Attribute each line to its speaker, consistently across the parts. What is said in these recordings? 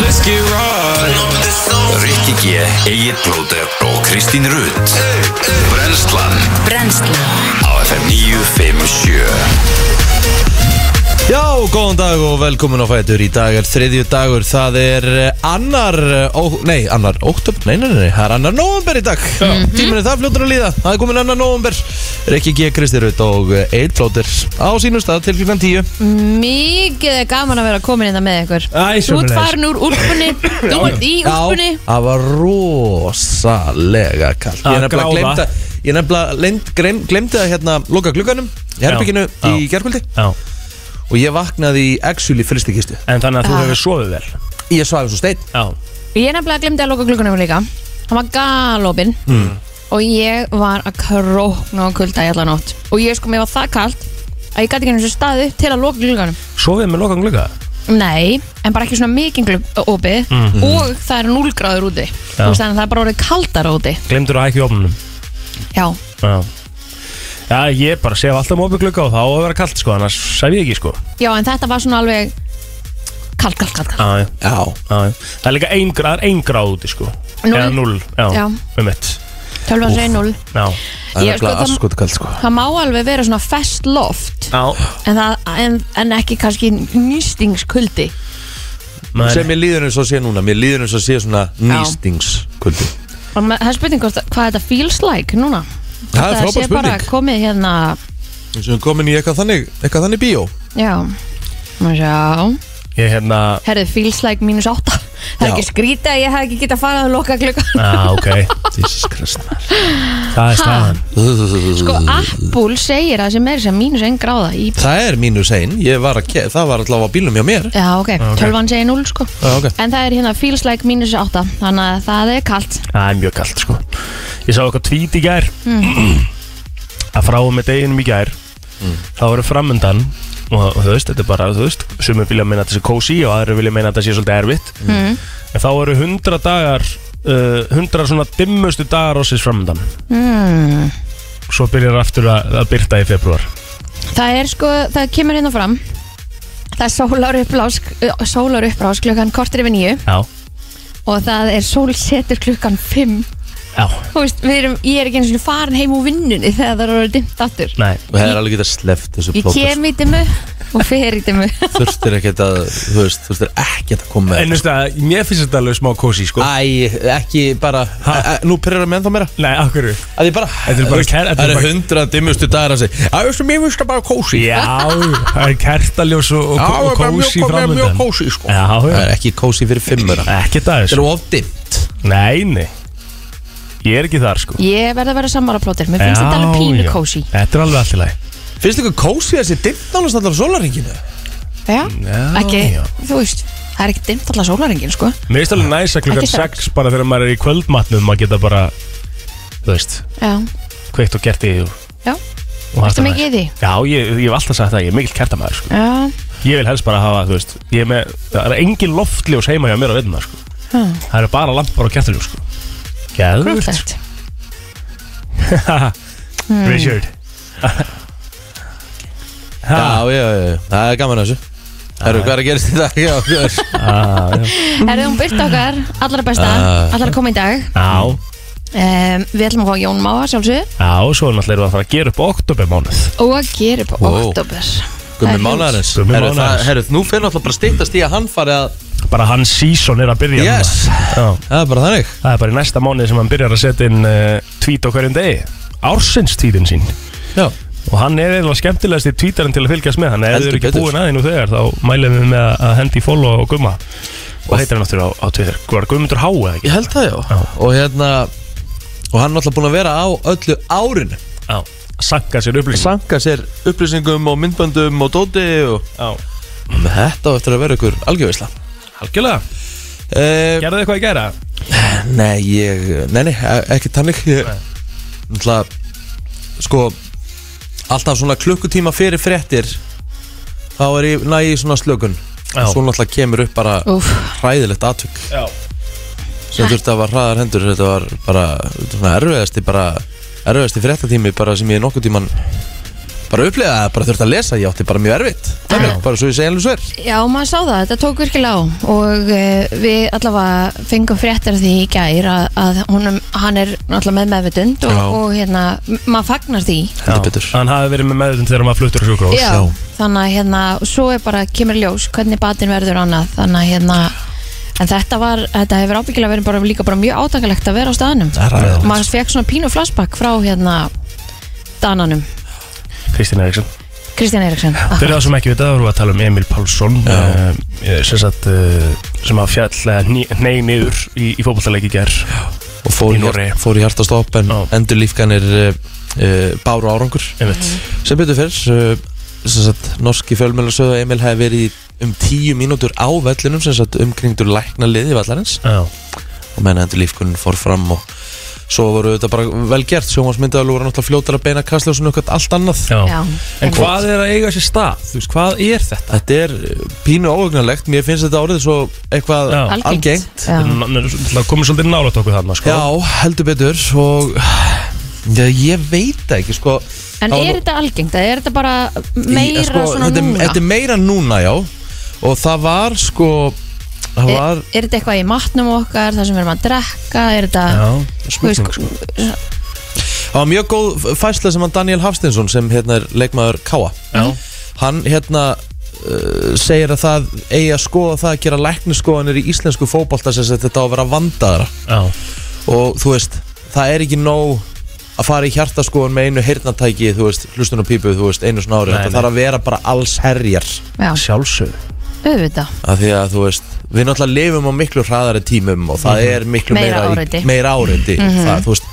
Speaker 1: Let's get right
Speaker 2: Rikki G, Egil Blóter og Kristín Rutt Brenslan
Speaker 3: Brennslan
Speaker 2: á FM 957
Speaker 1: Já, góðan dag og velkomin á Fætur Í dag er þriðju dagur Það er eh, annar, eh, ó, nei, annar óttubr Nei, nei, nei, nei, það er annar nóvember í dag mm -hmm. Tíminu það fljótur að líða Það er komin annar nóvember Rikki G, Kristi Rutt og Eid Flóter Á sínum stað til klukkan 10
Speaker 3: Mikið er gaman að vera komin innan með ykkur
Speaker 4: Æ,
Speaker 3: Þú ert
Speaker 4: sömuleiðis.
Speaker 3: farin úr úlpunni Þú ert í úlpunni
Speaker 1: Já, það var rosalega kallt Ég
Speaker 4: Að
Speaker 1: nefnilega
Speaker 4: gráða.
Speaker 1: glemta Ég nefnilega leynd- grem- glemdi að hérna loka glugganum í herbygginu
Speaker 4: já.
Speaker 1: í gerkvöldi
Speaker 4: Já,
Speaker 1: og ég vaknaði í actually fristikistu
Speaker 4: en þannig að þú
Speaker 3: Já.
Speaker 4: hefur sofið vel
Speaker 1: Ég svaði svo stein
Speaker 4: Já,
Speaker 3: Ég nefnilega glemdi að loka gluggunum líka Hann var galopin Og ég var að krókna og kulda í alla nótt Og ég sko, mér var það kalt Að ég gæti ekki eins og staði til að loka gluggunum
Speaker 4: sofið með lokan glugga
Speaker 3: Nei, en bara ekki svona mikið glugg Og það er 0 gráður úti
Speaker 4: Já.
Speaker 3: Þú veist þannig að það er bara orðið kaldar úti
Speaker 4: Glemdur að hækja í ofnunum
Speaker 3: Já,
Speaker 4: Já Já, ég bara sef alltaf mópið glugga og þá á að vera kalt sko, annars sef ég ekki sko
Speaker 3: já en þetta var svona alveg Kalt, kalt, kalt, kalt
Speaker 4: Já, já,
Speaker 1: Já,
Speaker 4: já já. Það er líka ein, það er ein gráð úti sko
Speaker 3: Núll.
Speaker 4: Eða null, já,
Speaker 3: Já.
Speaker 4: um mitt
Speaker 3: Tölvan segir 0
Speaker 4: Já,
Speaker 1: það
Speaker 3: Ég er sko,
Speaker 1: er nefnilega
Speaker 3: það-
Speaker 1: askot kallt sko
Speaker 3: Það má alveg vera svona fest loft
Speaker 4: já.
Speaker 3: en, það, en, en ekki kannski nýstingskuldi
Speaker 4: Maður,
Speaker 1: Sem ég líður eins og sé núna, mér líður eins og sé svona nýstingskuldi
Speaker 3: og ma- það er spurning hvort- hvað þetta feels like núna
Speaker 1: Það er
Speaker 3: Þetta
Speaker 1: frábær
Speaker 3: sé bara
Speaker 1: spurning.
Speaker 3: komið hérna
Speaker 1: Eins og við komin í eitthvað þannig, eitthvað þannig bíó
Speaker 3: já Má sjá,
Speaker 4: ég hérna
Speaker 3: herðu feels like mínus 8 Það er
Speaker 1: Já.
Speaker 3: ekki skrítið að ég hef ekki getað farað að loka klukkan
Speaker 4: Já, ok,
Speaker 1: Jesus Christ
Speaker 4: það er staðan
Speaker 3: Sko, Apple segir að sem er sem mínus 1 gráða í
Speaker 1: Það er mínus ein, ég var að, ke- það var allavega á bílum hjá mér
Speaker 3: Já, ok, tölvan segir 0 sko
Speaker 1: Já, ok
Speaker 3: En það er hérna feels like mínus 8 Þannig að það er kalt
Speaker 4: Það er mjög kalt sko Ég sá eitthvað tvít í gær
Speaker 1: Mm.
Speaker 4: Að frá og með deginum í gær Þá eru framöndan og, og þú veist, þetta er bara, þú veist Sumir vilja meina að þetta sé kósi og aðrir vilja meina að þetta sé svolítið erfitt En þá eru hundra dagar uh, Hundra svona dimmustu dagar Rósins framöndan
Speaker 3: mm.
Speaker 4: Svo byrjar aftur að, að byrta í februar
Speaker 3: Það er sko, það kemur hérna fram Það er sólar upprás, sólar upprás klukkan kortir yfir nýju
Speaker 4: Já,
Speaker 3: og það er sólsetur klukkan fimm
Speaker 4: já,
Speaker 3: Þú veist, við erum, ég er ekki eins og farin heim úr vinnunni þegar það eru dimmt aftur
Speaker 4: nei
Speaker 1: Það er alveg getað sleft þessu
Speaker 3: Ég
Speaker 1: plótast
Speaker 3: kem í dimmu og fer í dimmu
Speaker 1: Þurftir ekkert að, þú veist, þurftir ekkert að koma með
Speaker 4: En þú veist að, mér finnst þetta alveg smá kósi sko
Speaker 1: Æ, ekki bara Æ, æ, Nú pyrrar það með ennþá meira
Speaker 4: Nei, af hverju?
Speaker 1: Að ég bara
Speaker 4: Þetta er bara kær- þetta
Speaker 1: Það
Speaker 4: er
Speaker 1: eru
Speaker 4: bara-
Speaker 1: hundra dimmustu dagar að segja Það er sem ég vist að bara kósi
Speaker 4: Já, það er kertaljós og, og,
Speaker 1: það
Speaker 4: og
Speaker 1: er bara mjög-
Speaker 4: kósi
Speaker 1: bara
Speaker 4: framöndan
Speaker 1: mjög kósí, sko. Það
Speaker 4: Já,
Speaker 1: er ekki kósi fyrir fimmur
Speaker 4: já,
Speaker 1: Það
Speaker 4: ekki það
Speaker 1: er of dimmt
Speaker 4: Nei, nei Ég er ekki þar sko
Speaker 3: Ég verð að vera sammála plótir, mér finnst þetta alveg pínu
Speaker 4: já.
Speaker 3: kósi
Speaker 4: Þetta er alveg allt í lagi
Speaker 1: Finnst ykkur kósi þessi dimmt nálast allar sólaringinu?
Speaker 3: Já,
Speaker 4: Já,
Speaker 3: ekki,
Speaker 4: já.
Speaker 3: þú veist Það er ekki dimmt allar sólaringin, sko
Speaker 4: Mér finnst alveg næsa klukkan
Speaker 3: Ekki strax.
Speaker 4: 6 bara þegar maður er í kvöldmatnum að geta bara Þú veist,
Speaker 3: Já,
Speaker 4: kveikt og gert í og,
Speaker 3: já,
Speaker 4: og
Speaker 3: ertu
Speaker 4: haft það
Speaker 3: mikið
Speaker 4: næs.
Speaker 3: í því?
Speaker 4: Já, ég, ég hef alltaf sagt það, ég er mikill kertamæður sko
Speaker 3: já,
Speaker 4: Ég vil helst bara hafa, þú veist, ég er með, það er engin loftljós heima hjá mér á veituna sko
Speaker 3: já,
Speaker 4: Það eru bara lampar og kertaljós sko Gæðvöld
Speaker 3: grútlegt Hmm.
Speaker 4: Richard
Speaker 1: Já,
Speaker 4: Ha,
Speaker 1: já, já, já. það er gaman að þessu Herru, hvað er að gerast í dag? Já, já.
Speaker 4: já, já.
Speaker 3: Erðu hún byrt okkar, allra besta,
Speaker 1: Ah.
Speaker 3: allra koma í dag
Speaker 4: Já,
Speaker 3: Um, við ætlum að fá Jón Máa sjálfsög
Speaker 4: já, svo náttúrulega erum við að fara að gera upp oktobermánuð
Speaker 3: og að gera upp á
Speaker 1: Wow.
Speaker 3: oktober
Speaker 1: Gummi málarins
Speaker 4: Gummi
Speaker 1: Herru, það-
Speaker 4: mánaðarins.
Speaker 1: herru, nú fyrir náttúrulega bara stýttast í að hann fari að
Speaker 4: Bara hans season er að byrja núna.
Speaker 1: Yes.
Speaker 4: Já,
Speaker 1: Það er bara þannig
Speaker 4: Það er bara í næsta mánuði sem hann byrjar að setja inn uh, tweet á hverjum degi Ársins tweetin sín
Speaker 1: Já,
Speaker 4: Og hann er eða skemmtilegasti tweetarinn til að fylgjast með hann Ef þið
Speaker 1: Heldur
Speaker 4: eru ekki
Speaker 1: betur.
Speaker 4: búin aðeins nú þegar Þá mælum við með að- að hendi í follow og gumma Og heitir hann náttúrulega á, á Twitter Var Guðmundur Há eða ekki?
Speaker 1: ég held það já,
Speaker 4: Já.
Speaker 1: Og hérna Og hann er náttúrulega búin að vera á öllu árinu
Speaker 4: Já Sanka sér upplýsing
Speaker 1: Sanka sér upplýsingum og myndböndum og dóti og
Speaker 4: Já
Speaker 1: Með þetta á eftir að vera ykkur algjörvisla
Speaker 4: Algjörlega
Speaker 1: uh,
Speaker 4: Gerðu þið eitthvað í gera?
Speaker 1: Nei, ég, nei, nei, e- ekki tannig Ég, náttúrulega Sko, alltaf svona klukkutíma fyrir fréttir Þá er ég næ í svona slökun
Speaker 4: Já.
Speaker 1: Svo náttúrulega kemur upp bara
Speaker 3: Úf,
Speaker 1: hræðilegt atvik
Speaker 4: Já
Speaker 1: Sem þurfti að var hraðar hendur Þetta var bara, svona erfiðasti bara Erfiðasti fréttatími bara sem ég nokkuð tíman bara upplega það, bara þurfti að lesa, ég átti bara mjög erfitt Þannig, bara svo ég segi alveg sver
Speaker 3: Já, maður sá það, þetta tók virkilega á og uh, við allavega fengum fréttir af því í gær að, að honum, hann er allavega með meðvitund og,
Speaker 1: Já.
Speaker 3: og hérna, m- maður fagnar því
Speaker 1: Heldur betur.
Speaker 4: Hann hafi verið með meðutund þegar maður fluttur á sjúkrós
Speaker 3: Já, þannig að hérna, svo er bara kemur í ljós hvernig batinn verður og annað þannig að hérna, en þetta var þetta hefur ábyggilega verið bara, líka bara mjög átakalegt að vera á staðanum
Speaker 1: Það er ræðilegt.
Speaker 3: maður fekk svona pínu flashback frá hérna dananum,
Speaker 4: Kristín Eriksson
Speaker 3: Kristján Eriksson ah,
Speaker 4: Fyrir það sem ekki vita, þá vorum við að tala um Emil Pálsson uh, sem, sagt, uh, sem að fjall ney niður í, í fótballtaleiki gær
Speaker 1: og fór
Speaker 4: Í
Speaker 1: í,
Speaker 4: Noregi.
Speaker 1: hjar- fór í hjartastopp en
Speaker 4: Já.
Speaker 1: endur lífkanir uh, uh, báru árangur
Speaker 4: einmitt
Speaker 1: sem betur fyrr uh, sem sagt, norski fjölmjölar sögðu að Emil hefði verið í um tíu mínútur á vellinum sem sagt umkringdur lækna liði vallarins
Speaker 4: Já,
Speaker 1: og menn endur lífkunin fór fram og svo voru þetta bara vel gert sjómasmyndaður voru náttúrulega fljótar að beina kastljósun og allt annað
Speaker 4: já.
Speaker 3: Já,
Speaker 5: En hvað er að eiga sér stað? Þú veist, hvað er þetta?
Speaker 1: þetta er uh, pínu óögnalegt mér finnst þetta árið svo eitthvað
Speaker 4: Já.
Speaker 1: algengt
Speaker 3: Já.
Speaker 4: Það komið svolítið nálægt okkur þarna sko.
Speaker 1: já, heldur betur og já, ég veit það ekki sko
Speaker 3: En
Speaker 1: Það var
Speaker 3: er
Speaker 1: nú-
Speaker 3: þetta algengt? eða Er þetta bara
Speaker 1: Í-
Speaker 3: meira
Speaker 1: sko,
Speaker 3: svona
Speaker 1: þetta, er-
Speaker 3: núna?
Speaker 1: þetta er meira núna, já og það var sko það
Speaker 3: er,
Speaker 1: var
Speaker 3: er þetta eitthvað í matnum okkar, það sem við erum að drekka? Er þetta... þú veist,
Speaker 4: spurning sko.
Speaker 1: Það var mjög góð fæsla sem hann Daniel Hafstinsson sem hérna er leikmaður Káa
Speaker 4: Já.
Speaker 1: Hann hérna uh, segir að það eigi að skoða það að gera lækniskoðanir í íslensku fótbolta sem sagt þetta á að vera vandaðra
Speaker 4: Já,
Speaker 1: og þú veist, það er ekki nóg að fara í hjartaskoðan með einu heyrnatæki þú veist, hlustun og pípu, þú veist, einu svona ári
Speaker 4: Nei,
Speaker 1: þetta
Speaker 4: nei.
Speaker 1: þarf að vera bara alls herjar
Speaker 3: Já,
Speaker 4: sjálfsög
Speaker 3: auðvitað.
Speaker 1: af því að þú veist, við náttúrulega lifum á miklu hraðari tímum og það er miklu
Speaker 3: Mhm. Meira
Speaker 1: meira,
Speaker 3: áreiti. Mhm.
Speaker 1: í, meira áreiti það, þú veist,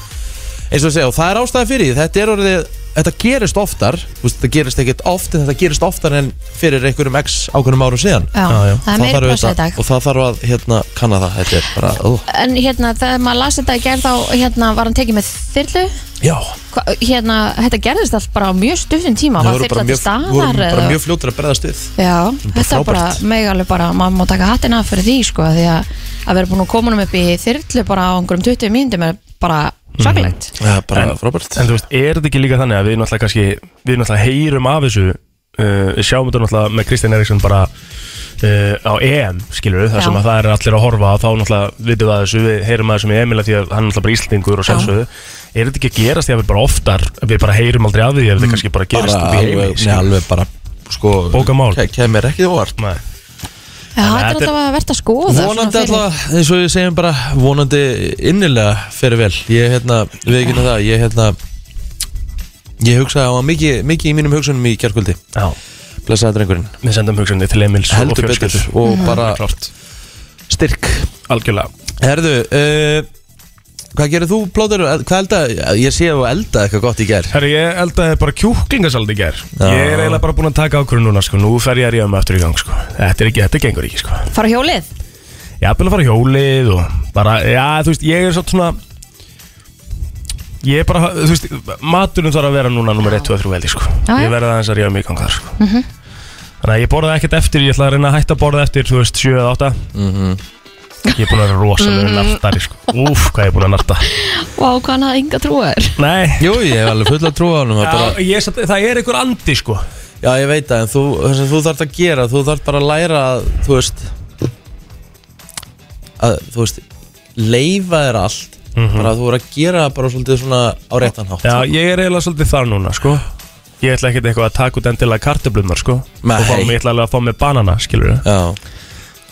Speaker 1: eins og ég segja, og það er ástæði fyrir því þetta er orðið, þetta gerist oftar þú veist, þetta gerist ekkert oft en þetta gerist oftar en fyrir einhverjum x ákveðnum árum síðan
Speaker 3: Já,
Speaker 4: Já, já.
Speaker 3: það er meira
Speaker 1: þarf
Speaker 3: pláss í
Speaker 1: auðvitað-
Speaker 3: dag.
Speaker 1: og það þarf að hérna, kanna það, þetta er bara ó,
Speaker 3: En hérna, þegar maður las þetta í gerð þá hérna, var hann tekið með þyrlu
Speaker 1: já,
Speaker 3: Hva, hérna, þetta gerðist allt bara á mjög stuttum tíma
Speaker 1: það
Speaker 3: var
Speaker 1: voru bara
Speaker 3: þyrla til
Speaker 1: mjög,
Speaker 3: staðar
Speaker 1: voru bara
Speaker 3: eða-
Speaker 1: mjög fljótur að breðast við
Speaker 3: Já,
Speaker 1: bara
Speaker 3: þetta er bara
Speaker 1: frábært.
Speaker 3: megalveg bara, maður má taka hattina af fyrir því sko, því að að vera búin að koma honum upp í þyrlu bara á einhverjum 20 mínútum er bara
Speaker 1: Mhm.
Speaker 3: svakalegt
Speaker 1: já, bara
Speaker 4: En-
Speaker 1: frábært
Speaker 4: En þú veist, er þetta ekki líka þannig að við náttúrulega kannski, við náttúrulega heyrum af þessu uh, sjáum þetta náttúrulega með Kristján Eriksson bara uh, á EM, skilur við,
Speaker 3: Já.
Speaker 4: þar sem að það er allir að horfa á, þá náttúrulega vitum við að þessu, við heyrum að þessu með Emil að því að hann er náttúrulega bara íslendingur og sjálfsögðu Er þetta ekki að gerast því að við bara oftar, við bara heyrum aldrei af því ef þetta kannski bara gerist
Speaker 1: bara
Speaker 4: upp í heimi
Speaker 1: alveg,
Speaker 4: skilur við?
Speaker 1: alveg bara sko,
Speaker 4: Bókamál.
Speaker 1: ke- kemur ekki óvart
Speaker 4: Nei.
Speaker 3: Já, þetta er
Speaker 4: þetta er-
Speaker 3: alltaf að verða skoða
Speaker 1: vonandi alltaf, eins og ég segjum bara vonandi innilega fyrir vel ég hérna, við ekki það, ég hérna ég hugsaði á hann mikið, mikið í mínum hugsunum í kjarkvöldi
Speaker 4: Já,
Speaker 1: blessaði drengurinn,
Speaker 4: við sendum hugsunni til Emils og
Speaker 1: heldur betur
Speaker 4: fjölskyldu
Speaker 1: og bara
Speaker 4: Klart,
Speaker 1: styrk
Speaker 4: algjörlega
Speaker 1: herðu, uh, hvað gerir þú plóður, hvað elda, ég sé að þú elda eitthvað gott í ger
Speaker 4: Herri, ég eldaði bara kjúklingasald í gær
Speaker 1: Já.
Speaker 4: Ég er eiginlega bara búinn að taka ákvörðu núna sko. Nú fer ég að ríða mig aftur í gang sko. Þetta er ekki, þetta gengur ekki sko.
Speaker 3: Fara á hjólið?
Speaker 4: Ég er að fara í hjólið og bara, já, þú veist, ég er svolítið svona Ég er bara, þú veist, maturinn þarf að vera núna nummer 1, 2, 3 veldi sko.
Speaker 3: Já, já.
Speaker 4: Ég verði aðeins að ríða mig í gang þar sko. Þannig að ég borðaði ekkert eftir, ég ætla að reyna að hætta að borða eftir, þú veist, 7 eða 8 Ég er búinn að vera rosalega nartari sko. Úf, hvað ég er búinn að narta
Speaker 3: Vá, hvað hann hafði enga trúa er
Speaker 4: Nei,
Speaker 1: jú, ég hef alveg fulla trú á hann
Speaker 4: já,
Speaker 1: bara,
Speaker 4: ég, er samt- það er einhver andi sko.
Speaker 1: já, ég veit það, en þú, það sem þú þarft að gera þú þarft bara að læra að, þú veist að, þú veist leifa þér allt bara að þú voru að gera það bara svolítið svona á réttan hátt
Speaker 4: Mhm. Já, ég er eiginlega svolítið þar núna, sko Ég ætla ekkert eitthvað að taka út endilega kartöblumar, sko
Speaker 1: Nei.
Speaker 4: Og fá mig, ég ætla alveg að fá mig banana, skilur við
Speaker 1: Já.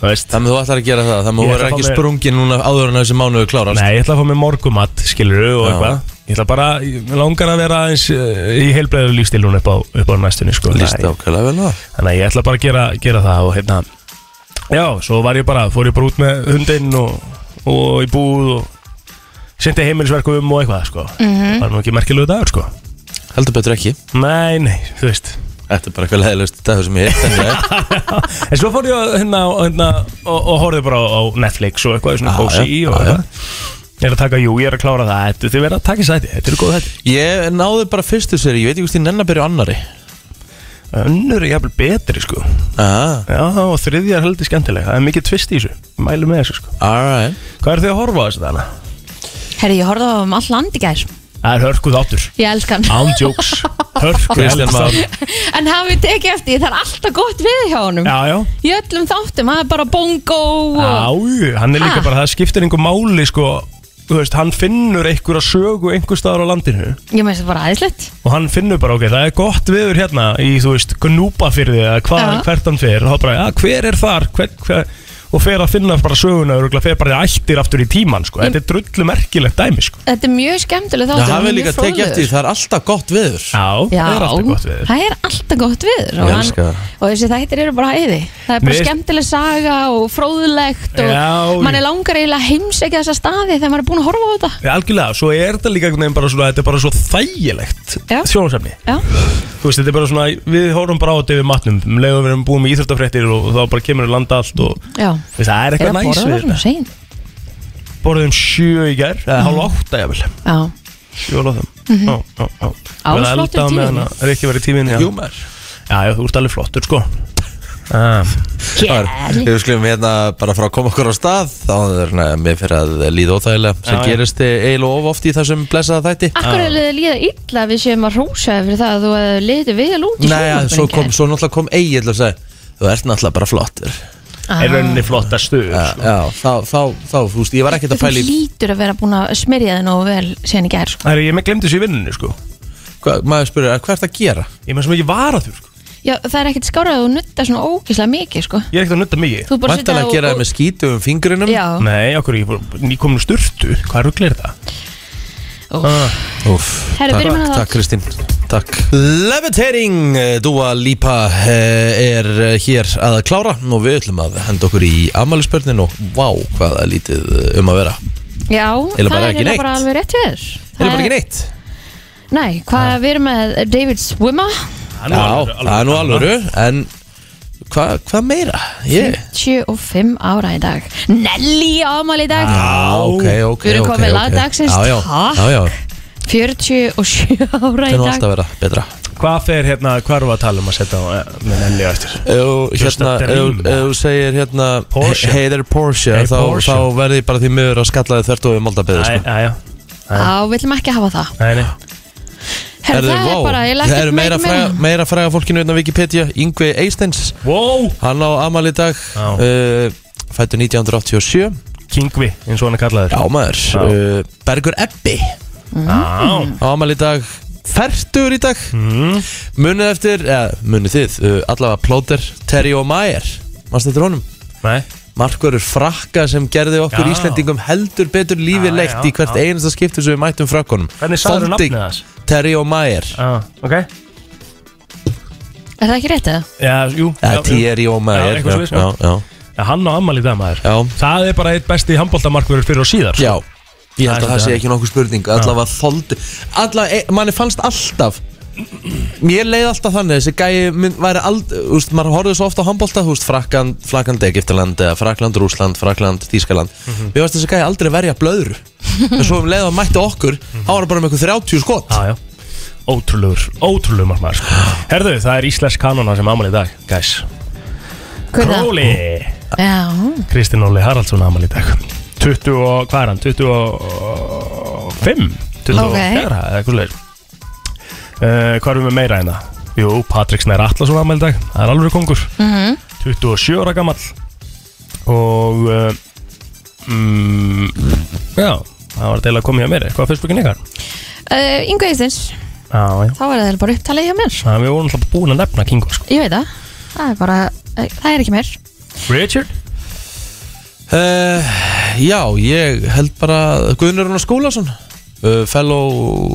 Speaker 4: Það veist
Speaker 1: þannig að þú ætlar að gera það þannig að þú
Speaker 4: Ég ætla
Speaker 1: verður
Speaker 4: að
Speaker 1: ekki
Speaker 4: fá mér-
Speaker 1: sprungin núna áður en að þessi mánuðu klárast
Speaker 4: Nei, ég ætla að fá mig morgumat, skilur við og
Speaker 1: Já.
Speaker 4: eitthvað Ég ætla bara, ég mig langar að vera aðeins eh, í heilbreiðu lífstil núna upp á, upp á næstunni, sko
Speaker 1: líst
Speaker 4: Nei.
Speaker 1: ákveðlega vel á það
Speaker 4: Þannig að ég ætla bara að gera, gera það og hérna Já, svo var ég bara, fór ég bara út með hundinn og, og í búð og Sendi heimilisverku um og eitthvað, sko Var nú ekki merkilegu dagur, sko
Speaker 1: heldur betur ekki
Speaker 4: Nei, nei, þú veist
Speaker 1: þetta er bara eitthvað leðilegust dagur sem ég heitt en ég
Speaker 4: En svo fór ég að hérna, á- hérna og, og horfði bara á á Netflix og eitthvað svona
Speaker 1: Já,
Speaker 4: kósi í
Speaker 1: já, já,
Speaker 4: og
Speaker 1: já.
Speaker 4: eitthvað Ég er að taka, jú, ég er að klára það Þetta- Þið verða að taka í sæti, þetta eru góð þetta
Speaker 1: ég náði bara fyrstu seri ég veit ekki hvort ég nenn að byrja á annari
Speaker 4: Önnur er jafnvel betri, sko
Speaker 1: ah,
Speaker 4: Já, og þriðja er heldur skemmtileg Það er mikið tvist í þessu, mælu með þessu, sko
Speaker 1: alright
Speaker 4: Hvað er þið að horfa á þessu þarna?
Speaker 3: Herri, ég horfði á um all land í gær
Speaker 4: Það er hörkuð áttur
Speaker 3: Ég elska hann
Speaker 4: Án jokes Hörkuð
Speaker 1: Kristján Már.
Speaker 4: áttur
Speaker 3: En hafið tekið eftir, því, það er alltaf gott við hjá honum
Speaker 4: Já, já
Speaker 3: Í öllum þáttum, það er bara bongo og...
Speaker 4: Já, hann er líka
Speaker 3: Ha?
Speaker 4: bara, það skiptir einhver máli sko, þú veist, hann finnur einhverja sögu einhver staðar á landinu
Speaker 3: Ég meðist það bara aðeinslegt
Speaker 4: og hann finnur bara, ok, það er gott viður hérna í, þú veist, gnúpafyrði eða hva,
Speaker 3: Já.
Speaker 4: hvert hann fer, og þá bara, ja, hver er þar hver, hver, og fer að finna bara söguna og fer bara í ættir aftur í tíman sko. þetta er drullu merkilegt dæmi sko.
Speaker 3: Þetta er mjög skemmtileg
Speaker 1: Það
Speaker 3: þáttur hann
Speaker 1: hafi
Speaker 3: er mjög
Speaker 1: líka tekið
Speaker 3: fróðlegur.
Speaker 1: eftir, því, það er alltaf gott viður
Speaker 4: Já,
Speaker 3: Já,
Speaker 4: sko. það er
Speaker 3: það er alltaf
Speaker 4: alltaf gott viður
Speaker 3: gott veður og,
Speaker 1: Ég
Speaker 3: hann,
Speaker 1: elska það.
Speaker 3: og þessi þættir eru bara æði Það er bara
Speaker 4: Mér-
Speaker 3: skemmtileg saga og fróðlegt og
Speaker 4: Já,
Speaker 3: mann
Speaker 4: ég-
Speaker 3: er langar eiginlega að heimsækja þessa staði þegar maður er búin að horfa á þetta
Speaker 4: Já, Algjörlega, svo er þetta líka einhvern veginn bara svona, þetta er bara svo þægilegt
Speaker 3: Já.
Speaker 4: sjónsefni
Speaker 3: Já,
Speaker 4: Þú veist, þetta er bara svona, við horfum bara á þetta yfir matnum um leiðum við erum búin með íþjóftafréttir og þá bara kemur við landa allt og
Speaker 3: já
Speaker 4: Þú veist, það er
Speaker 3: Er
Speaker 4: eitthvað
Speaker 3: að
Speaker 4: næs
Speaker 3: borða
Speaker 4: við
Speaker 3: það svona
Speaker 4: þetta
Speaker 3: sein
Speaker 4: Borðum sjö í gær, eða hálf átta jafnvel
Speaker 3: Já,
Speaker 4: Sjö á þeim Já, já, já Verða
Speaker 3: Ásláttur
Speaker 4: elda á meðan
Speaker 3: tíminn.
Speaker 4: að- Er ekki verið tíminn, já
Speaker 1: Jú, maður.
Speaker 4: Já, já, þú ert alveg flottur, sko Ah,
Speaker 1: Það er, við skulum hérna bara frá að koma okkur á stað þá er hérna mér fyrir að líða óþægilega sem
Speaker 4: Já, já.
Speaker 1: gerist e- eiginlega of oft í þessum blessaða þætti
Speaker 3: Akkur er liðið líða illa að við séum að rósa fyrir það að þú hefur liðið vel út í
Speaker 1: Nei, ja, svo, kom,
Speaker 3: sjónvarpinu í gær.
Speaker 1: svo náttúrulega kom eiginlega og sagði þú ert náttúrulega bara flottur
Speaker 4: Ah. Er rauninni flottastu
Speaker 1: Já,
Speaker 4: sko.
Speaker 1: já þá, þá, þá, þú veist, ég var ekkert að
Speaker 3: Þú
Speaker 1: pæli
Speaker 3: hlýtur að vera búin að smyrja þig nógu vel síðan í gær sko.
Speaker 4: Það er, ég með glemdi þessu í vinnunni, sko
Speaker 1: maður spurði, hvað ert að gera?
Speaker 4: Ég með sem ekki vara þurr, sko
Speaker 3: Já, það er ekkert skárað að þú nutta svona ógislega mikið sko.
Speaker 4: Ég er ekkert að nutta mikið
Speaker 3: Þú bara
Speaker 1: Vantalega
Speaker 3: situr
Speaker 1: að
Speaker 3: og-
Speaker 1: gera
Speaker 3: og-
Speaker 1: það með skítu um fingrinum
Speaker 3: Já,
Speaker 4: Nei, okkur, ég er nýkomin úr sturtu Hvað rugglir það?
Speaker 3: Úff.
Speaker 4: Ah,
Speaker 1: Úf,
Speaker 3: Herru,
Speaker 1: takk,
Speaker 3: byrjum
Speaker 1: takk,
Speaker 3: með það.
Speaker 1: takk Kristín Takk Levitating eh, Dua Lipa eh, er eh, hér að klára og við ætlum að henda okkur í afmælisbörnin og vá hvað er lítið eh, um að vera
Speaker 3: já
Speaker 1: Eiginlega
Speaker 3: það
Speaker 1: bara
Speaker 3: er
Speaker 1: ekki
Speaker 3: eiginlega
Speaker 1: neitt.
Speaker 3: bara alveg rétt við þér
Speaker 1: Það er bara ekki neitt Ah.
Speaker 3: Nei, hvað við erum með David Swimma
Speaker 4: það er nú
Speaker 1: Já,
Speaker 4: alveg-
Speaker 1: það er nú alvöru En hvað hva meira?
Speaker 3: Hm.
Speaker 1: Ég
Speaker 3: 75 ára í dag Nelly ámali í dag
Speaker 1: Já, ok, ok
Speaker 3: Við erum komið
Speaker 1: ok, ok.
Speaker 3: lagdagsins,
Speaker 1: Já, já,
Speaker 3: takk.
Speaker 1: já, já
Speaker 3: 47 ára í
Speaker 1: Það er nú
Speaker 3: dag
Speaker 1: alltaf að vera betra
Speaker 4: Hvað fer hérna, hvað erum við að tala um að setja á eh, með Nelly á eftir?
Speaker 1: Ef
Speaker 4: Just
Speaker 1: hérna,
Speaker 4: a
Speaker 1: ef-
Speaker 4: dream.
Speaker 1: ef þú segir hérna
Speaker 4: Porsche.
Speaker 1: Hey there Porsche
Speaker 4: Hey,
Speaker 1: Þá,
Speaker 4: Porsche.
Speaker 1: þá verði ég bara því miður að skalla þið þvert og við moldabeðu sko.
Speaker 4: Æja,
Speaker 3: Já, við ætlum ekki að hafa það
Speaker 4: æja, nei
Speaker 3: Herðu, það
Speaker 1: vá,
Speaker 3: er bara, ég
Speaker 1: það
Speaker 3: lækki
Speaker 1: eru meira, fræga, meira fræga fólkinu utan Wikipedia Yngvi Eisteins,
Speaker 4: Wow
Speaker 1: hann á amal í dag
Speaker 4: Já.
Speaker 1: uh, fættu 1987
Speaker 4: Kingvi, eins og hann er kallaður
Speaker 1: Já maður,
Speaker 4: Já.
Speaker 1: uh, Bergur Ebbi
Speaker 4: Já
Speaker 1: á amal í dag Fertur í dag
Speaker 4: Mm.
Speaker 1: Munið eftir, eða munið þið uh, allavega Plóter, Terry og Mayer Manst þetta honum?
Speaker 4: Nei
Speaker 1: Markverður frakka sem gerði okkur
Speaker 4: Já.
Speaker 1: Íslendingum heldur betur lífið
Speaker 4: Já,
Speaker 1: leitt
Speaker 4: já,
Speaker 1: í hvert
Speaker 4: já.
Speaker 1: einasta skipti sem við mættum frakkonum
Speaker 4: Hvernig sagður nafnið þess?
Speaker 1: Terry og Mayer
Speaker 4: Já, ok
Speaker 3: Er það ekki rétt eða?
Speaker 4: Já, jú
Speaker 1: Eða
Speaker 4: jú.
Speaker 1: Eh, Terry og
Speaker 4: Já,
Speaker 1: Mayer
Speaker 4: eitthvað svoleiðis,
Speaker 1: já, já,
Speaker 4: Já, hann á ammali í dag maður
Speaker 1: já.
Speaker 4: Það er bara eitt besti handbóltamarkverður fyrir og síðar
Speaker 1: Já, ég
Speaker 4: Það
Speaker 1: held að
Speaker 4: er
Speaker 1: það
Speaker 4: þetta.
Speaker 1: sé ekki nokkuð spurning Allavega þóldi Allavega, e, manni fannst alltaf Mér leið alltaf þannig Þessi gæi mynd, væri aldrei Þú veist, maður horfði svo ofta á handbólta Þú veist, Frakland, Frakland, Egiptaland eða Frakland, Rúsland, Frakland, Þískaland
Speaker 4: Mhm.
Speaker 1: Mér fannst þessi gæi aldrei verja blöðru En svo um leið að mætti okkur Þá var hann bara með einhver 30 skot
Speaker 4: Já, já Ótrúlegur, ótrúlegur markmaður sko. Herðu, það er íslensk kanona sem ammali í dag Gæs
Speaker 3: Hver er það?
Speaker 4: Króli
Speaker 3: Já,
Speaker 4: Kristinn Óli Haraldsson ammali í dag 20 og, hvað er hann? 25 24
Speaker 3: Ok.
Speaker 4: eða eitthvað leir uh, Hvað erum við meira hérna? Jú, Patrik Snær Atlasson ammali í dag Það er alveg kongur
Speaker 3: Mhm.
Speaker 4: 27 ára gammal og uh, mm, já, það var deila að koma hjá mér eitthvað á Facebookin ykkar
Speaker 3: uh, Ingo Eistins
Speaker 4: já, já.
Speaker 3: Þá er það bara upptalið hjá mér
Speaker 4: Það, við vorum alltaf búin að nefna Kingo sko.
Speaker 3: Ég veit það, það er bara, eh, það er ekki mér
Speaker 4: Richard?
Speaker 1: uh, Já, ég held bara Guðnur Rúnar Skúlason uh, Fellow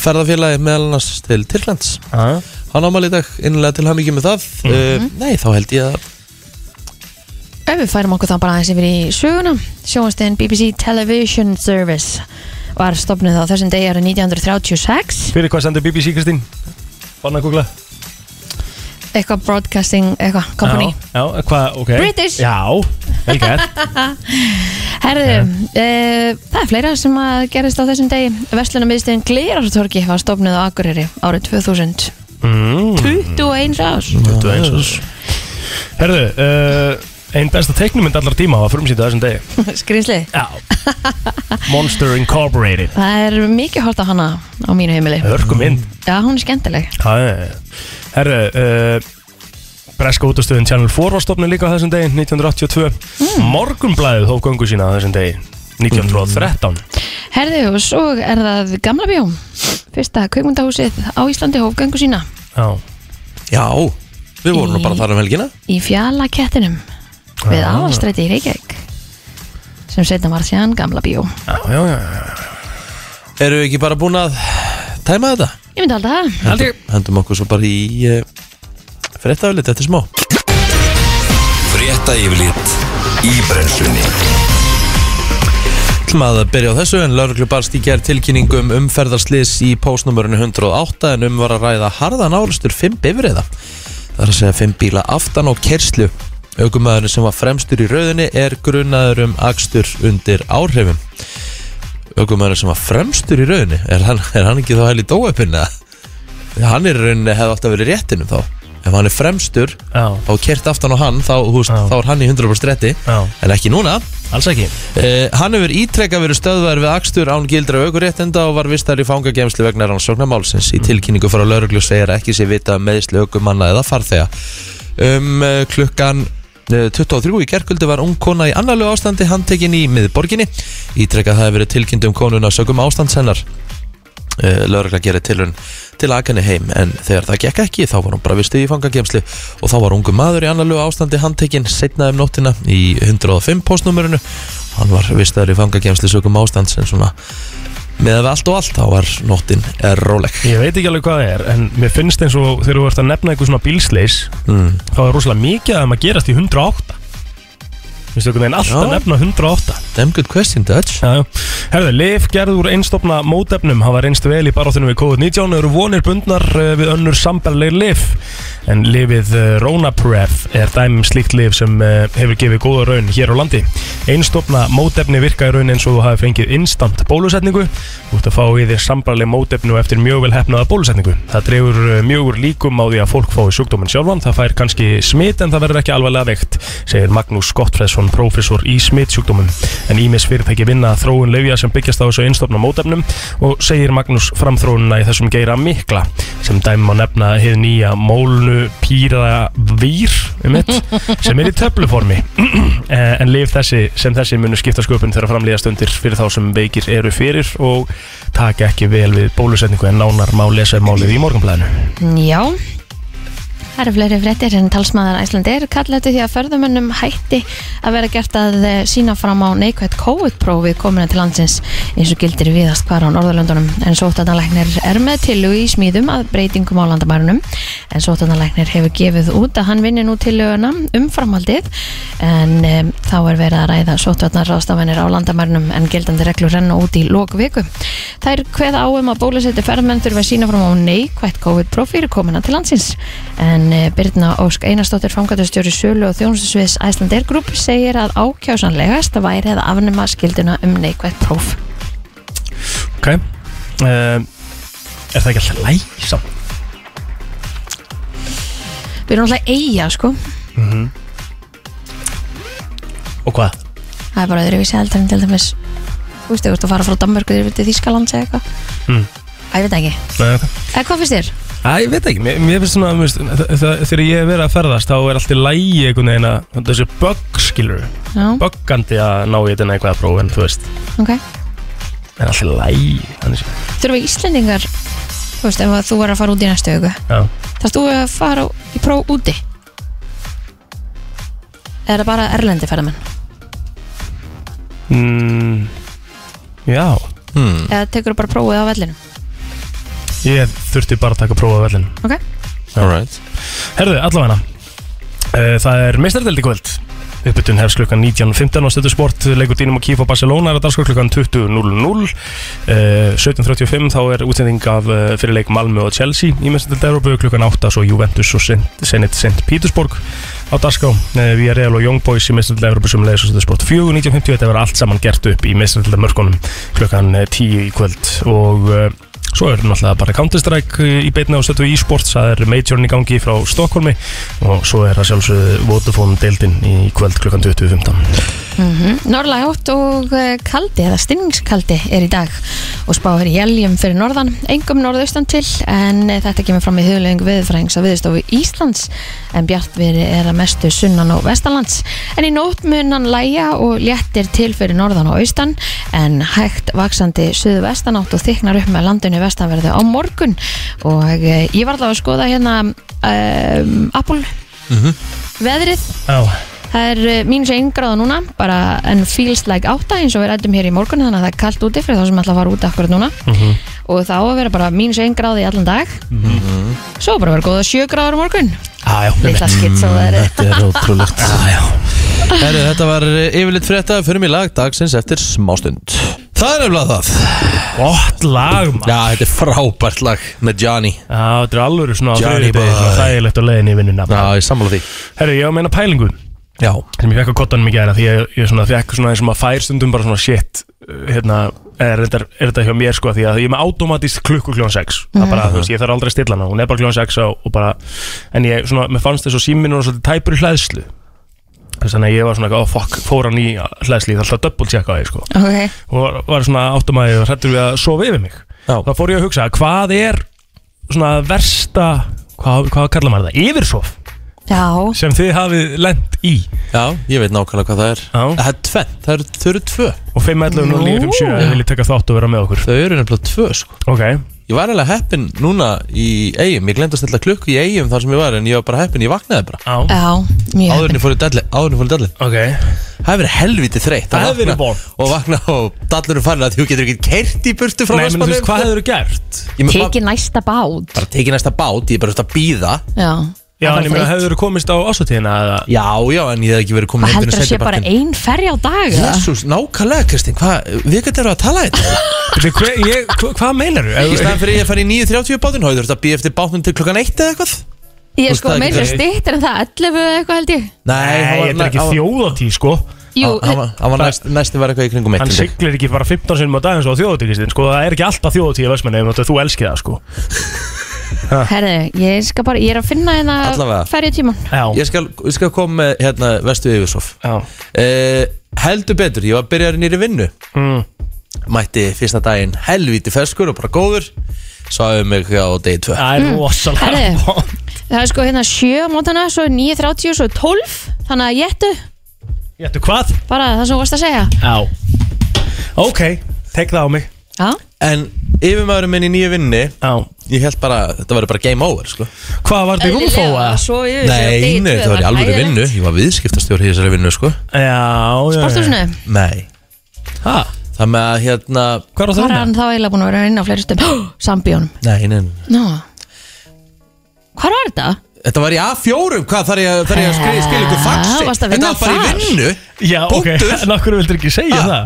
Speaker 1: ferðafélagi meðal annars til Tyrklands
Speaker 4: Já,
Speaker 1: hann ámali í dag innlega til hann ekki með það uh, nei þá held ég að
Speaker 3: Ef við færum okkur þá bara aðeins yfir í söguna Sjónastegin BBC Television Service var stopnuð á þessum degi árið 1936
Speaker 4: fyrir hvað sendur BBC Kristín? Banna að googla
Speaker 3: eitthvað broadcasting, eitthvað company
Speaker 4: Já, já, hvað, ok
Speaker 3: British.
Speaker 4: Já, vel gert
Speaker 3: Herðu, uh, það er fleira sem að gerist á þessum degi Vestlunarmiðstöðin Gleirartorki var stofnuð á Akureyri árið 2000
Speaker 4: mm,
Speaker 3: 21 ás
Speaker 4: 21 árs. Herðu, uh, Einn besta teiknumynd allar tíma var frumsýnd á þessum degi
Speaker 3: Skrýnsli
Speaker 4: Já Monster Incorporated Mm.
Speaker 3: Það er mikið hort á hana á mínu heimili
Speaker 4: Hörku mynd
Speaker 3: Já, hún er skemmtileg
Speaker 4: Herru uh, Breska útastöðin Channel 4 var stofnun líka á þessum degi 1982
Speaker 3: Mm.
Speaker 4: Morgunblæðið hóf göngu sína á þessum degi 1913
Speaker 3: Mm. Herðu, og svo er það Gamla Bjó Fyrsta kveikmyndahúsið á Íslandi hóf göngu sína
Speaker 4: Já
Speaker 1: Já, við vorum nú bara þar um helgina
Speaker 3: Í fjallakettinum Við
Speaker 4: Já.
Speaker 3: aðalstræti í Reykjavík Sem setna var síðan Gamla Bjó
Speaker 4: Já, já, já, já.
Speaker 1: Erum við ekki bara búin að tæma þetta?
Speaker 3: Ég myndi halda það
Speaker 1: Aldrei Hendum okkur svo bara í uh, fréttaöflit eftir smá
Speaker 2: Frétta yfirlit í brennslunni
Speaker 1: ætlum að byrja á þessu en lauruglu barst í gerð tilkynningum umferðarslis í póstnumörinu 108 en um var að ræða harðan álustur 5 bifriða. Það er að segja 5 bíla aftan á kerslu. Ögumæðurinn sem var fremstur í rauðinni er grunnaður um akstur undir áhrifum. Ögumæðurinn sem var fremstur í rauðinni, er hann, er hann ekki þá hæli dóöpinn eða? Því Hann er í rauninni hefði alltaf verið í réttinum þá. Ef hann er fremstur
Speaker 4: Já.
Speaker 1: og kert aftan á hann þá, þú veist,
Speaker 4: Já.
Speaker 1: þá er hann í 100% rétti
Speaker 4: Já.
Speaker 1: en ekki núna.
Speaker 4: Alls ekki
Speaker 1: Eh, Hann hefur ítrekka verið stöðvar við akstur án gildra aukuréttenda og var vistar í fangagemslu vegna rannsóknarmálsins. Í tilkynningu frá lauruglu segir að ekki sé vita meðisli aukumanna eða farþega. Um eh, klukkan eh, 23 í gerkvöldu var ung kona í annarlegu ástandi handtekinn í miðborginni. Ítrekkað það hefur verið tilkynnt um konuna sögum ástandshennar. Laurugla Eh, gerir tilhörn til að aðkenni heim en þegar það gekk ekki þá var hún bara vistuð í fangagemslu og þá var ungu maður í annarlegu ástandi handtekinn setnað um nóttina í 105 postnúmerinu hann var vistuður í fangagemslu sögum ástand sem svona með við allt og allt þá var nóttin er róleg
Speaker 4: Ég veit ekki alveg hvað það er En mér finnst eins og þegar þú ert að nefna eitthvað svona bílsleis
Speaker 1: mm.
Speaker 4: Þá er rosalega mikið að maður gerast í 108 Vistu einhvern veginn alltaf
Speaker 1: Já.
Speaker 4: nefna 108
Speaker 1: Damn good question Dutch
Speaker 4: Já, já. Herðu, lif gerður úr einstofna mótefnum hafa reynst vel í baróttinu við COVID-19 eru vonir bundnar eh, við önnur sambarlegir lif en lifið eh, Ronapref er dæmum slíkt lif sem eh, hefur gefið góða raun hér á landi einstofna mótefni virka í raun eins og þú hafi fengið instant bólusetningu þú ert að fá í þér sambarleg mótefnu eftir mjög vel hefnaða bólusetningu það dregur eh, mjög úr líkum á því að fólk fái sjúkdóminn sjálfan það fær kannski smit en það verður ekki alvarlega veikt segir Magnús Gottfredsson, prófessor í smitsjúkdómum en Ímis fyrirtæki vinna að þróun lögja sem byggjast á þessu einstofna mótefnum og segir Magnús framþróunina í þessum geira mikla sem dæmi má nefna hið nýja mólnu pýra vír um eitt, sem er í töfluformi Eh, en lif þessi sem þessi munu skipta sköpun þegar framlýðast undir fyrir þá sem veikir eru fyrir og taka ekki vel við bólusetningu en nánar má lesa um málið í morgunblæðinu
Speaker 3: Já Það eru fleiri fréttir en talsmaðar Æslandir kalla eftir því að förðumönnum hætti að vera gert að eh, sýna fram á neikvægt COVID-prófi komina til landsins eins og gildir viðast hvar á Norðurlöndunum en sóttanalæknir er með tilug í smíðum að breytingum á landamærunum en sóttanalæknir hefur gefið út að hann vinni nú tiluguna um framhaldið en e, þá er verið að ræða sóttvarnarráðstafanir á landamærunum en gildandi reglur renna út í lokviku. Þær kveða á um að bólusetja ferðmenn þurfa að sína fram á neikvætt COVID-próf fyrir komuna til landsins. En eh, Birna Ósk Einarsdóttir fangatastjóri Sölu og þjónustusviðs Æslandair Group segir að ákjásanlegast væri að afnema skilduna um neikvætt próf.
Speaker 4: Ok uh, Er það ekki alltaf læsa?
Speaker 3: Við erum alltaf eiga, sko.
Speaker 4: Og hvað?
Speaker 3: Það er bara öðruvísi heldur en til dæmis, þú veist, þú ert að fara frá Danmörku yfir til Þýskalands eða eitthvað.
Speaker 4: Mm.
Speaker 3: Æ, ég veit það ekki.
Speaker 4: Nei, ok
Speaker 3: Eða hvað finnst þér?
Speaker 4: Æ, ég veit ekki, mér, mér finnst svona mér finnst, þa- þa- þegar ég hef verið að ferðast þá er alltaf lægi einhvern veginn að þessi bögg skilur
Speaker 3: Já,
Speaker 4: böggandi að ná í þetta neikvæða próf en þú veist,
Speaker 3: ok.
Speaker 4: en alltaf lægi þannig sé,
Speaker 3: Þurfa Íslendingar, þú veist, ef að þú verður að fara út í næstu auku,
Speaker 4: já
Speaker 3: þarfst þú að fara í próf úti? Eða er það bara erlendi ferðamenn?
Speaker 4: mm, Já,
Speaker 1: Hmm,
Speaker 3: Eða tekur þú bara prófið á vellinu?
Speaker 4: ég þurfti bara að taka próf á vellinu
Speaker 3: Ok.
Speaker 1: Alright
Speaker 4: Herðu, allavegna uh, Það er meistardeld í kvöld Uppbytun hefst klukkan 19.15 á stöðu sport Leikur dýnum og kýf á Barcelona er að dagskrá klukkan 20.00 uh, 17.35 þá er útsending af uh, fyrirleik Malmö og Chelsea í meistardeld Európu klukkan 8 svo Juventus og Saint- Zenit St. Petersburg á dagskrá uh, Via Real og Young Boys í meistardeld Európu sem leiðis á stöðu sport 4.19.50 þetta verður allt saman gert upp í meistardeld mörkunum klukkan eh, 10 í kvöld og uh, Svo er náttúrulega bara Counter-Strike í beitna á stötu e-sports, það er majorin í gangi frá Stokkólmi og svo er það sjálfsögðu Vodafone deildin í kvöld klukkan 20.15.
Speaker 3: Norðlæg átt og eh, kaldi eða stinningskaldi er í dag og spáður í eljum fyrir norðan, engum norðaustan til en eh, þetta kemur fram í huglöðing viðfrængs að viðstofu Íslands en bjartveri er að mestu sunnan og vestanlands en í nótt munan læja og léttir til fyrir norðan og austan en hægt vaksandi suðu vestanátt og þyknar upp með landinu vestanverðu á morgun og eh, ég var allavega að skoða hérna um, Apple veðrið
Speaker 4: Já,
Speaker 3: Það er eh, mínus einn gráða núna, bara en feels like átta eins og við rættum hér í morgun þannig að það er kallt úti fyrir þá sem ætla að fara út akkurat núna
Speaker 1: Mhm.
Speaker 3: og þá að vera bara mínus einn gráði í allan dag
Speaker 1: Mhm.
Speaker 3: svo bara vera góða sjö gráður á morgun
Speaker 4: já,
Speaker 3: litla skitt svo það er
Speaker 1: Þetta er ótrúlegt Herru, þetta var eh, yfirleitt frétta Fyrir mig lag dagsins eftir smástund Það er nefnilega það
Speaker 4: gott lag maður.
Speaker 1: Já, þetta er frábært lag með Johnny
Speaker 4: Já, þetta er alveg svona á
Speaker 1: Johnny
Speaker 4: þriðjudegi,
Speaker 1: boy.
Speaker 4: svona þægilegt á leiðinni í vinnuna.
Speaker 1: Já, ég sammála því
Speaker 4: Herru, ég á að meina pælingu
Speaker 1: Já,
Speaker 4: sem ég fekk á kottanum í gæra því ég, ég svona fekk svona eins og maður fær stundum bara svona shit uh, hérna, er, er, er þetta hjá mér sko því að ég er með automatist klukku kljón 6 það bara, þú veist, ég þarf aldrei að stilla hana hún er bara kljón 6 og, og bara en ég svona, mér fannst þess að síminn var svolítið tæpur í hlæðslu þess að ég var svona, oh fuck, fór hann í hlæðslu ég þarf alltaf að double checka því sko
Speaker 3: ok,
Speaker 4: og var, var svona áttumæði og hrættur við að sofa yfir mig
Speaker 1: Já.
Speaker 4: þá fór ég að hugsa, hvað er svona versta hvað, hvað kallar maður það, yfirsof
Speaker 3: já,
Speaker 4: sem þið hafið lent í
Speaker 1: já, ég veit nákvæmlega hvað það er
Speaker 4: Já.
Speaker 1: Það er tvennt, það eru, þau eru tvö
Speaker 4: og 511 og 957 ef þið viljið taka þátt og vera með okkur
Speaker 1: Þau eru nefnilega tvö, sko
Speaker 4: ok,
Speaker 1: Ég var alveg heppin núna í eigum Ég glemt að stilla klukku í eigum þar sem ég var En ég var bara heppin, ég vaknaði bara
Speaker 4: á
Speaker 3: já, mjög
Speaker 1: Áður en ég fór í dalli, áður en ég fór í dalli
Speaker 4: ok,
Speaker 1: Það hefur verið helviti þreytt að
Speaker 4: Það hefur
Speaker 1: vakna
Speaker 4: verið vont.
Speaker 1: Og vakna og dallurum farin að þú getur ekki kert í burtu frá
Speaker 4: nei, menn þú veist, hvað hefur gert?
Speaker 1: Ég með
Speaker 3: tekið næsta bát
Speaker 1: bara tekið næsta bát, ég er bara þú veist, að býða
Speaker 3: já,
Speaker 4: já,
Speaker 3: Það
Speaker 4: en ég
Speaker 3: var
Speaker 4: meina,
Speaker 3: þreytt.
Speaker 4: hefur þú komist á ásatíðina eða
Speaker 1: Já, já, en ég hef ekki verið komin
Speaker 3: Hvað heldur að sé bara ein ferja á dag eða?
Speaker 1: Jésús, nákvæmlega Kristín, hvað, við getum verið að tala þetta
Speaker 4: Bíddu, hve- ég- hva- hvað meinar
Speaker 1: Í
Speaker 4: þú?
Speaker 1: staðan fyrir ég að fara í 9.30 bátinn, hafið þú þurft að býða eftir bátnum til klukkan 1 eða eitthvað
Speaker 3: ég
Speaker 1: Þú
Speaker 3: sko
Speaker 1: veist, það er
Speaker 3: meira
Speaker 1: ekki-
Speaker 3: stýttir en það 11 eða eitthvað held ég
Speaker 1: Nei,
Speaker 4: nei, þetta er ekki þjóðatí, sko
Speaker 3: jú,
Speaker 1: Hann var- hann var næst, næstum var eitthvað í kringum
Speaker 4: hann
Speaker 1: eitt
Speaker 4: siglir ekki bara 15 sinnum á daginn svo á þjóðatíkistinn, sko, það er ekki alltaf þjóðatík í Vestmanneum, þú elskir það, sko
Speaker 3: herðu, ég skal bara, ég er að finna hérna
Speaker 1: Allavega.
Speaker 3: ferjutíman
Speaker 4: já,
Speaker 1: Ég skal, ég skal koma með, hérna, vestu yfirsof
Speaker 4: já,
Speaker 1: uh, Heldur betur, ég var byrjar nýri vinnu
Speaker 4: Mm.
Speaker 1: Mætti fyrsta daginn helvíti ferskur og bara góður Sáðu mig á degi 2
Speaker 4: það er rosalega
Speaker 3: Herðu.
Speaker 4: vont.
Speaker 3: Það er sko hérna 7 á mótana, svo 9.30 og svo 12 Þannig að gettu,
Speaker 4: Jættu hvað?
Speaker 3: bara það sem þú varst að segja
Speaker 4: Já Ok, tek það á mig
Speaker 3: Já,
Speaker 1: En yfirmaðurinn minn í nýju vinni
Speaker 4: Já
Speaker 1: Ég held bara, þetta var bara game over, sko
Speaker 4: Hvað var þetta rúmfóa?
Speaker 3: Svo yfir
Speaker 1: Nei, nei, það var í alvöru vinnu Ég var viðskiptastjóri í þessari vinnu, sko
Speaker 4: Já, já
Speaker 3: Sporthúsinu,
Speaker 1: Nei
Speaker 4: Hæ?
Speaker 1: Það með að hérna
Speaker 4: Hvað var
Speaker 3: var
Speaker 4: það?
Speaker 3: hann þá eiginlega búin að vera inn á fleiri stund Sambíónum
Speaker 1: Nei, nei, nei.
Speaker 3: Ná Hvar var þetta?
Speaker 1: Þetta var í A4, hvað þarf ég, þar ég að skilja skil ykkur faxi?
Speaker 3: Varstu að
Speaker 1: Þetta
Speaker 3: vinna
Speaker 1: var bara
Speaker 3: þar?
Speaker 1: í vinnu
Speaker 4: Já, ok
Speaker 1: Punktur.
Speaker 4: En okkur vildur ekki segja
Speaker 1: Ha?
Speaker 4: það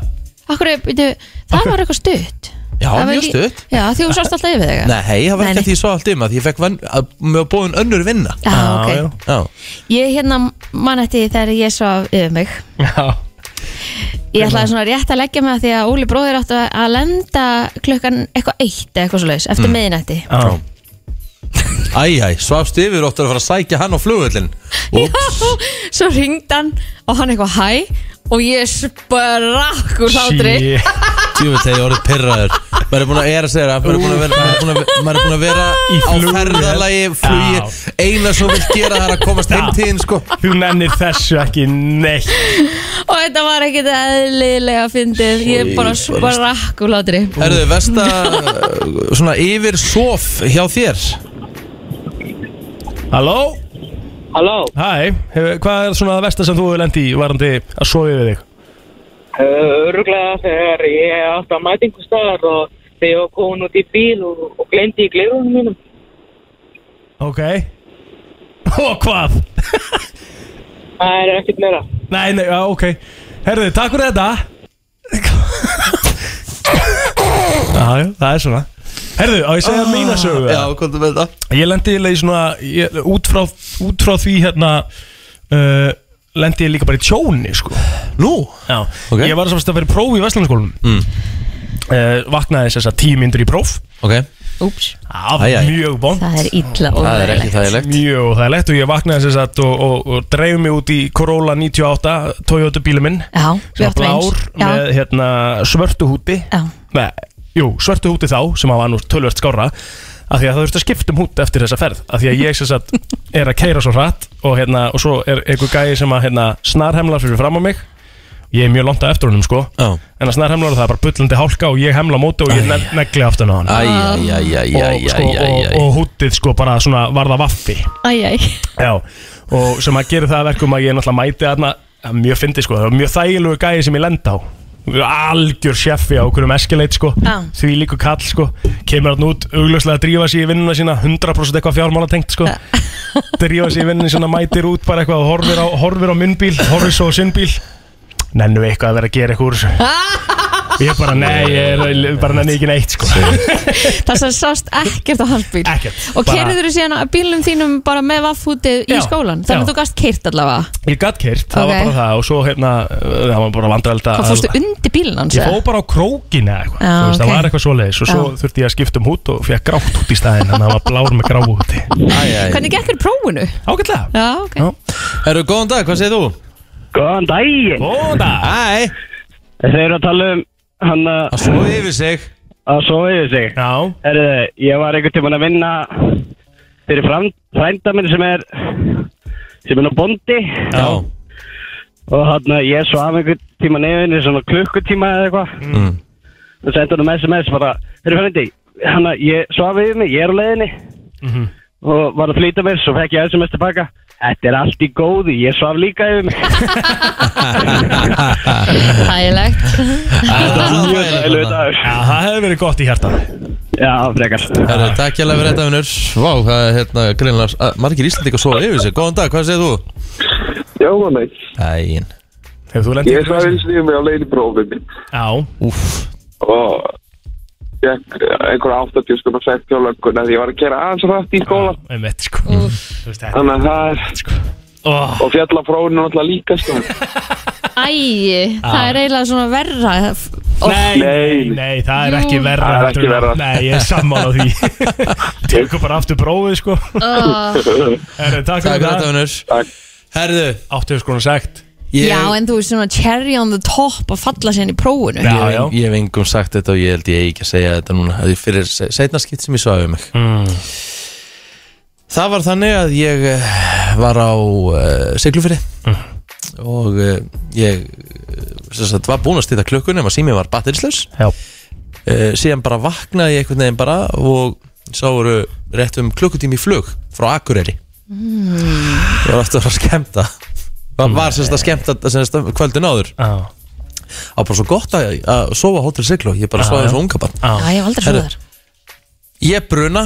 Speaker 3: Akkur, byrju, það var eitthvað stutt
Speaker 1: Já,
Speaker 3: Það var
Speaker 1: mjög
Speaker 3: ekki-
Speaker 1: stutt.
Speaker 3: Já, því hún sást alltaf yfir þegar
Speaker 1: Nei, hei, það var
Speaker 3: Nei,
Speaker 1: ekki
Speaker 3: nei.
Speaker 1: að því ég svo allt um að ég fekk vann, að, með að bóðin önnur vinna
Speaker 3: Já, ok
Speaker 4: já.
Speaker 1: Já,
Speaker 3: Ég hérna man eftir því þegar ég svo yfir mig
Speaker 4: Já
Speaker 3: Ég ætlaði svona rétt að leggja mig að því að Óli bróðir átti að lenda klukkan eitthvað eitt eða eitthvað svo laus
Speaker 1: Mm.
Speaker 3: eftir miðinætti
Speaker 4: Já
Speaker 1: æ, æ, svafst yfir óttur að fara að sækja hann á flugvöllin Úps,
Speaker 3: Svo ringd hann og hann eitthvað hæ og ég sprakk úr hlátri
Speaker 4: Shit.
Speaker 1: djúvill þegar ég orðið pyrraður Maður er búin að, ég er að segja það, maður er búin að vera, maður er búin að, maður er búin að vera
Speaker 4: Í
Speaker 1: á
Speaker 4: flugi.
Speaker 1: ferðalagi,
Speaker 4: Já.
Speaker 1: flugi, eina sem vil gera það er að komast heim
Speaker 4: Já.
Speaker 1: til þín, sko
Speaker 4: Þú nennir þessu ekki neitt
Speaker 3: og þetta var ekkit eðlilega fyndið ég bara sprakk úr hlátri
Speaker 1: Herðu, versta uh, svona yfir sof hjá þér
Speaker 4: Halló?
Speaker 6: Halló,
Speaker 4: Hæ, hefur- hvað er svona það versta sem þú hefur lendi í varandi að sofa yfir þig?
Speaker 6: öruglega þegar ég átti að mæta einhver staðar og þegar ég var komin út í bíl og, og glemdi í glerunum mínum.
Speaker 4: Ok Og hvað?
Speaker 6: Það er ekkert meira.
Speaker 4: Nei, nei, já, ok Herðu, takk fyrir þetta Já, já, það er svona Herðu, á ég að segja oh, mína sögu eða?
Speaker 1: hvað er þetta?
Speaker 4: Ég lendi eiginlega í svona ég, út, frá, út frá því hérna uh, Lendi ég líka bara í tjóni sko.
Speaker 1: Nú?
Speaker 4: Já,
Speaker 1: Ok.
Speaker 4: Eh, ég var samst að fyrir próf í Vestlandskólum mm. Vaknaði þess að tíu myndur í próf
Speaker 1: Ok, já,
Speaker 3: Úps,
Speaker 4: Það
Speaker 1: Æ, æ.
Speaker 4: var mjög vond
Speaker 3: það er illa
Speaker 1: Það er ekki
Speaker 3: óverulegt
Speaker 1: þægilegt
Speaker 4: Mjög óþægilegt og ég vaknaði sem sagt og, og, og dreif mig út í Corolla 98 Toyota bílum minn
Speaker 3: Já, við
Speaker 4: sem var
Speaker 3: áttum eins
Speaker 4: blár með
Speaker 3: Já,
Speaker 4: hérna, svörtu húti
Speaker 3: já,
Speaker 4: Nei, jú, svörtu húti þá sem var nú tölvert skára af því að það þurfti að skipta um hút eftir þessa ferð af því að ég sem sagt er að keira svo hratt og, hérna, og svo er einhver gæi sem að hérna, snarhemlar fyrir fram á mig ég er mjög langt á eftir honum sko
Speaker 1: Já.
Speaker 4: en að snarhemlar það er bara bullandi hálka og ég hemla á móti og ég ne- negli aftan á hann
Speaker 1: Æ, æ, æ, æ, æ,
Speaker 4: og, sko,
Speaker 1: æ, æ,
Speaker 4: og,
Speaker 1: æ
Speaker 4: og húttið sko bara svona varða vaffi
Speaker 3: æj, æj
Speaker 4: Já, og sem að gera það að verkum að ég náttúrulega mæti þarna það er mjög fyndi sko, það var mjög þægilegu gæði sem ég lenda á algjör sjeffi á okkur um eskileit sko,
Speaker 3: Já.
Speaker 4: því líku kall sko kemur hann út, augljóslega að drífa sig í vinnuna sína 100% eitthvað fjármála tengt sko drífa sig í vinnuna sína, mætir út bara eitthvað og horfir á, horfir á minn bíl horfir svo á sinn bíl nennu eitthvað að vera að gera eitthvað úr þessu ég bara, nei, ég er bara nenni ekki neitt sko,
Speaker 3: Það sem sást ekkert á hans bíl
Speaker 4: ekkert
Speaker 3: Og
Speaker 4: Bara-
Speaker 3: kerður þú síðan á bílum þínum bara með vaffútið í
Speaker 4: Já,
Speaker 3: skólan Þannig
Speaker 4: já.
Speaker 3: að þú gast keirt allavega
Speaker 4: Ég gætt kert, það
Speaker 3: Ok.
Speaker 4: var bara það og svo hérna, uh, það var bara vandræld að
Speaker 3: Hvað fórstu undir bílinn hans?
Speaker 4: Ég fó
Speaker 3: eða?
Speaker 4: bara á krókinu eða eitthvað,
Speaker 3: Já,
Speaker 4: þú veist, það
Speaker 3: ok.
Speaker 4: var eitthvað svoleiðis og svo
Speaker 3: Já.
Speaker 4: þurfti ég að skipta um hút og fekk grátt út í staðinn, þannig að það var blár með grá úti.
Speaker 3: Hvernig gekk þér prófunu?
Speaker 4: Ágætlega.
Speaker 3: Já, ok
Speaker 4: Já.
Speaker 1: Herru, góðan dag, hvað segir þú?
Speaker 7: Góðan daginn
Speaker 4: Góða.
Speaker 1: Æ,
Speaker 7: Þeir eru að tala um hann að
Speaker 1: að svo yfir sig
Speaker 7: að sofa yfir sig
Speaker 4: Já,
Speaker 7: Herðu, ég var einhvern tímann að vinna fyrir fram- frænda minn sem er sem er nú bondi
Speaker 1: Já
Speaker 7: og hann að ég svaf einhvern tímann nefnir svona klukkutíma eða eitthvað
Speaker 1: Mm.
Speaker 7: og sendi hann um sms bara Herru frændi, hann að ég svaf yfir mig, ég er á leiðinni og var að flýta mér, svo fekk ég sms tilbaka Þetta er allt í góði, ég svaf líka yfir mig
Speaker 3: Hægilegt
Speaker 1: Þetta var
Speaker 7: Mjög
Speaker 1: þægilegt
Speaker 7: dælu
Speaker 1: þarna.
Speaker 7: dagur
Speaker 4: Já, það hefur verið gott í hjartað.
Speaker 7: Já, frekar
Speaker 1: Herru, takk hérlega fyrir þetta, vinnur Ah. Vá, það er hérna greinlega að Margir Íslandík að sofa yfir sig Góðan dag, hvað segir þú?
Speaker 8: Já, það meik.
Speaker 1: Æin
Speaker 4: Hefur þú lendið
Speaker 8: Ég svaf eins og ég mig á leiðin í prófið mitt
Speaker 4: Já,
Speaker 1: Úff
Speaker 8: og ég einhverja 80 skunna sett hjá lögguna því ég var að kera aðeins rætt í skóla
Speaker 4: einmitt sko. Þú veist, þetta. sko.
Speaker 8: þannig að það er
Speaker 4: Ó,
Speaker 8: og fjallafróinu náttúrulega líka sko
Speaker 3: Æj, það er eiginlega svona verra Ó,
Speaker 4: Nei, nei,
Speaker 8: Nei.
Speaker 4: nei, það er ekki
Speaker 3: Jú.
Speaker 4: verra.
Speaker 8: Það er
Speaker 4: heldur
Speaker 8: ekki
Speaker 4: en-
Speaker 8: verra.
Speaker 4: Nei, ég er sammála því. Tekur bara aftur prófið sko.
Speaker 3: ó.
Speaker 4: Herru, takk
Speaker 1: Takk
Speaker 4: fyrir
Speaker 1: fyrir þetta,
Speaker 4: það.
Speaker 1: vinnur
Speaker 8: Takk.
Speaker 1: Herru,
Speaker 4: Áttu hefur sko nú sagt.
Speaker 1: ég
Speaker 3: Já, en þú veist svona cherry on the top að falla sérna í prófunu
Speaker 4: Já,
Speaker 1: Ég hef-
Speaker 4: já.
Speaker 1: Ég hef engum sagt þetta og ég held ég eigi ekki að segja þetta núna Það er fyrir setna skipt sem ég svaði um mig
Speaker 4: Mm.
Speaker 1: Það var þannig að ég eh, var á uh, seglufyrir
Speaker 4: Mm.
Speaker 1: og uh, ég eh, sem sagt, var búin að stýta klukkunum að sími var batterislaus
Speaker 4: Já.
Speaker 1: uh, síðan bara vaknaði ég einhvern veginn bara og sá eru rétt um klukkutími í flug frá Akureyri ég var aftur að fara að skemmta var,
Speaker 4: Mm.
Speaker 1: var sem sagt að skemmta sem sagt, kvöldin áður
Speaker 4: Já,
Speaker 1: það var bara svo gott að, að sofa á hótel siglu ég bara
Speaker 4: Já,
Speaker 1: sofa
Speaker 4: já.
Speaker 1: eins og unga barn
Speaker 4: já.
Speaker 3: Já, ég hef aldrei svona
Speaker 1: Herru.
Speaker 3: þar
Speaker 1: ég bruna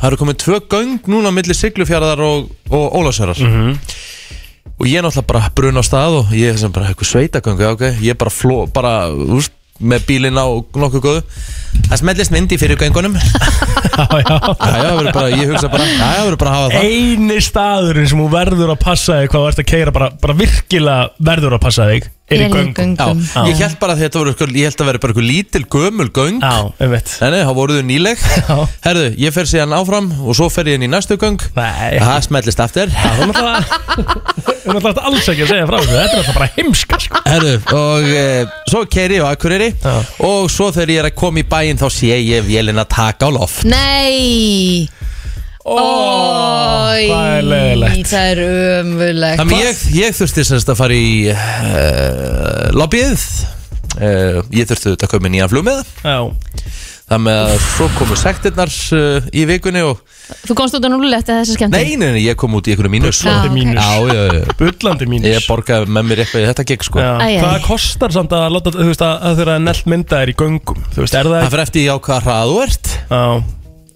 Speaker 1: það eru komið tvö göng núna millir siglufjaraðar og, og ólásörar
Speaker 4: Mhm.
Speaker 1: og ég náttúrulega bara bruna á stað og ég sem bara eitthvað sveitagöngu ok, ég bara fló, bara úst, með bílinn á nokkuð góðu það smellist myndi fyrir göngunum já, já, það verður bara, ég hugsa bara já, já, það verður bara að hafa það
Speaker 4: eini staðurinn sem þú verður að passa þig hvað þú ert að keira bara, bara virkilega verður að passa þig er
Speaker 3: Er
Speaker 4: í
Speaker 3: í
Speaker 4: göngum
Speaker 1: já,
Speaker 3: göngum.
Speaker 1: ég held bara að þetta voru, eitthvað- ég held að vera bara eitthvað lítil gömul göng
Speaker 4: Já, ég veit
Speaker 1: Nei, nei, þá voru þau nýleg Herðu, ég fer síðan áfram og svo fer ég inn í næstu göng
Speaker 4: Nei,
Speaker 1: Það smellist aftur
Speaker 4: þú náttúrulega Þú náttúrulega alls ekki að segja frá þessu Þetta er náttúrulega bara heimska sko.
Speaker 1: Herðu, og e, svo keiri ég á Akureyri
Speaker 4: Já.
Speaker 1: Og svo þegar ég er að koma í bæinn þá sé ég vélina taka á loft
Speaker 3: Nei Ói,
Speaker 4: hvað er leiðilegt.
Speaker 3: Það er umvulegt
Speaker 1: Þannig ég, ég þurfti semst að fara í uh, lobbyið uh, Ég þurfti auðvitað að koma nýjan flugmiða
Speaker 4: Já,
Speaker 1: Þannig að svo komu sektirnar uh, í vikunni og
Speaker 3: Þú komst út á núlulegt eftir þessi skemmti
Speaker 1: Nei, nei, nei, ég kom út í einhverju mínus
Speaker 3: Já,
Speaker 4: bullandi
Speaker 3: ok.
Speaker 4: mínus
Speaker 1: Já, já, já
Speaker 4: Bullandi mínus
Speaker 1: Ég borgaði með mér eitthvað í þetta gig sko
Speaker 4: Já.
Speaker 3: Æ, æ.
Speaker 4: Hvað kostar samt að láta, þú veist, að, að þeirra nelt mynda er í göngum Þú veist, er það
Speaker 1: Það
Speaker 4: ekki?
Speaker 1: fyrir eftir ég á hvaða hrað þú ert
Speaker 4: Já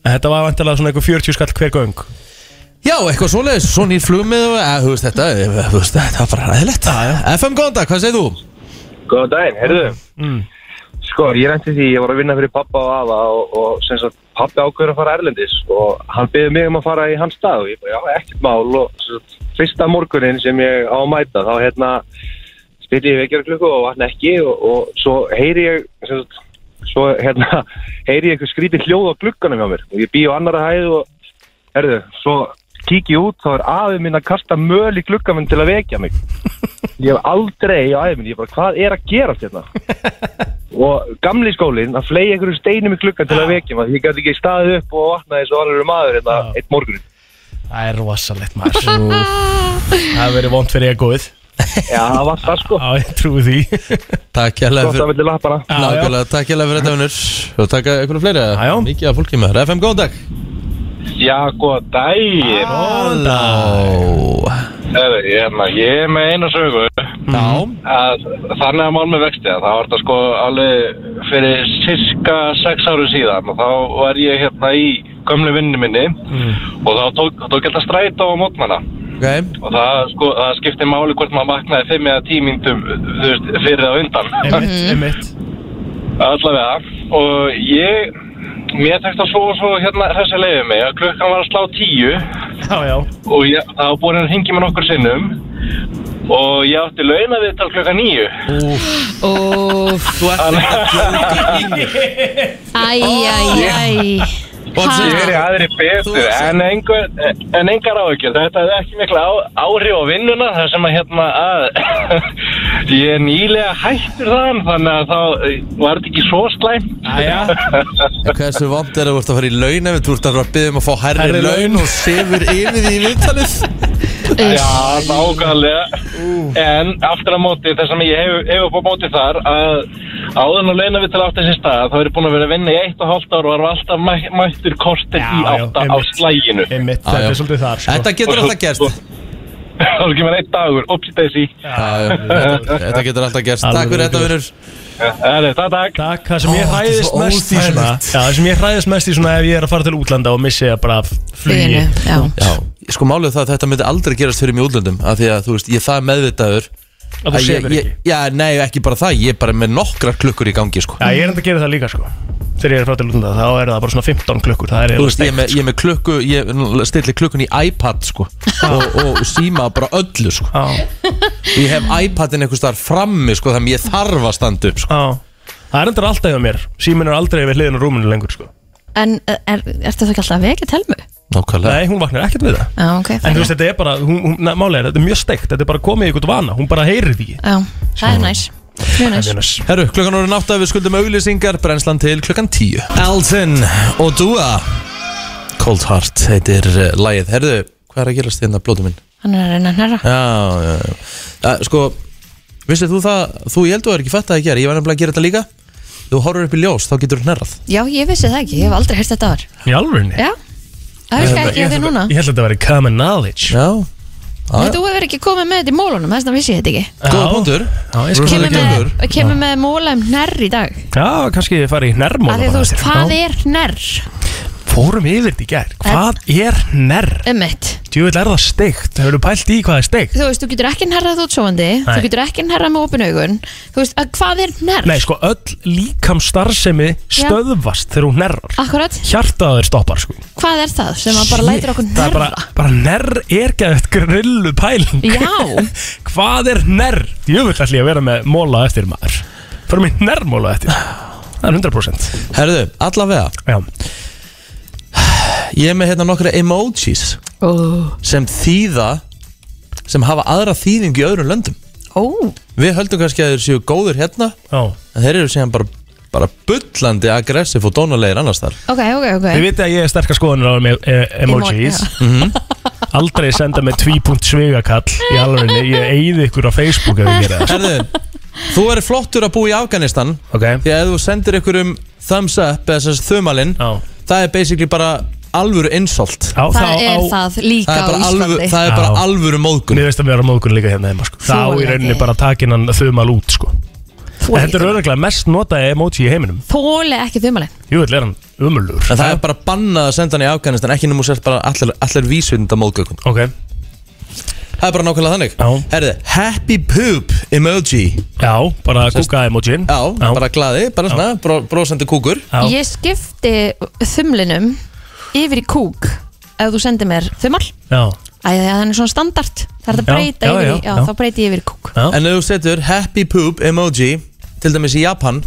Speaker 4: Þetta var vantilega svona eitthvað 40 skall hver göng
Speaker 1: Já, eitthvað svoleiðis, svo nýr flugmið og að, þú veist þetta, eh, þú veist þetta var bara ræðilegt FM góðan dag, hvað segir þú?
Speaker 8: Góða daginn, heyrðu Sko, ég reyndi því, ég var að vinna fyrir pappa og afa og, og sem sagt, pappi ákveður að fara erlendis og hann byggði mig um að fara í hans stað og ég bara, já, ekkert mál og sem sagt, fyrsta morgunin sem ég á að mæta þá hérna stilli ég vekjara klukku og vatna ekki og, og svo heyri ég sem sagt, svo hérna heyri ég eitthvað skrítið hljóð á glugganum hjá mér og ég býð á annara hæð og herðu, svo kík ég út þá er afi minn að kasta möl í glugganum til að vekja mig ég hef aldrei á afi minn, ég bara hvað er að gera hérna og gamli skólinn að flegi einhverju steinum í gluggan til að vekja mig, ég gæti ekki staðið upp og vaknaði eins og alveg maður hérna eitt morgunin
Speaker 4: Það er rosalegt maður Það hefur verið vond fyrir ég góð
Speaker 8: Já, það var það sko
Speaker 4: Já, ég trúi því
Speaker 1: Takk hérlega
Speaker 8: Gott að
Speaker 1: fyrir
Speaker 8: vilja lappana
Speaker 1: Nákvæmlega, takk hérlega fyrir þetta vinnur Og takk að einhvern fleiri
Speaker 4: Já, já.
Speaker 1: Mikið af fólki með þér. FM, góðan dag
Speaker 8: Já, góða daginn
Speaker 1: Halló
Speaker 8: Herðu, hérna, ég er með eina sögu
Speaker 1: Já
Speaker 8: að þannig að mál með vexti að það var þetta sko alveg fyrir cirka sex áru síðan og þá var ég hérna í gömlu vinnu minni og þá tók, tók þetta stræta á mótmana
Speaker 1: Ok
Speaker 8: og það, sko, það skipti máli hvort maður vaknaði fimm eða tímindum veist, fyrir að undan
Speaker 4: Einmitt, einmitt
Speaker 8: allavega og ég mér tekst að svo og svo hérna þessi leiði mig að klukkan var að slá tíu
Speaker 4: Já, já
Speaker 8: og ég, það var búin að ringi mér nokkur sinnum og ég átti launa við þetta klukkan níu
Speaker 3: Úf Æj, æj, æj
Speaker 8: Ég er í aðri betur en, einhver, en engar áhyggjur Þetta er ekki mikla á, áhrif á vinnuna Það sem að hérna að Ég er nýlega hættur þann Þannig að þá eh, var þetta ekki svo slæm
Speaker 4: Æja
Speaker 1: Hversu vant er að þú ert að fara í laun ef þú ert að fara að byggja um að fá herri,
Speaker 4: Hærri laun.
Speaker 1: laun og sefur yfir því í viðtalið
Speaker 8: Já, nákvæmlega En aftur á móti Það sem ég hef, hef upp á móti þar að Áður nú leina við til átt þessi stað Þá er ég búin að vera að vinna í eitt og hálft ár Og var alltaf mæ- mættur kortir
Speaker 4: Já,
Speaker 8: í
Speaker 4: já,
Speaker 8: átta á
Speaker 4: einmitt.
Speaker 8: slæginu
Speaker 4: Einmitt,
Speaker 1: Já,
Speaker 4: þetta
Speaker 1: já.
Speaker 4: er svolítið þar sko.
Speaker 1: Þetta getur alltaf gerst
Speaker 8: Þá er ekki með eitt dagur, upsi þessi
Speaker 1: Já, já, þetta- Þetta getur alltaf gerst
Speaker 4: Alveg
Speaker 1: Takk fyrir þetta
Speaker 4: örugglega.
Speaker 1: vinnur
Speaker 8: Það er þetta dag
Speaker 4: Takk, það sem
Speaker 1: Ó, þetta
Speaker 4: ég
Speaker 1: er
Speaker 4: hræðist
Speaker 1: svo
Speaker 4: mest í svona
Speaker 1: ódýrlegt.
Speaker 4: Já, það sem ég hræðist mest í svona ef ég er að fara til útlanda og missi að bara flugi
Speaker 3: Fluginu, já
Speaker 1: Já, sko málið er það að þetta myndi aldrei gerast fyrir mjög útlöndum af því að þú veist, ég er það meðvitaður
Speaker 4: Að
Speaker 1: að
Speaker 4: þú
Speaker 1: ég,
Speaker 4: sefur
Speaker 1: ég,
Speaker 4: ekki
Speaker 1: Já, nei, ekki bara það, ég er bara með nokkrar klukkur í gangi sko.
Speaker 4: Já, ég er enda að gera það líka sko Þegar ég er að fara til útlanda þá er það bara svona 15 klukkur Það er
Speaker 1: Þú
Speaker 4: eiginlega
Speaker 1: veist, ég er með, ég er með klukku, ég stilli klukkun í iPad sko, og, og síma bara öllu sko.
Speaker 4: Já,
Speaker 1: Ég hef iPadin einhvers staðar frammi sko, þannig ég þarf að standa upp sko.
Speaker 4: já Það er endur alltaf hjá mér Síminn er aldrei við hliðin á rúminu lengur sko
Speaker 3: En eh, er, ertu þú ekki alltaf að vekja telmu?
Speaker 1: Nákvæmlega
Speaker 4: Nei, hún vaknar ekkert við það
Speaker 3: Já, ok
Speaker 4: En
Speaker 3: fæn.
Speaker 4: þú veist, þetta er bara, hún, hún, na, málega, þetta er mjög steikt Þetta er bara komið í eitthvað vana, hún bara heyrir því
Speaker 3: Já, það er næs Mjög næs
Speaker 4: Þetta
Speaker 1: Herru, klukkan orðin átta við skuldum auglýsingar brennslan til klukkan tíu Elton og Dua Cold Heart heitir uh, lagið Herru, hvað er að gerast þérna blótu minn?
Speaker 3: Hann er að reyna að hnerra
Speaker 1: Já, já, já. Að, sko, vissið þú það, þú ég held að þú er ekki fætt að það gera, ég var nefnilega að gera þetta líka. Þú horfur upp í ljós, þá getur þú hnerrað.
Speaker 3: Já, ég vissi það ekki, ég hef aldrei heyrt þetta áður
Speaker 4: Í alvörunni?
Speaker 3: Já, það er ekki að þið núna
Speaker 4: Ég held að þetta væri common knowledge
Speaker 1: Já,
Speaker 3: Nei, Þú hefur ekki komið með þetta í mólunum, þess vegna vissi ég þetta ekki
Speaker 1: góða
Speaker 4: Já.
Speaker 1: punktur.
Speaker 4: Já, ég sko
Speaker 1: Rosalega
Speaker 3: Kemur með,
Speaker 1: geðveikur.
Speaker 3: kemur með móla um hnerr í dag
Speaker 4: Já, kannski þið farið í nærmóla
Speaker 3: Af því að þú veist, hvað er hnerr?
Speaker 4: Fórum yfir þetta í gær Hvað er nær?
Speaker 3: Ömmit
Speaker 4: Djúvill er það steikt Hefur þú pælt í hvað er steikt?
Speaker 3: Um Þú veist, þú getur ekki hnerrað útsofandi Þú getur ekki hnerrað með opin augun Þú veist, að hvað er hnerr?
Speaker 4: Nei, sko, öll líkam starfsemi stöðvast þegar hún nærrar
Speaker 3: Akkurat,
Speaker 4: Hjartaður stoppar, sko
Speaker 3: hvað er það sem að bara lætur okkur
Speaker 4: Það er
Speaker 3: hnerra?
Speaker 4: bara, bara nær er gæðið grillu pæling
Speaker 3: Já.
Speaker 4: Hvað er nær? Djúvill ætli ég að vera með móla á eftir maður Fyrir mig nærmóla á eftir Það er 100%
Speaker 1: Herðu, allavega,
Speaker 4: Já,
Speaker 1: ég er með hérna nokkra emojis
Speaker 3: Ó,
Speaker 4: Oh.
Speaker 1: sem þýða, sem hafa aðra þýðingu í öðrum löndum.
Speaker 3: ó,
Speaker 1: Við höldum kannski að þeir séu góðir hérna,
Speaker 4: já
Speaker 1: en þeir eru síðan bara, bara bullandi aggressif og dónalegir annars þar.
Speaker 3: ok, ok, ok
Speaker 4: Þið vitið að ég er sterkar skoðanir á með e emojis Mhm. Aldrei senda mig 2. svigakall í alvegni Ég eigði ykkur á Facebook ef ég gera það
Speaker 1: Herðu, þú er flottur að búa í Afganistan,
Speaker 4: Ok,
Speaker 1: því að ef þú sendir ykkur um thumbs up eða þess að þumalinn,
Speaker 4: já
Speaker 1: það er basically bara alvöru insult
Speaker 4: Á,
Speaker 3: Það
Speaker 4: þá-
Speaker 3: er
Speaker 4: á-
Speaker 3: það líka
Speaker 1: það er
Speaker 3: á
Speaker 1: bara, alvöru,
Speaker 3: Íslandi
Speaker 1: það er bara
Speaker 4: Já.
Speaker 1: alvöru móðgun
Speaker 4: Mér veist að við erum móðgun líka hérna heima sko.
Speaker 3: Þú
Speaker 4: Þá í
Speaker 3: er
Speaker 4: rauninni
Speaker 3: ekki.
Speaker 4: bara takin hann þumal út sko.
Speaker 3: Þú
Speaker 4: En
Speaker 3: er
Speaker 4: Þetta er
Speaker 3: ekki-
Speaker 4: öruglega mest notaði emoji í heiminum
Speaker 3: Þoli ekki þumalinn
Speaker 4: Jú, þetta er hann umulur
Speaker 1: en það er bara bannað að senda hann í Afganistan ekki nema þú sért bara allir, allir vísvinda móðgun
Speaker 4: Ok,
Speaker 1: það er bara nákvæmlega þannig
Speaker 4: Já.
Speaker 1: Herðu, happy poop emoji já,
Speaker 4: já, bara kúka emojin
Speaker 1: bara glaði, bara svona, bró, brósandi kúkur
Speaker 4: Já.
Speaker 3: Ég skipti þumlinum yfir í kúk ef þú sendir mér þumal
Speaker 4: já.
Speaker 3: Æ, það er svona standart Það er að
Speaker 4: Já,
Speaker 3: breyta
Speaker 4: já,
Speaker 3: yfir í,
Speaker 4: já,
Speaker 3: já,
Speaker 4: já.
Speaker 3: þá breyti ég yfir í kúk
Speaker 4: Já.
Speaker 1: en ef þú setur happy poop emoji til dæmis í Japan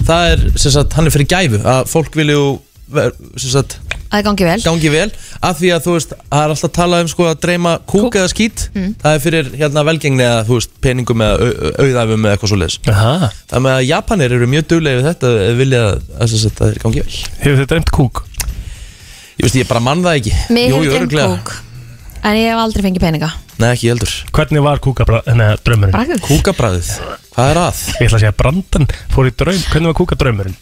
Speaker 1: þá það er, sem sagt, hann er fyrir gæfu að fólk vilju, ver- sem sagt,
Speaker 3: að það gangi vel
Speaker 1: gangi vel af því að þú veist, það er alltaf talað um sko að dreyma kúk, eða skít
Speaker 3: Mm.
Speaker 1: það er fyrir hérna velgengni eða þú veist, peningum eða au- au- auðæfum eða eitthvað svo leiðis
Speaker 4: Aha.
Speaker 1: það með að Japanir eru mjög duglega við þetta ef þeir vilja að, að, að, að það er gangi vel
Speaker 4: Hefur þið dreymt kúk?
Speaker 1: ég veist, ég bara mann það ekki
Speaker 3: Mér
Speaker 1: Jú,
Speaker 3: hefur
Speaker 1: jú,
Speaker 3: dreymt
Speaker 1: örugglega.
Speaker 3: kúk En ég hef aldrei fengið peninga
Speaker 1: nei, ekki heldur
Speaker 4: Hvernig var kúkabra, neða, draumurinn?
Speaker 3: Bragðið
Speaker 1: kúkabræðið, hvað er að?
Speaker 4: Ég ætla að segja brandan fór í draum Hvernig var kúkadraumurinn?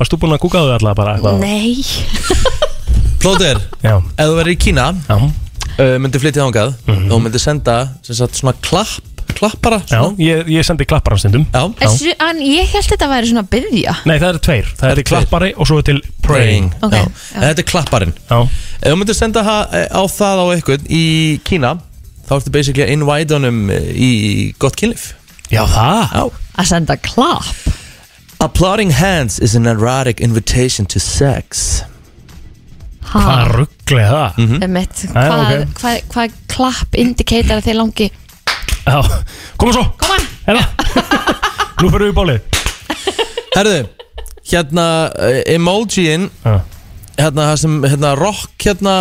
Speaker 4: Varst þú búin að kúka á þau allavega bara? eitthvað?
Speaker 3: Nei
Speaker 1: Plóter,
Speaker 4: Já,
Speaker 1: ef þú verður í Kína
Speaker 4: já,
Speaker 1: uh, myndir flytja þangað og myndir senda sem sagt, svona klapp, klappara
Speaker 4: já
Speaker 1: svona.
Speaker 4: Ég, ég sendi klappar á stundum
Speaker 1: Já.
Speaker 3: En svo- en ég held þetta væri svona að byggja
Speaker 4: Nei, það eru tveir Það
Speaker 1: eru
Speaker 4: er til
Speaker 1: tveir.
Speaker 4: klappari og svo er til praying
Speaker 1: Praying,
Speaker 3: Ok,
Speaker 1: já.
Speaker 3: já.
Speaker 1: En þetta er klapparinn
Speaker 4: Já,
Speaker 1: Ef þú myndir senda ha- á það á eitthvað í Kína þá ertu basically að invite honum eh, í gott kynlif
Speaker 4: já það
Speaker 1: Já
Speaker 3: Að senda klapp
Speaker 1: Applauding hands is an erotic invitation to sex
Speaker 3: Ah.
Speaker 4: Hvað ruggli það?
Speaker 3: Mitt,
Speaker 4: Æ,
Speaker 3: hvað,
Speaker 4: Mhm. ok.
Speaker 3: hvað, hvað klapp indikator að þeir langi
Speaker 4: Já, koma svo
Speaker 3: Koma
Speaker 4: Hérna Nú fyrir við í bálið
Speaker 1: Herðu, hérna eh, emojiinn
Speaker 4: Já.
Speaker 1: hérna það sem hérna rock hérna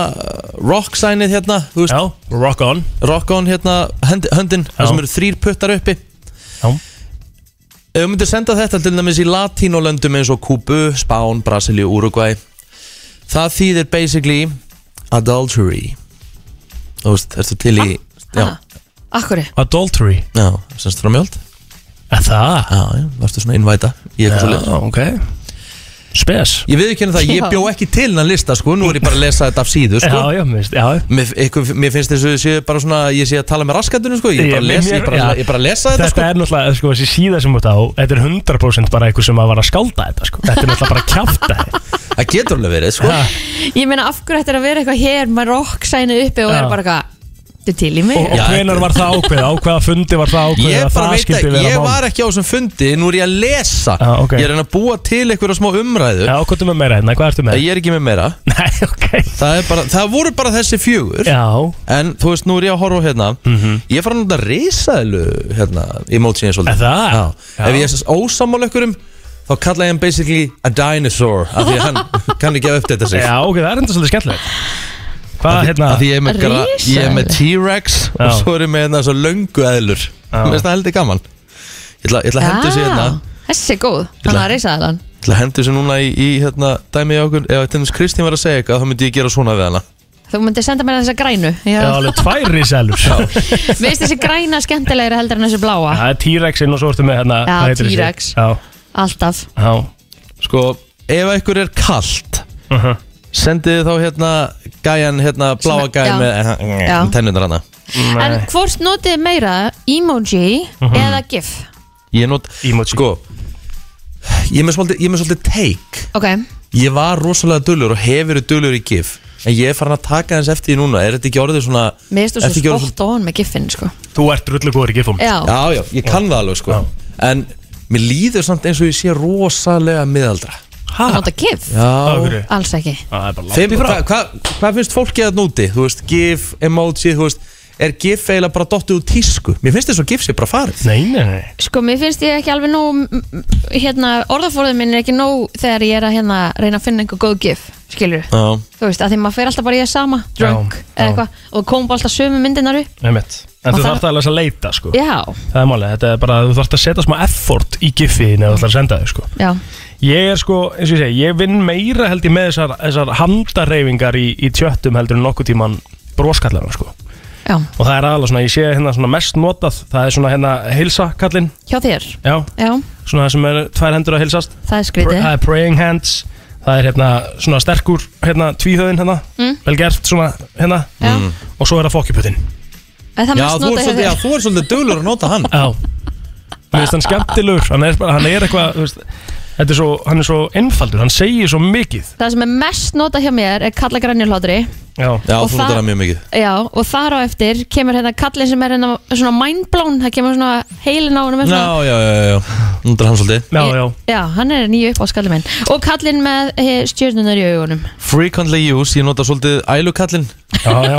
Speaker 1: rock signið hérna þú veist
Speaker 4: Já, rock on
Speaker 1: rock on hérna hendi, höndin
Speaker 4: Já.
Speaker 1: það sem eru þrýr puttar uppi
Speaker 4: Já.
Speaker 1: Ef þú myndir senda þetta til dæmis í latínolöndum eins og Kúbu, Spán, Brasilíu, Uruguay Það þýðir basically adultery Þú veist, ertu til í Já,
Speaker 3: Akkur
Speaker 4: Adultery
Speaker 1: já, semst framhjöld
Speaker 4: Er það?
Speaker 1: Já, já, varstu svona innvæta í eitthvað svo
Speaker 4: Já, ok Spes
Speaker 1: Ég við ekki það, ég
Speaker 3: Já.
Speaker 1: bjó ekki til hann lista sko, nú er ég bara að lesa þetta af síðu sko
Speaker 4: Já, já, mér finnst- já
Speaker 1: Mér, ykkur, mér finnst þessu séu bara svona, ég sé að tala með raskatunum sko, ég er bara að lesa, ég er bara,
Speaker 4: já.
Speaker 1: ég er bara að lesa þetta sko
Speaker 4: er náttúrulega, sko, þessi síða sem út á Þetta er 100% bara einhver sem að var að skálda þetta sko. Þetta er náttúrulega bara að kjáfta
Speaker 1: Það getur alveg verið sko
Speaker 3: Ég meina af hverju þetta er að vera eitthvað hér Maður rock sænu uppi og
Speaker 4: Já.
Speaker 3: er bara eitthvað Þetta er til í mig
Speaker 4: Og, og
Speaker 1: Já,
Speaker 4: hvenar var það ákveð, á hvaða fundi var það ákveð
Speaker 1: Ég
Speaker 4: að
Speaker 1: bara
Speaker 4: það
Speaker 1: veit
Speaker 4: skyldi
Speaker 1: ekki,
Speaker 4: vera
Speaker 1: ég
Speaker 4: mál?
Speaker 1: var ekki á þessum fundi Nú er ég að lesa
Speaker 4: Já, ok.
Speaker 1: Ég er að reyna að búa til einhverja smá umræðu
Speaker 4: Já, hvað er með meira hérna, hvað ertu með?
Speaker 1: Ég er ekki með meira
Speaker 4: Nei, ok
Speaker 1: Það, er bara, það voru bara þessi fjögur
Speaker 4: Já, Mhm.
Speaker 1: En þú veist, nú er ég að horfa á hérna Ég er farin að nota risaðlu hérna, Emojiðin
Speaker 4: Er
Speaker 1: svolítið
Speaker 4: það?
Speaker 1: Já.
Speaker 4: Já.
Speaker 1: Ef ég er ósammála ykkurum Þá kalla ég hann basically a dinosaur Af því að hann kann ekki að uppdata sig
Speaker 4: já, ok, það er enda svolítið skemmtilegt Hvað, hérna
Speaker 1: Af því ég er með, gra- ég er með T-Rex Og
Speaker 4: Já.
Speaker 1: svo er ég með hérna svo löngu eðlur
Speaker 4: Já.
Speaker 1: Mér finnst það heldur gaman Ég ætla, ég ætla að henda sér hérna
Speaker 3: Ah, Þessi er góð Þannig að reysa það
Speaker 1: til að hendur sér núna í, í hérna, dæmi í okkur ef til dæmis Kristín var að segja eitthvað þá myndi ég gera svona við hana
Speaker 3: Þú myndir senda mér þessa grænu
Speaker 4: Já,
Speaker 3: Já.
Speaker 4: alveg tvær risalur Það
Speaker 3: Mér finnst þessi græna skemmtilegri heldur en þessi bláa
Speaker 4: er T-Rexin og svo ertu með hérna
Speaker 3: Já,
Speaker 4: hvað heitir þessi?
Speaker 3: T-Rex.
Speaker 4: Já,
Speaker 3: Alltaf
Speaker 4: já
Speaker 1: sko, ef einhver er kalt
Speaker 4: Uh -huh.
Speaker 1: sendið þið þá hérna gæjan, hérna bláa
Speaker 3: Svona, já.
Speaker 1: gæjan með
Speaker 3: Já.
Speaker 1: tennunar hana
Speaker 3: En hvort notið þið meira emoji
Speaker 1: Mhm.
Speaker 3: eða gif
Speaker 1: ég not,
Speaker 4: Emoji.
Speaker 1: sko ég er með svolítið, ég er með svolítið take
Speaker 3: Ok,
Speaker 1: ég var rosalega dullur og hef verið dullur í gif en ég er farin að taka hans eftir því núna er þetta ekki orðið svona
Speaker 3: mér finnst þú
Speaker 1: ertu ekki
Speaker 3: svo
Speaker 1: orðið
Speaker 3: spott ofan með gifin sko.
Speaker 4: Þú ert rullugóður í gifum
Speaker 3: Já,
Speaker 1: Já, já, ég kann það alveg sko
Speaker 4: Já.
Speaker 1: En mér líður samt eins og ég sé rosalega miðaldra
Speaker 3: þú nota gif
Speaker 1: Já
Speaker 4: Hvað
Speaker 3: Alls ekki
Speaker 4: Það er bara
Speaker 1: Þeim,
Speaker 4: langt í frá
Speaker 1: hva, hva, hvað finnst fólki að núti? Þú veist, gif, emoji, þú veist Er gif eiginlega bara dottið úr tísku? Mér finnst þess að gif sé bara farið
Speaker 4: Nei, nei, nei
Speaker 3: Sko, mér finnst ég ekki alveg nóg m- m- hérna, orðafórið minn er ekki nóg þegar ég er að hérna, reyna að finna einhver góð gif skilur,
Speaker 1: Já,
Speaker 3: þú veist, að því maður fer alltaf bara í að sama drunk
Speaker 4: Já,
Speaker 3: eða
Speaker 4: já.
Speaker 3: eitthvað og komum bara alltaf sömu myndinar upp
Speaker 4: Einmitt. En
Speaker 3: Og
Speaker 4: þú
Speaker 3: það-
Speaker 4: þarft alveg að leita sko
Speaker 3: Já,
Speaker 4: Það er málið, þetta er bara að þú þarft að setja smá effort í giffið þegar þú ætlar að senda þau sko.
Speaker 3: já,
Speaker 4: Ég er sko, eins og ég segi, ég vinn meira held ég með þessar, þessar handarreyfingar í, í tjöttum heldur en nokkuð tíman broskallarna sko.
Speaker 3: já,
Speaker 4: Og það er aðalega svona, ég sé hérna svona mest notað, það er svona hérna heilsakallin,
Speaker 3: hjá þér
Speaker 4: já,
Speaker 3: Já,
Speaker 4: svona það sem er tvær hendur að heilsast.
Speaker 3: það er
Speaker 4: Pr-
Speaker 3: skrítið
Speaker 4: Það er praying hands, það er hérna svona sterkur, hérna tvíhauðin hérna, vel gert svona hérna
Speaker 3: Mm. Já,
Speaker 4: og svo er það fokkjuputin.
Speaker 3: En það
Speaker 1: mm. já,
Speaker 3: mest
Speaker 1: þú, er
Speaker 3: notað hjá
Speaker 1: svolítið, já
Speaker 3: þér
Speaker 1: þú er svolítið duglur að nota hann
Speaker 4: Já Mér finnst hann skemmtilegur Hann er, bara, hann er eitthvað þú veist, Þetta er svo, hann er svo einfaldur Hann segir svo mikið
Speaker 3: Það sem er mest notað hjá mér er kalla grænir hlátri
Speaker 4: Já,
Speaker 1: Já,
Speaker 3: Og
Speaker 1: þú
Speaker 3: það-
Speaker 1: notar hann mjög mikið
Speaker 3: Já, og þar á eftir kemur hérna kallin sem er hérna svona mindblown það kemur svona heilin á honum er
Speaker 1: Já,
Speaker 3: svona,
Speaker 1: já, já, já, já, notar hann svolítið
Speaker 4: já, já
Speaker 3: Já, hann er nýju upp á skallin minn Og kallinn með eh, stjörnunar í augunum
Speaker 1: Frequently use, ég nota svolítið ælukallin
Speaker 4: Já, já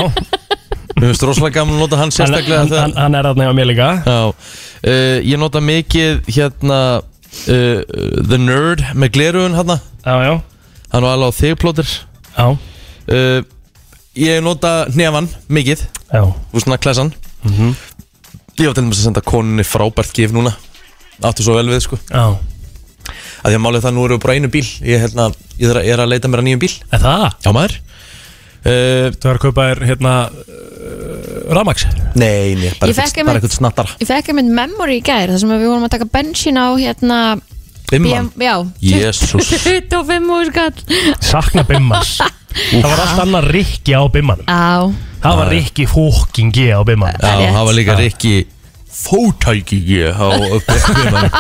Speaker 1: Mér finnst rosalega gaman að nota hann
Speaker 4: Hann,
Speaker 1: sérstaklega Eh,
Speaker 4: hann,
Speaker 1: þegar-
Speaker 4: hann, hann er aðna hjá mér líka
Speaker 1: Já, uh, ég nota mikið hérna uh, The Nerd með glerugun hann
Speaker 4: Já, já,
Speaker 1: Hann var alveg á þig plótir
Speaker 4: já,
Speaker 1: uh, Ég nota nefann mikið
Speaker 4: já
Speaker 1: Þú svona klessan Mhm. Ég var til dæmis að senda konunni frábært gif núna Áttu svo vel við sko
Speaker 4: Já,
Speaker 1: að Því að málið er það nú eru við bara einu bíl Ég, hérna, ég er, að, ég er að leita mér að nýjum bíl
Speaker 4: er það?
Speaker 1: Já maður uh,
Speaker 4: Þú er að kaupa þér hérna uh, Ramax
Speaker 1: Nei, nei, bara
Speaker 3: Ég fekk
Speaker 1: eitthvað-
Speaker 3: einmitt-
Speaker 1: bara eitthvað snattara
Speaker 3: Ég fekk einmitt memory í gær þar sem við vorum að taka bensín á hérna
Speaker 1: Fimman
Speaker 3: já,
Speaker 1: Jésús
Speaker 3: 25 úr skall
Speaker 4: Sakna Bimmans Það var allt annað Rikki á Bimmanum
Speaker 3: Á,
Speaker 4: Það var Rikki fóking G á Bimmanum
Speaker 1: Já,
Speaker 3: Það er rétt.
Speaker 1: það var líka Rikki Fótæki ég á Fimman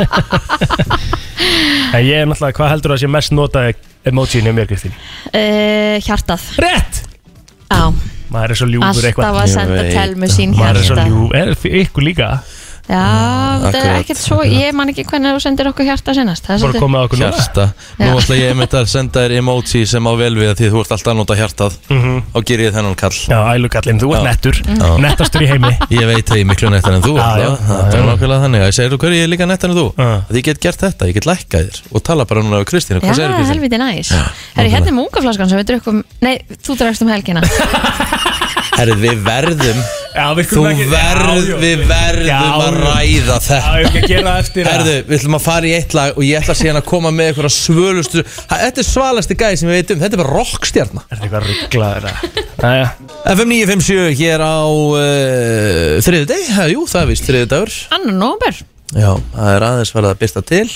Speaker 4: En ég er náttúrulega, hvað heldur það sé mest notaði emojín hjá mér, Kristín?
Speaker 3: uh, hjartað
Speaker 4: Rétt!
Speaker 3: Á,
Speaker 4: Maður er svo ljúfur
Speaker 3: alltaf
Speaker 4: eitthvað
Speaker 3: að
Speaker 1: Ég
Speaker 3: senda
Speaker 1: veit
Speaker 3: telmu sín
Speaker 4: Maður er svo
Speaker 3: hjarta
Speaker 4: ljúfur, er fyrir ykkur líka
Speaker 3: Já, það er
Speaker 1: akkurat,
Speaker 3: ekkert svo Ég man ekki hvernig þú sendir okkur hjarta sinnast Það er
Speaker 4: Bara
Speaker 3: svolítið
Speaker 4: komið á okkur núna
Speaker 1: Hjarta Nú
Speaker 3: Já.
Speaker 1: ætla ég einmitt að senda þér emoji sem á vel við að Því þú ert alltaf að nota hjartað Þá ger ég þennan kall
Speaker 4: Já, ælugallin, þú ert
Speaker 1: Já.
Speaker 4: nettur
Speaker 3: Mhm.
Speaker 4: Nettastur í heimi
Speaker 1: Ég veit það ég er miklu nettar en þú
Speaker 4: Já,
Speaker 1: Arla.
Speaker 4: já,
Speaker 1: Það
Speaker 4: já,
Speaker 1: er
Speaker 4: já.
Speaker 1: nákvæmlega þannig Ég segir þú hverju ég er líka nettar en þú
Speaker 4: Já.
Speaker 1: Því ég get gert þetta, ég get lækkað þér Og tala bara núna við Kristínu,
Speaker 3: Já,
Speaker 1: hvað segir Kristín?
Speaker 3: helviti næs Herri, hérna er mungaflaskan sem við drukum Nei, þú drakst um helgina
Speaker 1: Herri, við verðum
Speaker 4: Já, við
Speaker 1: Þú
Speaker 4: skulum ekki-
Speaker 1: verð,
Speaker 4: Já, já.
Speaker 1: við verðum
Speaker 4: Já,
Speaker 1: að
Speaker 4: já.
Speaker 1: ræða
Speaker 4: Já,
Speaker 1: þetta
Speaker 4: ég ekki að gera það eftir að-
Speaker 1: Herðu, við ætlum að fara í eitt lag og ég ætla síðan að koma með eitthvað svölustu Ha, Þetta er svalasti gæði sem við veitum, þetta er bara rockstjarna
Speaker 4: Er þetta eitthvað rugglaður Næja,
Speaker 1: FM 957 hér á uh, þriðu deg, ha, jú það er vist þriðu dagur
Speaker 3: Annan nóber
Speaker 1: Já, það er aðeins verið að byrta til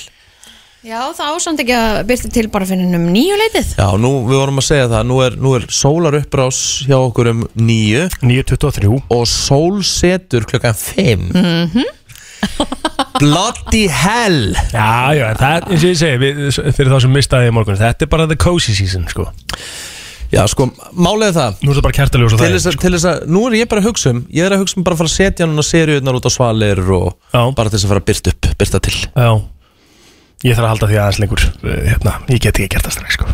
Speaker 3: Já, það ásamt ekki að byrta til bara fyrir um nýju leitið
Speaker 1: Já, nú, við vorum að segja það, nú er, nú er sólar upprás hjá okkur um nýju
Speaker 4: 9.23
Speaker 1: og sól setur klukkan 5 -hmm. Bloody hell
Speaker 4: Já, já, en það, eins og ég segi, við, fyrir þá sem mistaði í morgun Þetta er bara the cozy season, sko
Speaker 1: Já, sko, málið er það sko-
Speaker 4: Nú er það bara kjartaljós og
Speaker 1: til
Speaker 4: það
Speaker 1: þess, að, til þess að, nú er ég bara að hugsa um ég er að hugsa um bara að fara að setja hann og seriunar út á svalir og
Speaker 4: Já.
Speaker 1: bara til þess að fara að byrta upp, byrta til
Speaker 4: Já Ég þarf að halda því aðeins lengur eh, hérna. Ég get ekki gert það strax sko.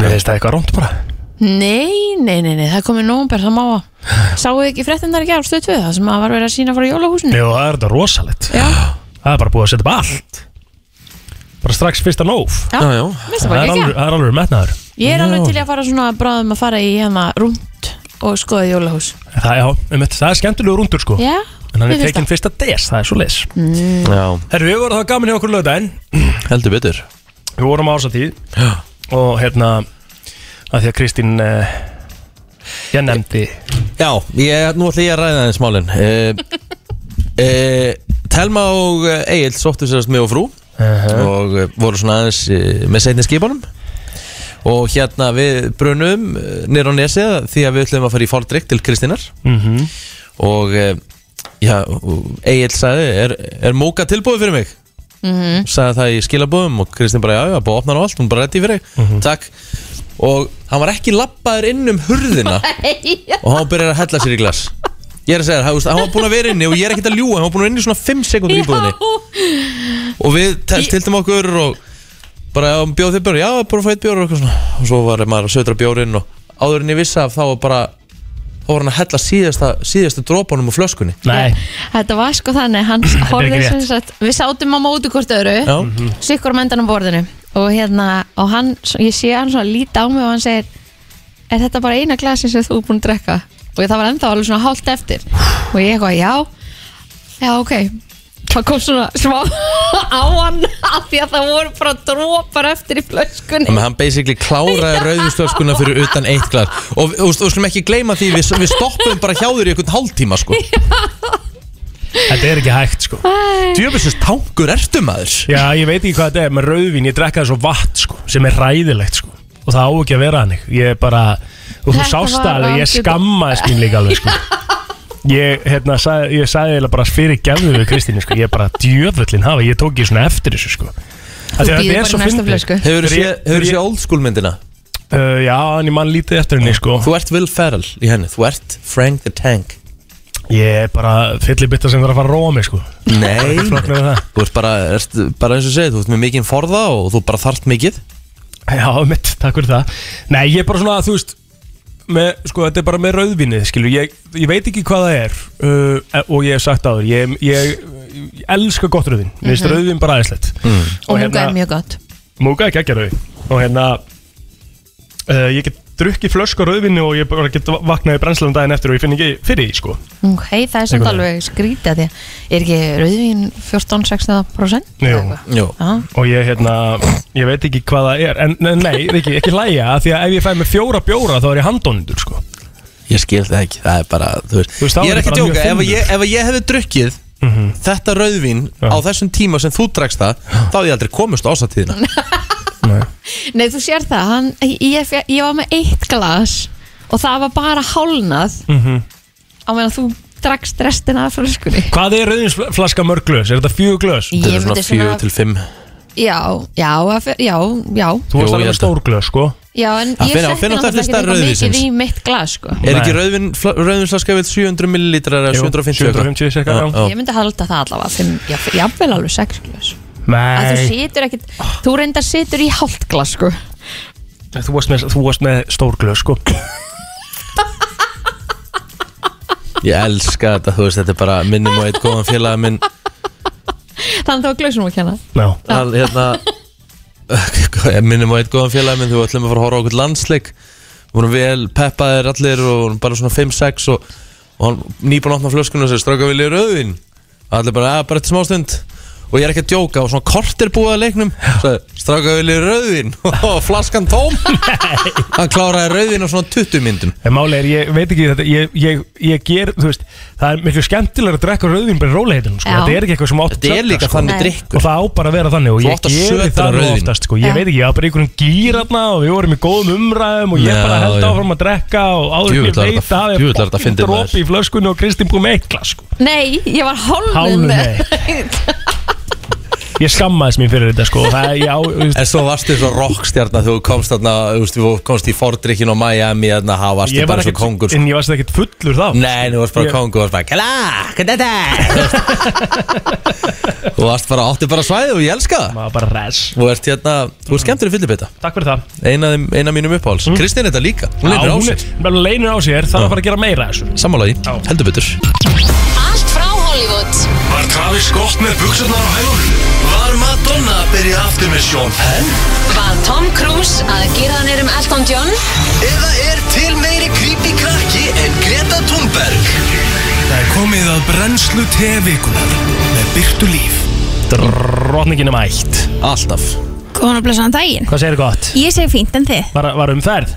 Speaker 4: Mér finnst það eitthvað rónt bara
Speaker 3: Nei, nei, nei, nei, það er komið nóber, það má að Sáu þið ekki fréttindar ekki á stöð 2 Það sem að var verið að sína frá jólahúsinu
Speaker 4: Jó, það er þetta rosalegt
Speaker 3: Já,
Speaker 4: Það er bara búið að setja upp allt Bara strax fyrsta nóf
Speaker 3: já,
Speaker 1: Já, já.
Speaker 3: Mér finnst það
Speaker 4: Það
Speaker 3: bara
Speaker 4: er
Speaker 3: ekki
Speaker 4: alveg, það er alveg metnaður
Speaker 3: Ég er alveg til í að fara svona bráðum að fara í hérna rúnd og skoða jólahús
Speaker 4: það, já, um það er skemmtilegu rúndur sko
Speaker 3: Já,
Speaker 4: En hann
Speaker 3: mér finnst Mm.
Speaker 4: er tekinn fyrsta des, það er svo les
Speaker 1: Já.
Speaker 4: Herru, við vorum það gaman í okkur lögdæn
Speaker 1: heldur betur
Speaker 4: Við vorum á ásatíð Og hérna að Því að Kristín uh, Ég nefndi
Speaker 1: Já, ég, nú ætla ég að ræða þeim smálin e, e, Telma og Egil sóttu sérast mig og frú og eh, voru svona aðeins eh, með seinni skipunum og hérna við brunum nýr á nesið því að við ætlum að fara í fordrykk til Kristínar
Speaker 4: mm -hmm.
Speaker 1: og eh, já, Egil sagði er, er móka tilbúið fyrir mig -hmm. sagði það í skilabóðum og Kristinn bara já, já, búið að opna hann á allt, hún er bara reddi fyrir mm takk, og hann var ekki lappaður inn um hurðina
Speaker 3: það.
Speaker 1: og hann byrjar að hella sér í glas ég er að segja þér, hann, þú veist, hann var búin að vera inni og ég er ekkert að ljúa, hann var búin að vera inni í svona 5 sekundur í búðinni og við te- tiltum okkur og bara já, bjóð þið bjór, já, bara fætt bjór og, eitthvað svona. og svo var maður að södra bjórinn og áður en ég vissi af þá var bara þá var hann að hella síðasta, síðastu dropunum á flöskunni
Speaker 4: Nei,
Speaker 3: Þetta var sko þannig, hann horfði
Speaker 4: ekki
Speaker 3: sem
Speaker 4: rétt.
Speaker 3: sagt, við sátum á móti hvort öðru,
Speaker 1: já,
Speaker 3: sikkur á mendan á borðinu og hérna, og hann, ég sé hann svona líta á mig og hann segir er þetta bara eina glasin sem þú er búin að drekka? Og það var ennþá alveg svona hálft eftir og ég eitthvað, já, já, ok það kom svona smá á hann af því að það voru bara drópar eftir í flöskunni
Speaker 1: Þannig að hann basically kláraði rauðvíslöskuna fyrir utan eitt glas Og við- þú veist, þú skulum ekki gleyma því, við, við stoppum bara hjá þér í einhvern hálftíma sko
Speaker 4: þetta er ekki hægt sko
Speaker 1: Djöfisins tankur ertu maður
Speaker 4: Já, ég veit ekki hvað þetta er með rauðvín, ég drekka það svo vatn sko, sem er ræðilegt sko og það á ekki að vera hannig, ég er bara og þú
Speaker 3: Þetta
Speaker 4: sást
Speaker 3: var
Speaker 4: það, ég
Speaker 3: algjör-
Speaker 4: skammaðist mín líka alveg sko Ég, hérna, sag, ég sagði eiginlega bara fyrir gefðu við Kristínu sko, ég er bara djöfullin hafa, ég tók ég svona eftir þessu sko Þú
Speaker 3: bíður bara í næsta flösku.
Speaker 1: Hefur þú séð old school myndina?
Speaker 4: Uh, já, en ég man lítið eftir henni sko
Speaker 1: Þú ert Will Ferrell í henni, þú ert Frank the Tank
Speaker 4: Ég er bara fyllibitta sem þarf að fara að róa mig sko
Speaker 1: Nei
Speaker 4: Flokknar það
Speaker 1: Þú ert bara, ert, bara eins og segið, þú ert með mikinn forða og þú bara þarft mikið
Speaker 4: Já, mitt, takk fyrir það Nei, ég er bara svona, þú veist með, sko, þetta er bara með rauðvinnið, skilur ég, ég veit ekki hvað það er uh, og ég hef sagt áður ég, ég, ég elska gott rauðvin mér finnst rauðvin bara aðeinslegt mm.
Speaker 3: Mhm. Og múka er mjög gott
Speaker 4: múka er geggjar rauðvin og hérna uh, ég get drukkið flösku á rauðvinni og ég bara get vaknað í brennslum daginn eftir og ég finn ekki fyrir því, sko
Speaker 3: Ok, það er samt
Speaker 4: Einhvern
Speaker 3: alveg skrítið því að er ekki rauðvín 14-16%
Speaker 4: Jú.
Speaker 3: Eða eitthvað?
Speaker 1: Jú.
Speaker 3: Já.
Speaker 4: og ég, hérna, ég veit ekki hvað það er en en nei, ekki, ekki læja, af því að ef ég fæ með fjóra bjóra þá er ég handónundur, sko
Speaker 1: Ég skil það ekki, það er bara, þú veist,
Speaker 4: Þú veist, þá
Speaker 1: Ég
Speaker 4: er
Speaker 1: er ekki að
Speaker 4: bara mjög
Speaker 1: djóka, ef
Speaker 4: þunnur.
Speaker 1: ég, ef ég hefði drukkið þetta rauðvín
Speaker 4: Já.
Speaker 1: á þessum tíma sem þú drakst það þá hefði ég aldrei komist á ásatíðina
Speaker 3: Nei, þú sér það hann, ég, ég, ég var með eitt glas og það var bara hálnað
Speaker 4: Mhm.
Speaker 3: á meðan þú drakst restina af flöskunni
Speaker 4: Hvað er rauðvinsflaska mörg glös? Er þetta fjögur glös?
Speaker 3: Ég
Speaker 1: Þetta er svona
Speaker 3: myndi svona-
Speaker 1: 4 til 5
Speaker 3: Já, já, það fer- já, já,
Speaker 4: Þú
Speaker 1: Jú,
Speaker 4: varst
Speaker 1: ég
Speaker 4: alveg
Speaker 1: held
Speaker 4: með stór glös, sko
Speaker 3: já en
Speaker 1: Það
Speaker 3: ég
Speaker 1: fer- það
Speaker 3: setti
Speaker 1: fer náttúrulega
Speaker 3: náttúrulega
Speaker 1: eftir
Speaker 3: ekki
Speaker 1: stærð
Speaker 3: eitthvað mikið
Speaker 1: rauðvínsins.
Speaker 3: í mitt glas sko.
Speaker 1: Er ekki
Speaker 4: Nei.
Speaker 1: rauðvin, rauðvinslaska við 700 millilitrar eða
Speaker 4: Jú,
Speaker 1: 750
Speaker 4: 750 cirka, já.
Speaker 1: já.
Speaker 3: Ég myndi halda það allavega fimm, já, jafnvel alveg 6 glas að þú
Speaker 4: Nei,
Speaker 3: situr ekkit, þú reyndar situr í hálft glas sko.
Speaker 4: þú varst með, þú varst með stór glös, sko
Speaker 1: Ég elska þetta, þú veist, þetta er bara minnum og eitt góðan félaga minn
Speaker 3: þannig þá er glösum að kenna
Speaker 4: Já,
Speaker 1: hann, hérna minnum á eitt góðan félag minn þegar við ætlum að fara að horfa á okkur landsleik við vorum vel peppaðir allir og vorum bara svona 5-6 og, og hann nýbúin að opna flöskun og sér strauka vilja rauðin allir bara, að bara eftir smástund og ég er ekki að djóka og svona kort er búið að leiknum sagði, strauka vilja rauðin og flaskan tóm hann kláraði rauðin á svona 20 myndum
Speaker 4: en máli er, ég veit ekki þetta Ég, ég, ég ger, þú veist Það er miklu skemmtilega að drekka rauðvín bara í rólegheitunum, sko
Speaker 3: Já.
Speaker 4: Þetta er ekki eitthvað sem átt
Speaker 1: þetta er líka
Speaker 4: sko.
Speaker 1: þannig
Speaker 3: Nei.
Speaker 1: drikkur
Speaker 4: Og það á bara að vera þannig og
Speaker 1: Þú
Speaker 4: ég
Speaker 1: átt að
Speaker 4: geri
Speaker 1: sötra
Speaker 4: það nú
Speaker 1: rauðvín.
Speaker 4: oftast sko. Ég
Speaker 3: Já.
Speaker 4: veit ekki, ég var bara í einhverjum gýratna og við vorum í góðum umræðum og ég
Speaker 1: Já,
Speaker 4: bara held
Speaker 1: já.
Speaker 4: áfram að drekka og áður en
Speaker 1: Djöfull
Speaker 4: ég
Speaker 1: var
Speaker 4: veit
Speaker 1: þetta-
Speaker 4: að
Speaker 1: djöfull var þetta
Speaker 4: fokkin
Speaker 1: fyndið, maður.
Speaker 4: dropi í flöskunni og Kristín búið með eitthvað sko.
Speaker 3: Nei, ég var hálfnuð
Speaker 4: Hálfnuð,
Speaker 3: með
Speaker 4: Ég skammaðis mér fyrir þetta sko. og það, já, þú veist,
Speaker 1: En svo varstu svo rockstjarnar þegar þú komst þarna, þú veist, þú komst í Fordrikkin og Miami, þarna, það varstu
Speaker 4: ég var
Speaker 1: bara svo
Speaker 4: ekkert-
Speaker 1: kongur. sko.
Speaker 4: En ég varst ekkert fullur þá
Speaker 1: Nei, þú varst bara
Speaker 4: Ég-
Speaker 1: kongu, þú varst bara Kala, hvað er þetta? Þú varst bara, átti bara svæðið og ég elska það
Speaker 4: Maður bara res
Speaker 1: Þú ert hérna, þú ert skemmtir í fyllibita
Speaker 4: Takk fyrir það
Speaker 1: Eina, af þeim- eina af mínum uppáhalds Kristín er þetta líka, Mm. hún
Speaker 4: Já,
Speaker 1: leitur á
Speaker 4: hún
Speaker 1: sér
Speaker 4: er- bara leinir á sér, það
Speaker 1: Já.
Speaker 4: er bara að gera meira af þessu
Speaker 1: Sammála því,
Speaker 4: Já.
Speaker 1: heldur betur
Speaker 9: Allt frá Hollywood
Speaker 2: Var Travis gott með buksarnar á hælunum? Var Madonna að byrja aftur með Sean Penn?
Speaker 9: Var Tom Cruise að gera hann um Elton John?
Speaker 2: Eða er til meiri creepy krakki en Greta Thunberg? Það er komið að brennslu tevikunar með Byrtu Líf.
Speaker 4: Drotningin er mætt
Speaker 1: Alltaf
Speaker 10: Góðan og blessaðan daginn
Speaker 4: Hvað segir gott?
Speaker 10: Ég segi fínt en þið
Speaker 4: Var, um var umferð?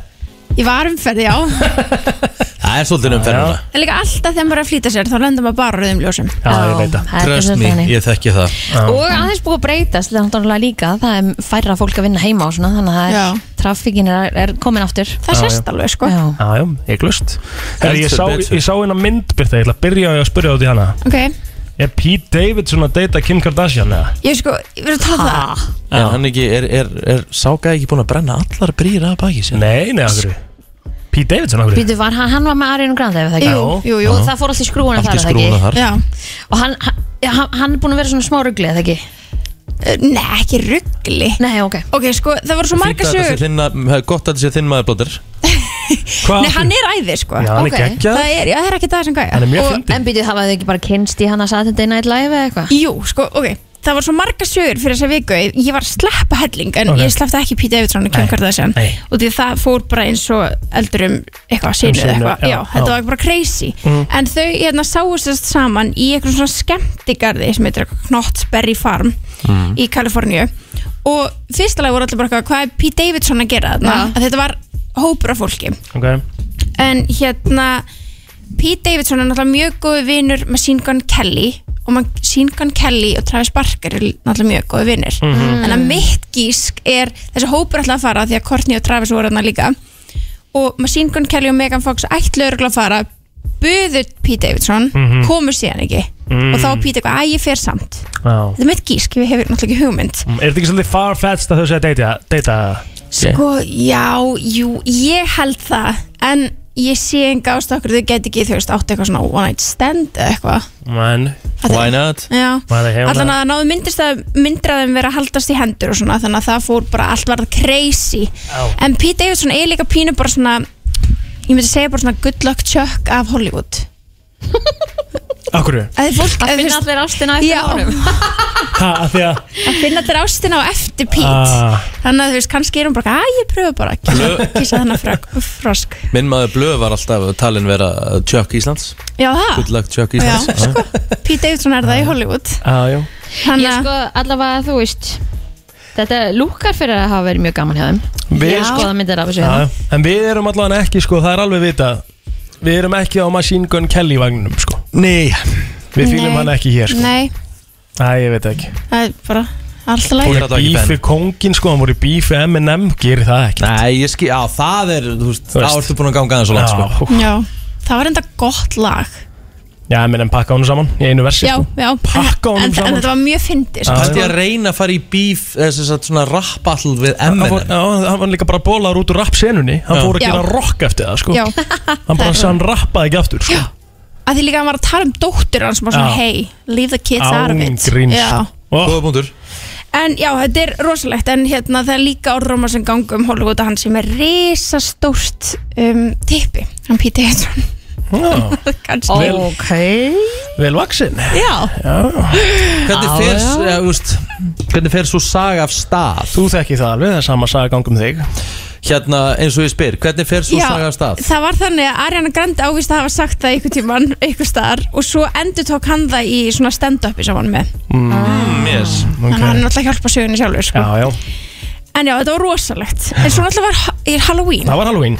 Speaker 10: Ég var umferð, já En
Speaker 1: Það er svolítið um umferðina
Speaker 10: líka alltaf þegar maður er að flýta sér Þá lendum maður bara á rauðum ljósum
Speaker 4: Já, ég veit það
Speaker 1: Trust me, ég þekki það
Speaker 3: Og aðeins búið að breytast það er náttúrulega líka, það er færra fólk að vinna heima og svona, þannig að
Speaker 10: Já.
Speaker 3: það er- traffíkin er, er komin aftur
Speaker 10: Það sést alveg, sko
Speaker 3: Já,
Speaker 4: Já, já, ég glust Herri, ég
Speaker 1: Heldur
Speaker 4: sá,
Speaker 1: betur.
Speaker 4: ég sá hérna myndbyrta, ég ætla að byrja á því að spyrja út í hana
Speaker 10: Ok,
Speaker 4: Er Pete Davidson að deyta Kim Kardashian eða?
Speaker 10: ég sko, ég verður að tala um það
Speaker 1: En hann ekki, er, er, er sáka ekki búin að brenna allar brýra að baki sér
Speaker 4: Nei, nei, okkur Pete Davidson okkur
Speaker 3: býtu var hann, hann var með Arinu Granda ef það ekki
Speaker 10: Jú, jú, jú
Speaker 3: Og það fór allt í skrúuna
Speaker 1: Allt
Speaker 3: þar, er
Speaker 1: í
Speaker 3: það ekki?
Speaker 1: skrúna þar
Speaker 10: Já,
Speaker 3: Og hann, hann, hann- hann er búin að vera svona smá rugli, eða ekki?
Speaker 10: Eh, nei, ekki ruggli
Speaker 3: Nei, ok
Speaker 10: Ok, sko, það voru svo
Speaker 1: Fínt
Speaker 10: marga
Speaker 1: að þetta sé
Speaker 10: sögur
Speaker 1: þinna, gott að þetta sé þinn maður blóttir
Speaker 4: Hvað?
Speaker 10: Nei, hann er æði, sko
Speaker 4: Já, hann
Speaker 3: ok.
Speaker 4: er geggjað
Speaker 10: Það er, já, það er ekki það sem gæja
Speaker 4: Hann er mjög
Speaker 3: Og,
Speaker 4: fyndið
Speaker 3: En býtu, það var þau ekki bara kynst í hann að Saturday Night Live eða eitthvað?
Speaker 10: Jú, sko, ok Það var svo marga sögur fyrir þessa viku Ég var að sleppa helling En
Speaker 4: Ok.
Speaker 10: ég sleppti ekki Pete Davidson og Kim
Speaker 4: Nei,
Speaker 10: Kardashian
Speaker 4: nei.
Speaker 10: Og því að það fór bara eins og eldur um eitthvað Sinu
Speaker 4: sinu,
Speaker 10: eða eitthvað
Speaker 4: já,
Speaker 10: Já, þetta
Speaker 4: já. Mm.
Speaker 10: var bara crazy En þau hérna sáustast saman í eitthvað svona skemmtigarði sem heitir eitthvað Knottberry Farm
Speaker 4: Mm.
Speaker 10: í Kaliforníu Og fyrsta lag voru allir bara eitthvað Hvað er Pete Davidson að gera þarna?
Speaker 3: Já.
Speaker 10: Að þetta var hópur af fólki
Speaker 4: Ok,
Speaker 10: en hérna Pete Davidson er náttúrulega mjög góði vinnur með Sean Gunn Kelly og man- Sean Gunn Kelly og Travis Barker er náttúrulega mjög góði vinnur en að mitt gísk er þessi hópur alltaf að fara því að Courtney og Travis voru hann líka og Machine Gun Kelly og Megan Fox ætlu örgulega að fara buðu Pete Davidson, komu síðan ekki og þá var Pete eitthvað, að ég fer samt
Speaker 4: já
Speaker 10: þetta er mitt gísk, ég hefur náttúrulega ekki hugmynd
Speaker 4: Mm, Er þetta ekki svolítið farfetched að þau segja deyta, deyta?
Speaker 10: Sko, já, jú, ég held það En ég sé enga ástakur Þau geti ekki, þú veist, átt eitthvað svona one night stand eða eitthvað
Speaker 4: Man,
Speaker 10: Að
Speaker 1: Why
Speaker 10: þau-
Speaker 1: not?
Speaker 10: Já,
Speaker 4: maður hefur
Speaker 10: allan að það náðu myndist að myndir að þeim vera að haldast í hendur og svona Þannig að það fór bara, allt varð crazy
Speaker 4: Já.
Speaker 10: En Pete Davidson er líka pínu bara svona ég myndi segja bara svona good luck chuck af Hollywood
Speaker 4: Akkur
Speaker 10: að þið fólk,
Speaker 3: Það
Speaker 10: að
Speaker 3: finna
Speaker 10: þú veist-
Speaker 3: allir ástina eftir
Speaker 10: Já.
Speaker 3: honum.
Speaker 4: Ha, af því að
Speaker 10: að finna allir ástina á eftir Pete
Speaker 1: Ah.
Speaker 10: þannig að þú veist, kannski er hún bara að ég pröfa bara að
Speaker 1: Blö-
Speaker 10: kyssa- kyssa þennan frökk- frosk
Speaker 1: Minn maður Blöð var alltaf talin vera Chuck Íslands
Speaker 10: já það,
Speaker 1: Good luck Chuck
Speaker 10: já,
Speaker 1: Íslands
Speaker 10: sko Pete Davidson er það í Hollywood
Speaker 4: ah, já.
Speaker 3: Ég sko allavega þú veist Þetta lúkar fyrir að hafa verið mjög gaman hjá þeim
Speaker 4: Við-
Speaker 3: Ég skoða myndir af þessu
Speaker 4: Já,
Speaker 3: hérna.
Speaker 4: já. En við erum allavega ekki sko, það er alveg vitað Við erum ekki á Machine Gun Kelly vagninum sko Nei Við fýlum
Speaker 10: Nei.
Speaker 4: hann ekki hér sko
Speaker 10: nei,
Speaker 4: Æ, ég veit ekki
Speaker 10: það er bara alltaf
Speaker 4: Hún
Speaker 10: læg
Speaker 4: er bífi kongin sko, hann voru í bífi M&M Gerir það ekki
Speaker 1: Nei, ég skil, já, það er, þú veist, þá ertu búin að ganga aðeins og langt,
Speaker 4: Já.
Speaker 1: sko
Speaker 10: já, það var enda gott lag
Speaker 4: Ah, Já, M&M pakka honum saman í einu versi
Speaker 10: já,
Speaker 4: sko
Speaker 10: já, pakka
Speaker 4: honum
Speaker 10: en, en,
Speaker 4: saman.
Speaker 10: en þetta var mjög fyndið
Speaker 1: Það held
Speaker 10: sko.
Speaker 1: ég að reyna að fara í bíf, þess að svona rappall við
Speaker 4: Hann
Speaker 1: MNN
Speaker 4: fór- já, hann var líka bara bólaður út úr rappsenunni Hann
Speaker 1: Já.
Speaker 4: fór að
Speaker 10: Já.
Speaker 4: gera rock eftir það sko
Speaker 10: Já.
Speaker 4: Hann bara, hann rappaði ekki aftur sko
Speaker 10: að því líka hann var að tala um dóttur hans bara svona,
Speaker 4: Já.
Speaker 10: hey, leave the kids out of it
Speaker 4: Ángríns
Speaker 10: já
Speaker 4: Oh,
Speaker 1: Góða búndur
Speaker 10: En já, þetta er rosalegt en hérna það er líka orðrómar sem ganga um Hollywood að hann sem er risastórt um, tippi, hann Pete Davidson kannski
Speaker 3: Ok
Speaker 4: Vel vaksin
Speaker 10: Já,
Speaker 1: Hvernig fer,
Speaker 4: Já, já.
Speaker 1: já, þú veist, hvernig fer svo saga af stað?
Speaker 4: Þú þekki það alveg, það er sama saga gangum þig
Speaker 1: Hérna, eins og ég spyr, hvernig fer svo saga af stað?
Speaker 10: það var þannig að Ariana Grande ávist að hafa sagt það einhvern tíman, einhver staðar og svo endur tók hann það í svona stand-upi sem hann var með,
Speaker 4: Mm, yes
Speaker 10: þannig að hann er alltaf að hjálpa sögunni sjálfur sko.
Speaker 4: Já, já,
Speaker 10: En já, þetta var rosalegt, en svo alltaf var er Halloween
Speaker 4: það var Halloween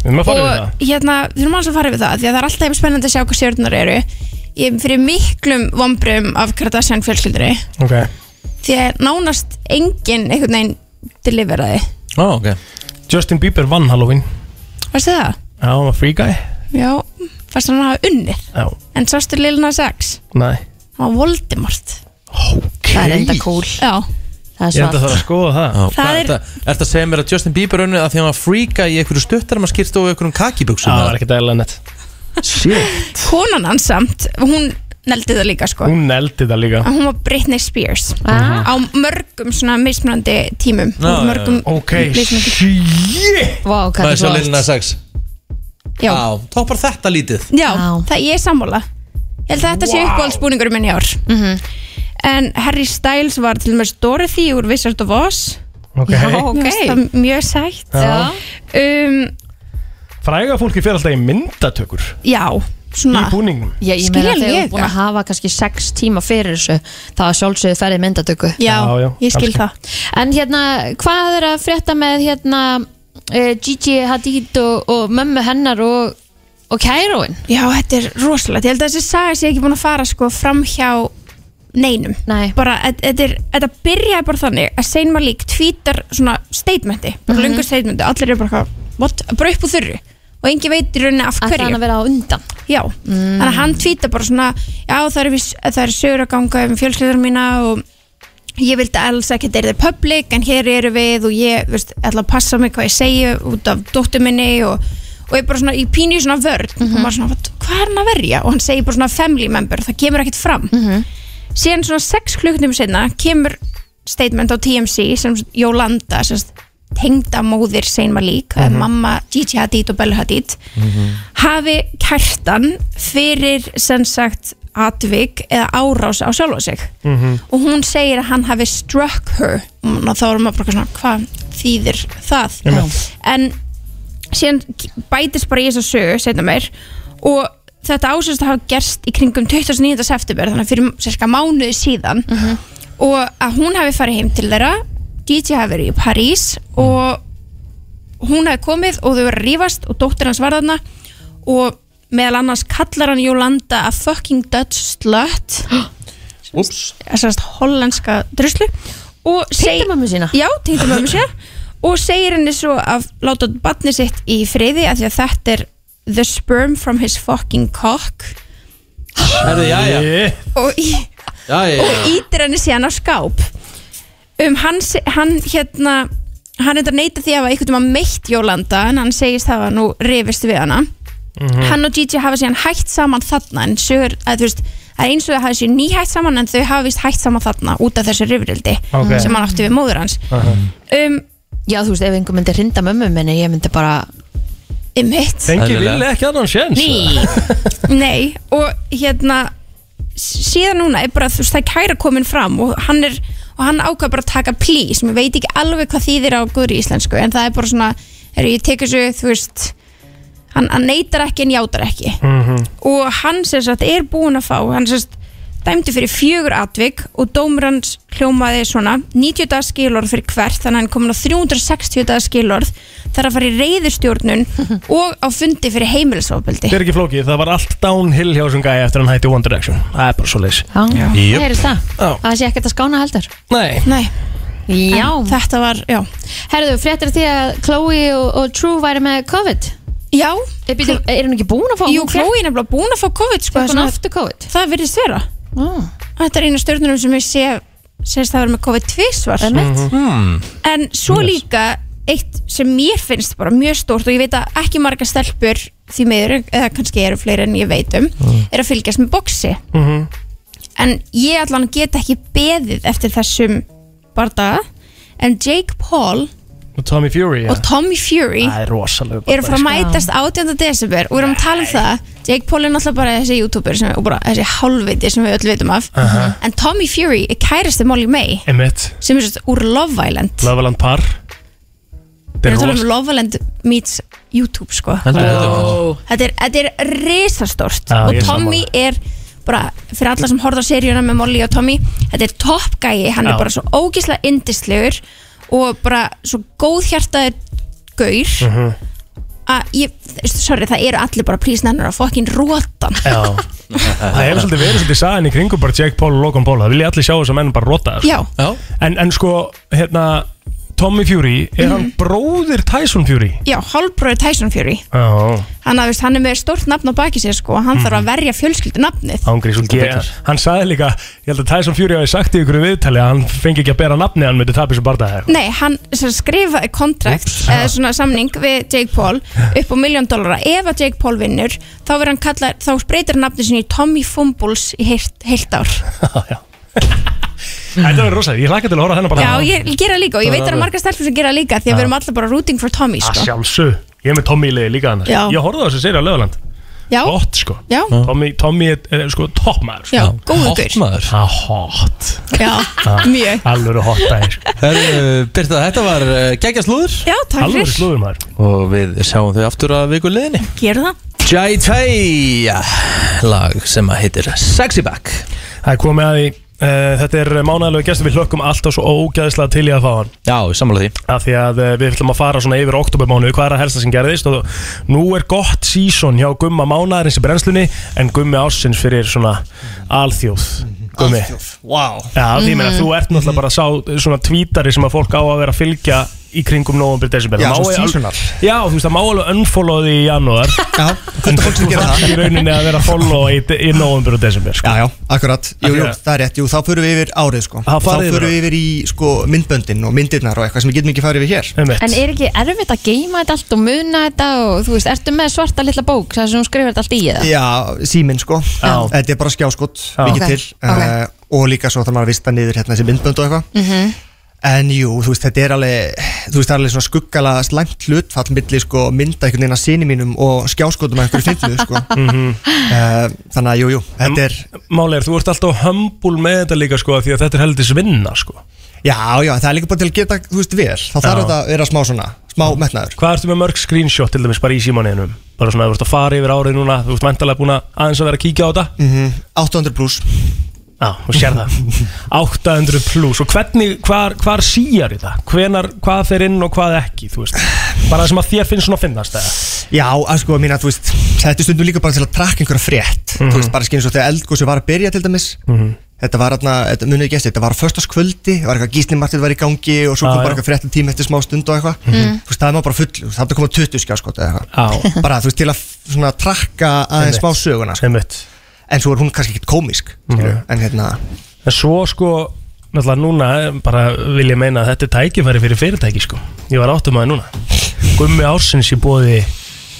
Speaker 4: Við erum að fara yfir það
Speaker 10: og hérna, við erum alveg að fara yfir það því að það er alltaf yfir spennandi að sjá hvað stjórnar eru ég er fyrir miklum vombrum af Kardashian fjölskyldri
Speaker 4: Ok
Speaker 10: því að nánast enginn einhvern veginn deliveraði
Speaker 1: Ó, ok
Speaker 4: Justin Bieber vann Halloween
Speaker 10: varstu það?
Speaker 4: Já, hann var free guy
Speaker 10: já, fast hann hafa unnið
Speaker 4: Já,
Speaker 10: en sástu Lil Nas X,
Speaker 4: nei
Speaker 10: hann var Voldemort
Speaker 4: Ok
Speaker 3: Það er enda cool
Speaker 10: já,
Speaker 3: Það er
Speaker 4: Ég enda það
Speaker 3: svart
Speaker 4: að skoða það
Speaker 1: Já,
Speaker 10: Það
Speaker 1: hvað
Speaker 10: er-
Speaker 1: er þetta að segja mér að Justin Bieber unnið að því að hann var fríka í einhverju stuttar maður skýrst og einhverjum
Speaker 4: Já,
Speaker 1: kakibuxum
Speaker 4: það var ekki dæla nett Shit
Speaker 10: konan hans samt, hún neldi það líka sko
Speaker 4: Hún eldi það líka
Speaker 10: að hún var Britney Spears
Speaker 3: Ah.
Speaker 10: á mörgum svona mismunandi tímum
Speaker 1: Já,
Speaker 10: mörgum
Speaker 4: Ok,
Speaker 10: mismunandi
Speaker 4: shit
Speaker 3: Vá, hvað þetta
Speaker 1: Það er
Speaker 3: er
Speaker 1: svo
Speaker 3: flott.
Speaker 1: lillina 6
Speaker 10: já,
Speaker 1: Já, toppar þetta lítið
Speaker 10: Já,
Speaker 3: Já.
Speaker 10: það ég er sammála Ég held að þetta sé uppáhaldsbúningur minn í ár En Harry Styles var til dæmis Dorothy úr Wizard of Oz
Speaker 4: Ok
Speaker 3: Já. Ok.
Speaker 10: Mér finnst það Mjög sætt
Speaker 3: Já.
Speaker 10: um,
Speaker 4: Fræga fólki fyrir alltaf í myndatökur
Speaker 10: Já,
Speaker 4: Í
Speaker 10: svona
Speaker 4: búningum
Speaker 3: Já, ég meina
Speaker 10: Skil
Speaker 3: þegar
Speaker 10: ég
Speaker 3: við búin að
Speaker 10: það.
Speaker 3: hafa kannski sex tíma fyrir þessu þá er sjálfsögðu ferðið myndatöku
Speaker 10: Já,
Speaker 4: Já, já,
Speaker 10: ég skil
Speaker 4: kannski.
Speaker 10: það
Speaker 3: En hérna, hvað er að frétta með hérna eh, Gigi Hadid og, og mömmu hennar og, og Kairóin?
Speaker 10: Já, þetta er rosalegt Ég held að þessi saga sé ekki búin að fara sko fram hjá neinum
Speaker 3: Nei,
Speaker 10: bara, þetta- þetta er- þetta byrjaði bara þannig að Sein Malik tvítar svona statementi, bara
Speaker 3: Mhm.
Speaker 10: mm löngu statementi allir eru bara eitthvað, what, bara upp úr þurru og engi veit í rauninni af hverju
Speaker 3: ætla hann að vera á undan
Speaker 10: Já, þannig að hann tvíta bara svona Já, það eru, viss- það eru sögur að ganga um fjölskyldur mína og ég vildi alls ekki að þetta er public en hér eru við og ég veist, ætla að passa mig hvað ég segi út af dóttur minni og, og ég bara svona, ég pínu í svona vörð og maður svona, "What- hvað er hann að verja? Og hann segir bara svona family member, það kemur ekkert fram síðan svona 6 klukkutum senna kemur statement á TMC sem Jólanda sem tengda móðir Sein Malik mm mamma Gigi Hadid og Bella Hadid hafi kærtan fyrir sem sagt atvik eða árás á sjálfa sig og hún segir að hann hafi struck her Mm, og þá erum maður bara svona hvað þýðir það en síðan bætist bara í þessa sögu setna meir og þetta ásist að hafa gerst í kringum 29. september þannig að fyrir cirka mánuði síðan og að hún hafi farið heim til þeirra DJ hafi verið í París og hún hafi komið og þau verið að rífast og dóttir hans var þarna og meðal annars kallar hann Jólanda a fucking Dutch slut
Speaker 1: Úps
Speaker 10: þessast hollenska druslu og seg-
Speaker 3: Tengdamömmu sína?
Speaker 10: já, tengdamömmu sína og segir henni svo að láta batni sitt í friði af því að þetta er the sperm from his fucking cock
Speaker 1: Herðu, jæja
Speaker 4: Shit.
Speaker 10: og, í,
Speaker 1: Jæja,
Speaker 10: og ítir henni síðan á skáp um hann, se- hann hérna hann er þetta neyta því að hafa einhvern veginn meitt Jólanda en hann segist það að nú rifist við hana hann og Gigi hafa síðan hætt saman þarna en sögur að þú veist það er eins og það hafi sér nýhætt saman en þau hafa vist hætt saman þarna út af þessu rifrildi
Speaker 4: Ok.
Speaker 10: sem hann átti við móður hans um,
Speaker 3: Já, þú veist, ef einhver myndi hrinda mömmu minni, ég myndi bara
Speaker 10: Einmitt.
Speaker 4: Fengi vilja ekki annan séns
Speaker 10: Ný Nei, og hérna s- síðan núna er bara, þú veist, það er kæra komin fram og hann er, og hann ákvað bara að taka plí sem ég veit ekki alveg hvað þýðir á góðri íslensku, en það er bara svona er ég tek þessu, þú veist hann, hann neytar ekki en játar ekki og hann sem sagt er búin að fá hann sem sagt dæmdi fyrir fjögur atvik og dómur hans hljómaði svona 90 dagar skilorð fyrir hvert þannig að hann komin á 360 dagar skilorð þar að fara í reyðustjórnun og á fundi fyrir heimilisofbeldi
Speaker 4: Þetta er ekki flókið, það var allt downhill hjá þessum gæja eftir að hann hætti One Direction Það er bara svo leys
Speaker 3: Já,
Speaker 4: Jöp.
Speaker 3: það er það
Speaker 4: Já.
Speaker 3: að það sé ekkert að skána heldur
Speaker 4: Nei
Speaker 10: Nei
Speaker 3: Já
Speaker 10: En Þetta var, já
Speaker 3: Herðu, fréttir af því að Chloe og, og True væri með COVID
Speaker 10: Já
Speaker 3: Er, býtum, er hún ekki búin að fá
Speaker 10: Jú, Chloe er nefnilega búin að fá COVID sko,
Speaker 3: Fekk hún aftur
Speaker 10: COVID? Það virðist vera
Speaker 3: oh.
Speaker 10: Þetta er eina stjórnurum sem ég sé segist það vera með COVID tvisvar
Speaker 3: Mm.
Speaker 2: Mhm.
Speaker 10: En svo líka eitt sem mér finnst bara mjög stórt og ég veit að ekki marga stelpur því meður, eða kannski eru fleiri en ég veit um
Speaker 2: Mm.
Speaker 10: er að fylgjast með boxi en ég allan get ekki beðið eftir þessum bardaga en Jake Paul
Speaker 4: Og Tommy Fury
Speaker 10: og Tommy Fury
Speaker 4: Það er rosalega
Speaker 10: eru frá að mætast 18. desember og við erum að tala um það Jake Paul er náttúrulega bara þessi youtuber sem, og bara þessi hálfviti sem við öll vitum af
Speaker 4: Aha.
Speaker 10: en Tommy Fury er kærasti Molly May
Speaker 4: Emmett,
Speaker 10: sem er svolítið úr Love Island
Speaker 4: Loveland par
Speaker 10: við erum að tala um Love Island meets YouTube sko
Speaker 4: Heldur betur.
Speaker 10: þetta er, þetta er risastórt
Speaker 4: Já, ég
Speaker 10: og
Speaker 4: er
Speaker 10: Tommy er bara fyrir alla sem horfða á seríuna með Molly og Tommy þetta er toppgæi, hann
Speaker 4: Já.
Speaker 10: er bara svo ógislega indislegur og bara svo góðhjartaður gaur
Speaker 4: Mhm.
Speaker 10: að ég, sorry, það eru allir bara prísnennur að fokkin rótan
Speaker 4: Já Það hefur svolítið verið svolítið sagan í kringum bara Jake Paul og Logan Paul Það vilja allir sjá þess að menn bara rota það, sko.
Speaker 10: Já.
Speaker 4: en, en sko, hérna Tommy Fury, er
Speaker 10: Mhm.
Speaker 4: hann bróðir Tyson Fury?
Speaker 10: Já, hálfbróður Tyson Fury
Speaker 4: Já
Speaker 10: hann, að, veist, hann er með stórt nafn á baki sér sko og hann þarf að
Speaker 4: Mhm.
Speaker 10: verja fjölskyldu nafnið
Speaker 4: Ángrið svolítið
Speaker 10: Ég-
Speaker 4: betur Hann sagði líka, ég held að Tyson Fury hafi sagt í ykkur viðtali að hann fengi ekki að bera nafni hann myndi tapis og bardaði
Speaker 10: Nei, hann sem skrifaði kontrakt
Speaker 4: Úps.
Speaker 10: eða svona samning við Jake Paul upp á miljón dollara. Ef að Jake Paul vinnur þá verður hann kallar, þá breytir hann nafni sinni í Tommy Fumbles í heilt, heilt ár
Speaker 4: Þetta er rosalega, ég hlakka til að horfa á þennan bara
Speaker 10: Já, ég, ég gera líka og ég veit að það er margar stelpur sem gera líka því að
Speaker 4: Já.
Speaker 10: við erum allir bara rooting for Tommy
Speaker 4: Að
Speaker 10: sko.
Speaker 4: sjálfsög, ég er með Tommy í liði líka annars
Speaker 10: Já.
Speaker 4: Ég horfði á þessu séri á Löðaland
Speaker 10: Já,
Speaker 4: Gott sko
Speaker 10: Já.
Speaker 4: Tommy, Tommy er, er sko toppmaður sko.
Speaker 10: Já, góður Hot gaur.
Speaker 4: maður Það er hot
Speaker 10: já, mjög
Speaker 4: Alvöru hot sko. dagir
Speaker 1: Herru, Birta, þetta var geggja slúður
Speaker 10: Já, takk Alvöru fyrir. slúður,
Speaker 4: maður
Speaker 1: Og við sjáum þau aftur að viku liðinni
Speaker 10: Gerðu það
Speaker 1: Jai Jai Lag sem að heitir Sexy Back
Speaker 4: Það er komið að því Uh, þetta er mánaðalegu gestur, við hlökkum alltaf svo ógæðislega til í að fá hann
Speaker 1: Já, sammála því
Speaker 4: Af því að uh, við ætlum að fara svona yfir oktobermánu Hvað er að helsta sem gerðist og nú er gott sísón hjá gumma mánaðarins í brennslunni En gummi ásins fyrir svona alþjóð Gummi
Speaker 2: Alþjóð, wow
Speaker 4: Já, því meina, þú ert náttúrulega bara sá svona tvítari sem að fólk á að vera að fylgja í kringum november, desember
Speaker 2: Já,
Speaker 4: Það má
Speaker 2: svona
Speaker 4: alveg-
Speaker 2: seasonal.
Speaker 4: Já, þú veist, það má alveg unfollow því í janúar Já,
Speaker 2: þetta fólk sem gera það.
Speaker 4: Í rauninni að vera að follow í, í november og desember sko.
Speaker 11: Já, já, akkurat, jú, jú, það er rétt, jú, þá förum við yfir árið sko Þá
Speaker 4: farið yfir
Speaker 11: förum við
Speaker 4: það.
Speaker 11: yfir í sko myndböndin og myndirnar og eitthvað sem við getum ekki farið yfir hér
Speaker 3: En er ekki erfitt að geima þetta allt og muna þetta og þú veist, ertu með svarta litla bók þar sem hún skrifur þetta allt í eða?
Speaker 11: Já, síminn sko,
Speaker 3: Já.
Speaker 11: þetta er bara skjáskott, mikið
Speaker 3: Ok,
Speaker 11: til
Speaker 3: ok.
Speaker 11: eh, Og líka svo þarf maður að vista niður hérna þessi myndbönd og eitthvað
Speaker 3: Mhm.
Speaker 11: En jú, þú veist, þetta er alveg, Eh, þú veist, það er alveg svona skuggala slæmt hlutfall milli sko mynda einhvern veginn að sinni mínum og skjáskottum að einhverju fyllu sko
Speaker 4: Mhm.
Speaker 11: Eh, Þannig að jú, jú, þetta er
Speaker 4: Máli er, þú ert alltaf humble með þetta líka sko, því að þetta er heldis vinna sko.
Speaker 11: Já, já, það er líka bara til að geta, þú veist, vel Þá
Speaker 4: Já.
Speaker 11: þarf þetta að vera smá svona, smá metnaður
Speaker 4: Hvað ertu með mörg screenshot til dæmis bara í símaninum? Bara svona, þú ert að fara yfir árið núna Þú ert mentalega búin að aðeins að vera að kíkja á þetta
Speaker 11: mm 800 pluss
Speaker 4: Já, og sér það 800 pluss Og hvernig, hvar, hvar síjar þetta? Hvenar, hvað fer inn og hvað ekki, þú veist Bara það sem að þér finnst svona að finnast eða?
Speaker 11: Já, að sko, mín að þú veist Þetta er stundum líka bara til að trakka einhverja frétt
Speaker 4: Mhm.
Speaker 11: Þú veist, bara skynum svo þegar eldgósi var að byrja til dæmis
Speaker 4: Mhm.
Speaker 11: Þetta var aðna, þetta munið ekki eftir Þetta var á föstaskvöldi, það var eitthvað gísnimartið var í gangi Og svo
Speaker 4: Já,
Speaker 11: kom bara
Speaker 4: já.
Speaker 11: eitthvað fréttum tíma eftir smá stund og eitthvað
Speaker 4: Mhm.
Speaker 11: Þú veist, það er maður bara full Það er að koma 20 skjáskot eða
Speaker 4: Já.
Speaker 11: eitthvað Bara, þú veist, til að svona trakka aðeins
Speaker 4: Einmitt.
Speaker 11: smá söguna sko. En svo er hún kannski ekkit komisk skilurðu, En hérna
Speaker 4: En svo sko Náttúrulega núna bara vil ég meina að þetta er tækifæri fyrir fyrirtæki sko Ég var áttum að núna Gummi ársins í bóði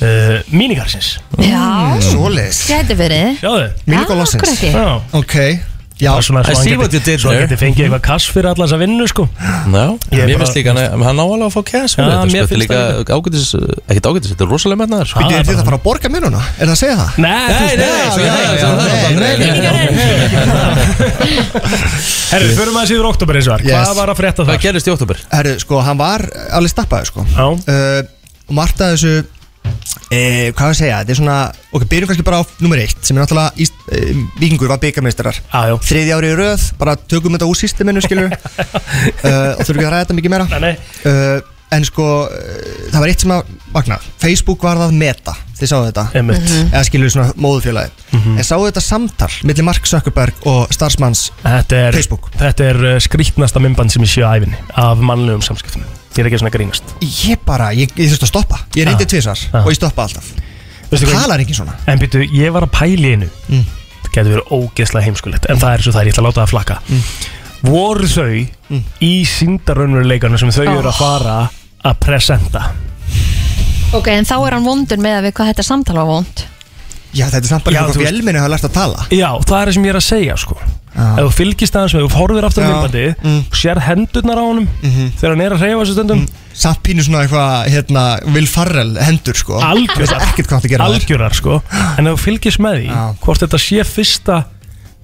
Speaker 4: uh, Mínigarsins
Speaker 3: Já.
Speaker 11: Svoleiðis.
Speaker 3: Gæti verið.
Speaker 4: Sjáðu
Speaker 11: Minico Lossins
Speaker 3: Akkur ekki.
Speaker 11: Ok Já.
Speaker 4: Bara svona,
Speaker 1: I
Speaker 4: svo hann
Speaker 1: see
Speaker 4: geti-
Speaker 1: what you did
Speaker 4: Svo hann
Speaker 1: there.
Speaker 4: geti fengið eitthvað kass fyrir alla þessa vinnu sko
Speaker 1: Já,
Speaker 4: Ég er
Speaker 1: mér
Speaker 4: bara-
Speaker 1: finnst líka hann, hann á alveg að fá cash fyrir
Speaker 4: Já,
Speaker 1: þetta, sko,
Speaker 4: mér
Speaker 1: þetta er
Speaker 4: finnst
Speaker 1: líka ágætis, ekkert ágætis, þetta er rosalega mennaðar
Speaker 11: Býttu, er þetta að fara að borga mér núna? Er það að segja það?
Speaker 4: Nei,
Speaker 11: nei,
Speaker 4: Herru, förum aðeins yfir oktober eins og var Hvað var að frétta þar?
Speaker 1: Hvað gerist í oktober?
Speaker 11: Herru, sko, hann var alveg stappaði, sko uh, Og margt að þessu e, Hvað á ég að segja, þetta er svona Ok, byrjum kannski bara á nummer eitt Sem er náttúrulega, Ís, e, Víkingur var byggameistarar Þriði ári í röð, bara tökum þetta úr sísteminu, skilur uh, Og þurfum ekki að ræða þetta mikið meira
Speaker 4: nei.
Speaker 11: Uh, En sko, uh, það var eitt sem að Magna, Facebook var það meta Þið sáðu þetta Mhm.
Speaker 4: Einmitt. Mhm.
Speaker 11: Eða skilur svona móðufélagi En sáðu þetta samtal Milli Mark Zuckerberg og starfsmanns
Speaker 4: Þetta er,
Speaker 11: Facebook.
Speaker 4: þetta er uh, skrítnasta mymband sem ég sé á æfinni af mannlegum samskiptum Ég er ekki svona að grínast
Speaker 11: Ég bara, ég, ég þurfti að stoppa Ég reyndi
Speaker 4: Ah,
Speaker 11: tvisar
Speaker 4: ah.
Speaker 11: og ég stoppa alltaf
Speaker 4: Veistu hvað-
Speaker 11: Talar ekki svona
Speaker 4: En býtu, ég var að pæli einu
Speaker 11: Mm.
Speaker 4: Það getur verið ógeðslega heimskulegt En það er svo það er, ég ætla að láta það flakka
Speaker 11: Mm.
Speaker 4: Voru þau í síndarunveruleikana sem þau
Speaker 11: Ah.
Speaker 4: eru að fara að presenta
Speaker 3: Ok, en þá er hann vondur með að við hvað þetta samtal var vond
Speaker 11: Já, þetta er samt
Speaker 4: Já,
Speaker 11: bara
Speaker 4: þú
Speaker 11: eitthvað
Speaker 4: veist-
Speaker 11: fjölminni hafa lært að tala
Speaker 4: Já, það er það sem ég er að segja sko Ef þú fylgist aðeins með, ef þú horfir aftur
Speaker 11: Ah. Já. Mm. Mhm.
Speaker 4: á mymbandið og sér hendurnar á honum þegar hann er að hreyfa þessu stundum
Speaker 11: Samt pínu svona eitthvað, hérna, Will Farrell hendur sko Ég veist
Speaker 4: algjörar,
Speaker 11: ekkert hvað það gera þær.
Speaker 4: algjörar sko. en ef þú fylgist með því hvort þetta sé fyrsta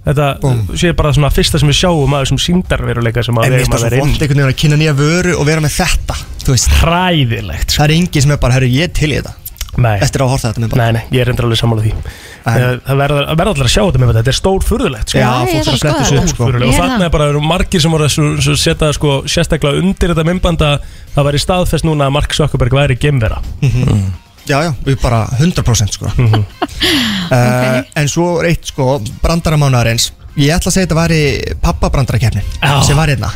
Speaker 4: þetta sé bara svona fyrsta sem við sjáum að þessum síndarveruleika sem
Speaker 11: En mér
Speaker 4: að við
Speaker 11: finnst
Speaker 4: erum
Speaker 11: það
Speaker 4: að
Speaker 11: svo
Speaker 4: vera
Speaker 11: vond
Speaker 4: inn
Speaker 11: einhvern veginn að kynna nýja vöru og vera með þetta Þú veist
Speaker 4: Hræðilegt sko.
Speaker 11: Það er engin sem er bara, herru, ég er til í þetta
Speaker 4: Nei.
Speaker 11: Eftir að horfa þetta með bara
Speaker 4: Nei, nei, ég er endur alveg sammála því Eh, Það verður það verður allir að sjá þetta með þetta Þetta er stór furðulegt sko.
Speaker 11: Já, Já, fólk ég þarf er að að fletta skoða þessu upp, þetta. sko. Ég
Speaker 4: Stórfurðulegt. Og
Speaker 11: er
Speaker 4: þarna
Speaker 11: það.
Speaker 4: er bara eru margir sem voru að svo- svo setja sko, sérstaklega undir þetta mymbanda Það væri staðfest núna að Mark Zuckerberg væri gemvera
Speaker 11: Mhm. Já, já, við bara 100% sko
Speaker 4: Mhm.
Speaker 11: uh, En svo er eitt sko, brandaramánaðarins Ég ætla að segja þetta væri pappabrandarakefni
Speaker 4: Já.
Speaker 11: sem var hérna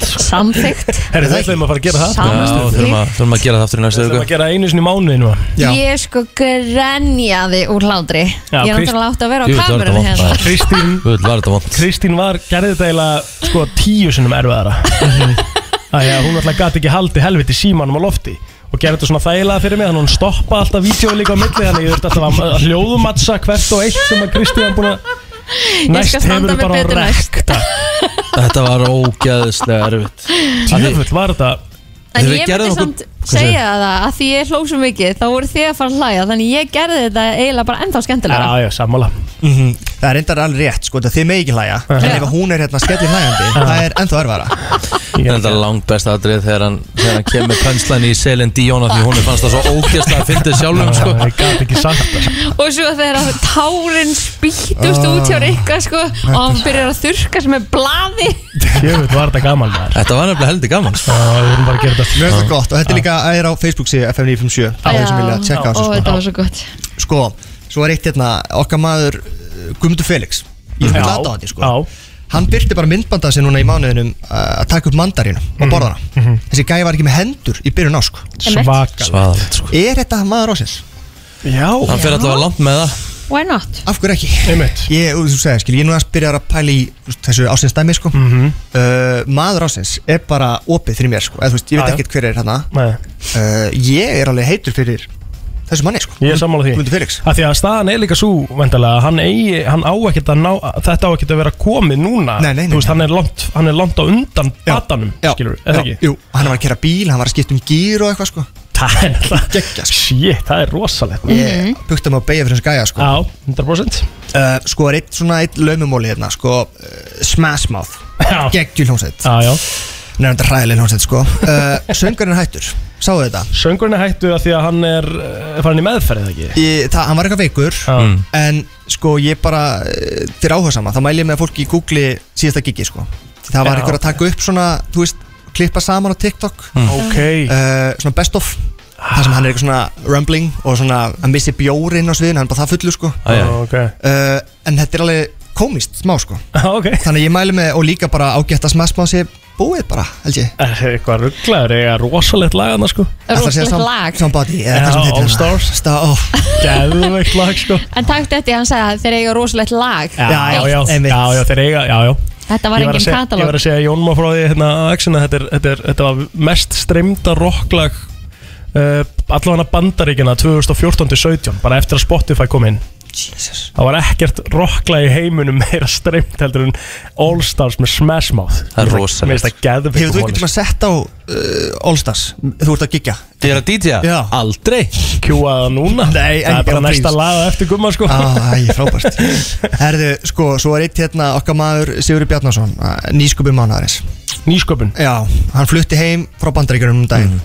Speaker 3: Samþygt
Speaker 4: Herri, það ætlum við að fara að gera það
Speaker 1: Já, þurfum að, þurfum að gera það aftur í næstu
Speaker 4: Það
Speaker 1: viku
Speaker 11: Sko.
Speaker 4: að gera einu sinni í mánuði nú
Speaker 3: Ég sko grenjaði úr hlátri Ég
Speaker 4: Já,
Speaker 3: er
Speaker 4: Krist-
Speaker 3: náttúrulega átt að vera á
Speaker 4: Jú, þetta var
Speaker 3: kamerunni
Speaker 4: þetta
Speaker 3: hérna
Speaker 4: vont, Kristín Kristín var, gerði þetta eiginlega sko tíu sinnum erfiðara
Speaker 3: Mhm.
Speaker 4: Æja, hún alltaf gæti ekki haldi helviti símanum á lofti og gerði þetta svona þægilega fyrir mig þannig að hún stoppa alltaf vídeo líka á milli þannig ég þurfti alltaf að- að hljóðumatsa hvert og eitt sem að Kristín var búin að
Speaker 3: Ég skal
Speaker 4: næst
Speaker 3: standa
Speaker 4: hefur
Speaker 3: mig
Speaker 4: bara á
Speaker 3: betur
Speaker 4: rekk
Speaker 3: næst
Speaker 1: Þetta var ógæðislega erfitt
Speaker 4: Tjöfull var þetta
Speaker 3: En ég myndi samt segja það að því ég hló svo mikið þá voru þið að fara að hlæja þannig ég gerði þetta eiginlega bara ennþá skemmtilega
Speaker 4: já, sammála Mhm.
Speaker 11: Það er reyndar alveg rétt, sko, þetta þið megi ekki hlæja En ef hún er hérna skellir hlæjandi, það er ennþá erfara
Speaker 1: Þetta er þetta langt best aðrið þegar hann, þegar hann kemur pönslan í Selin Díona því hún fannst það svo ógæðslega að fyndið sjálfum sko.
Speaker 4: Ég gæti ekki sagt það
Speaker 3: Og svo þegar að tárin spýtust
Speaker 4: Ah.
Speaker 3: út hjá Rikka sko og hann byrjar að þurrka sem er blaði
Speaker 4: Tjöfull var þetta gaman maður
Speaker 1: Þetta var nefnilega heldur gaman sko.
Speaker 4: Já, við erum bara að gera þetta
Speaker 11: Mjög þetta gott og þetta er líka er á Facebook síðu FM 957 Það er sem vilja að tjekka
Speaker 3: og þetta var
Speaker 11: þessu
Speaker 3: svo gott
Speaker 11: sko Sko, svo er eitt hérna okkar maður Gumdu Felix Ég er svona
Speaker 4: Já,
Speaker 11: glata á þetta sko
Speaker 4: já.
Speaker 11: Hann byrti bara myndbandað sér núna í mánuðinum uh, að taka upp mandarínu
Speaker 4: Mhm.
Speaker 11: á borðana Þessi gæði var ekki með hendur í byrjun á sko
Speaker 3: Einmitt.
Speaker 1: Svaðalegt sko.
Speaker 11: Er þetta maður ásins?
Speaker 4: Já
Speaker 1: Hann fer allavega langt með það
Speaker 3: Why not?
Speaker 11: Af hverju ekki? Einmitt. Ég, og þú segir, skil, ég er nú að byrja að pæla í þú veist, þessu ásins dæmi, sko.
Speaker 4: Mhm.
Speaker 11: uh, maður ásins er bara opið fyrir mér, sko. Eð, veist, ég
Speaker 4: Já,
Speaker 11: veit
Speaker 4: já.
Speaker 11: ekkert hver er hérna.
Speaker 4: Nei.
Speaker 11: Uh, ég er alveg heitur fyrir þessu manni, sko.
Speaker 4: Ég er sammála því
Speaker 11: Guðmundur Felix.
Speaker 4: Af því að staðan er líka svo vendalega hann, eigi, hann á ekkert að ná Þetta á ekkert að vera komið núna
Speaker 11: Nei, nei, nei,
Speaker 4: Þú veist, hann er langt, hann er langt á undan batanum
Speaker 11: Já,
Speaker 4: Skilur, eða
Speaker 11: já,
Speaker 4: ekki?
Speaker 11: jú, hann var að kera bíl, hann var að skipta um gýr og eitthvað, sko.
Speaker 4: Það er alltaf
Speaker 11: Gekkja, sko.
Speaker 4: Shit, það er rosalegt maður.
Speaker 11: Ég bukta mig að beigja fyrir þessu gæja, sko.
Speaker 4: Já, 100%
Speaker 11: Uh, sko, er eitt svona eitt laumumóli hérna, sko, uh, Smash Mouth. Geggjul hljómsveit.
Speaker 4: Já, já
Speaker 11: Nefnda hræðileg hljómsveit, sko. Uh, söngurinn hættur, sáðu þetta?
Speaker 4: Söngurinn er hættu að því að hann er eh, farin í meðferð eða ekki
Speaker 11: ég, það, hann var eitthvað veikur en sko ég bara eh, fyrir áhuga sama, þá mæl ég með að fólki í Google síðasta gigi sko það var
Speaker 4: Já.
Speaker 11: eitthvað að taka upp svona, þú veist klippa saman á TikTok
Speaker 4: Ok
Speaker 11: eh, svona best of það sem hann er eitthvað svona rumbling og svona að missi bjórin á sviðinu, hann er bara það fullu sko
Speaker 1: Æ, já.
Speaker 4: Ok
Speaker 11: uh, en þetta er alveg komist smá sko
Speaker 4: Ok
Speaker 11: þannig að ég mæli með og líka bara ágætt að smass má sé búið bara, held ég
Speaker 4: Er það Eh, eitthvað rugglaður, eiga rosalegt lagana sko
Speaker 11: Ætlar að segja sam- Somebody, eða
Speaker 4: Já,
Speaker 11: eitthvað sem heitir
Speaker 4: All
Speaker 11: hérna.
Speaker 4: Stars
Speaker 11: Sta- ó.
Speaker 4: Geðveikt lag sko
Speaker 3: En takt eftir hann sagði að þeir eiga rosalegt lag
Speaker 4: Já, já, já, já, já, þeir eiga, já, já
Speaker 3: Þetta var
Speaker 4: Ég að
Speaker 3: engin
Speaker 4: segja- Ég var
Speaker 3: katalóg
Speaker 4: að segja að Jón má frá því hérna á Exxon að þetta, er, þetta, er, þetta var mest streymda rocklag eh, uh, allavega bandaríkina 2014-17 bara eftir að Spotify kom inn
Speaker 10: Jesus.
Speaker 4: Það var ekkert rockla í heiminum meira streymt heldur en All Stars með Smash Mouth
Speaker 1: Það er rosalegt.
Speaker 4: Mér finnst það geðveikt
Speaker 11: Hefur þú
Speaker 4: tónlist.
Speaker 11: ekki tíma sett á uh, Allstars? Þú ert að gigja
Speaker 1: Þið er að DJ-a?
Speaker 11: Já
Speaker 1: Aldrei
Speaker 4: Kjúaða núna
Speaker 11: Nei,
Speaker 4: Það er bara næsta lag á eftir gumma sko
Speaker 11: Æ, frábært Herðu, sko, svo er eitt hérna okkar maður Sigurður Bjarnason eh, Nýsköpun mánuðarins
Speaker 4: Nýsköpun?
Speaker 11: Já, hann flutti heim frá bandaríkjörnum um daginn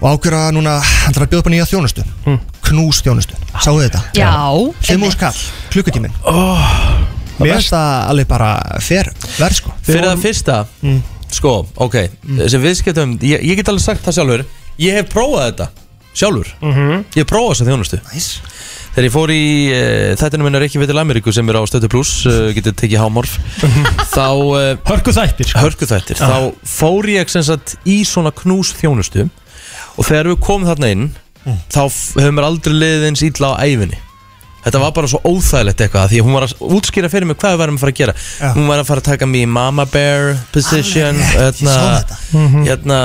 Speaker 11: Og ákjöra núna, hann þarf að bjóða upp á nýja þjónustu Knús þjónustu, sáðu þetta?
Speaker 3: Já
Speaker 11: Fimm úr skall, klukkutíminn oh, Mér finnst það alveg bara fer verð sko
Speaker 1: Fyrir það fyrsta Sko, ok Þessi viðskiptum ég, ég get alveg sagt það sjálfur Ég hef prófað þetta Sjálfur
Speaker 4: Mhm.
Speaker 1: Ég hef prófað þessa þjónustu
Speaker 11: nice.
Speaker 1: Þegar ég fór í uh, þættinu minna Reykjavík til Ameríku sem er á Stötu Plus uh, getið tekið hámorf þá uh,
Speaker 4: Hörku þættir
Speaker 1: Hörku þættir Þá fór ég sem sagt í svona knús þjónustu og þegar við komum þarna inn þá f- hefur mér aldrei liðið eins ítla á æfinni Þetta var bara svo óþægilegt eitthvað því að hún var að útskýra fyrir mig hvað við varum að fara að gera Hún var að fara að taka mig í mama bear position hérna, hérna,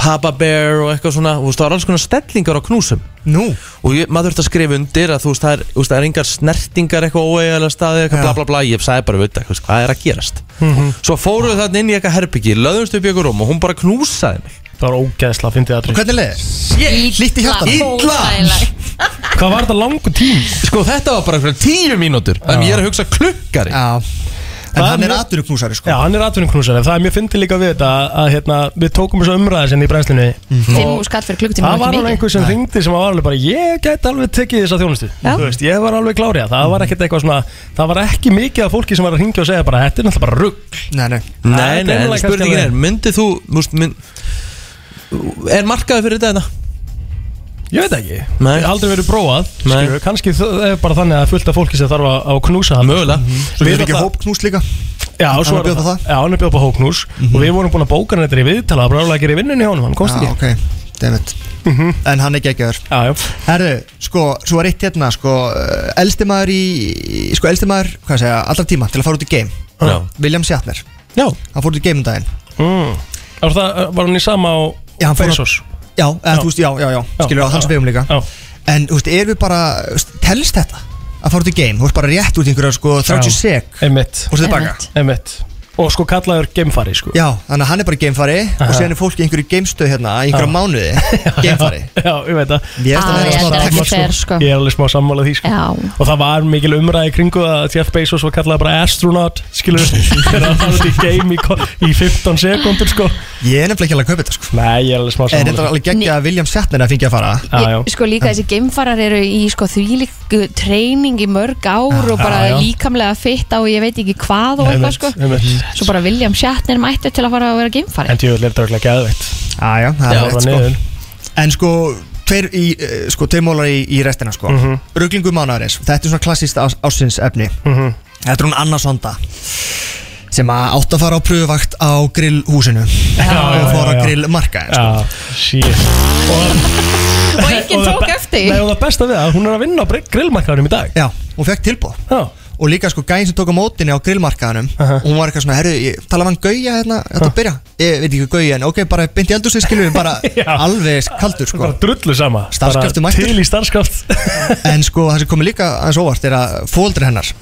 Speaker 1: papa bear og eitthvað svona Þú veist, það var alls konar stellingar á knúsum
Speaker 11: Nú
Speaker 1: Og ég, maður þurfti að skrifa undir að þú veist, það er, þú veist, það er engar snertingar eitthvað óeigðalega staði eitthvað bla bla bla Ég sagði bara, veit, eitthvað, hvað er að gerast
Speaker 4: Mhm.
Speaker 1: Svo fórum við þarna inn í eitthvað herbyggi, löðumst upp í eitthvað rúm og hún bara knúsaði mig
Speaker 4: Það var ógæðsla að fyndi aðri
Speaker 11: Hvernig leðir?
Speaker 1: Lítið hjarta Ítla
Speaker 4: Hvað var þetta langu tím?
Speaker 1: Sko þetta var bara einhverjum tíu mínútur Þannig ég er að hugsa klukkari
Speaker 11: Já En
Speaker 4: Það
Speaker 11: hann
Speaker 4: er
Speaker 11: er
Speaker 4: mjög-
Speaker 11: atvinnuknúsari sko
Speaker 4: Já, hann er atvinnuknúsar Það er mjög fyndið líka við þetta að, að hérna, við tókum þessu umræði sinni í brennslunni
Speaker 3: Fimm
Speaker 4: og
Speaker 3: úr skall fyrir klukkutíma
Speaker 4: það var alveg einhver sem ringdi sem var alveg bara ég gæti alveg tekið þessa þjónustu Þú veist, ég var alveg klárið það var ekkert eitthvað svona það var ekki mikið af fólki sem var að ringja og segja bara þetta er náttúrulega bara rugg
Speaker 11: Nei, nei
Speaker 1: Nei, nei, en spurningin er, myndið þú, múst, mynd, er markaði fyrir þetta? hérna?
Speaker 4: Ég veit ekki,
Speaker 1: Nei.
Speaker 4: Ég hef aldrei verið prófað
Speaker 1: Nei.
Speaker 4: skilur, kannski það er bara þannig að fullt af fólki sem þarf að, að knúsa hann
Speaker 1: Mhm.
Speaker 4: Mögulega,
Speaker 11: Svo getur ekki hópknús líka
Speaker 4: Já,
Speaker 11: Hann
Speaker 4: svo
Speaker 11: er Mhm. að bjóða upp á
Speaker 4: það Já, hann er bjóð upp á hóknús og við vorum búin að bóka hann þetta í viðtala það var ráðlega að gera í vinnunni hjá honum, hann komst
Speaker 11: Já,
Speaker 4: ekki
Speaker 11: Ah,
Speaker 4: Mhm.
Speaker 11: ok, dammit En hann er geggjaður
Speaker 4: Já, já
Speaker 11: Herðu, sko, svo er eitt hérna, sko eh, Elsti maður í, sko, elsti maður, hvað segja, allra tíma til að fara út í game
Speaker 4: Já.
Speaker 11: William Shatner
Speaker 4: Já
Speaker 11: Hann fór út í game um daginn
Speaker 4: mm. Var það- Var hann í sama á
Speaker 11: Já, hann fór að-
Speaker 4: Bezos?
Speaker 11: Já, eða, þú veist, já, já, já, skilur á hans
Speaker 4: já,
Speaker 11: vegum líka
Speaker 4: já.
Speaker 11: En, þú veist, erum við bara, þú veist, telst þetta? Að fara út í game, þú veist bara rétt út í einhverja, sko, 30
Speaker 4: Já.
Speaker 11: sek
Speaker 4: Einmitt
Speaker 11: Fórstu tilbaka?
Speaker 4: Einmitt Og sko kallaður geimfari sko
Speaker 11: Já, þannig að hann er bara gamefari og síðan er fólk í einhverju gamestöð hérna í einhverja
Speaker 4: Já.
Speaker 11: mánuði gamefari
Speaker 4: Já, ég veit það Ah,
Speaker 11: Ég veist að vera smá
Speaker 4: Ég er alveg
Speaker 3: Sko.
Speaker 4: smá- Ég er alveg smá sammála því sko. Og það var mikil umræði í kringu að Jeff Bezos var kallað bara astronaut Skilur Þegar hann var út í game í, ko- í 15 sekundur sko
Speaker 11: Ég er nefnilega ekki alveg að kaupa þetta sko
Speaker 4: Nei, ég er alveg smá
Speaker 11: En
Speaker 4: sammála
Speaker 11: þetta er alveg geggja að William Shatner að fengja að fara
Speaker 3: Ég, sko líka þessi geimfarar eru í sko þvílíku treyning í mörg ár og bara
Speaker 11: Já, já.
Speaker 3: líkamlega fytt á ég veit ekki hvað og eitthvað sko svo bara William Shatner mættu til að fara að vera geimfari
Speaker 4: En djúvel er þetta alveg geðveitt
Speaker 11: Æja, það
Speaker 4: Já,
Speaker 11: er rétt
Speaker 4: það
Speaker 11: sko
Speaker 4: niður.
Speaker 11: En sko, tveir, í, eh, sko, tveir mólar í, í restina sko mm
Speaker 4: Mhm.
Speaker 11: Ruglingu mánuðarins, þetta er svona klassíst ás, ásins efni
Speaker 4: Mhm.
Speaker 11: Þetta er hún Anna Sonda sem að átt að fara á pröfuvakt á grillhúsinu og fór á grillmarkaðin sko.
Speaker 4: Shit
Speaker 3: og enginn
Speaker 4: Og það
Speaker 3: tók
Speaker 4: be-
Speaker 3: eftir
Speaker 4: Nei, og það besta við það, hún er að vinna á grillmarkaðunum í dag
Speaker 11: Já, hún fekk tilbúð
Speaker 4: Já.
Speaker 11: Og líka sko gæðin sem tók á mótinni á grillmarkaðanum Hún var eitthvað svona, herru, ég talaði hann gauja hérna Þetta að byrja, ég veit ekki gauja En ok, bara beint í eldursi skilur við bara alveg kaldur sko
Speaker 4: Bara drullu sama
Speaker 11: Starfskraftur
Speaker 4: Bara
Speaker 11: mættur.
Speaker 4: Til í starfskraft
Speaker 11: En sko það sem komið líka aðeins óvart er að fóldri hennar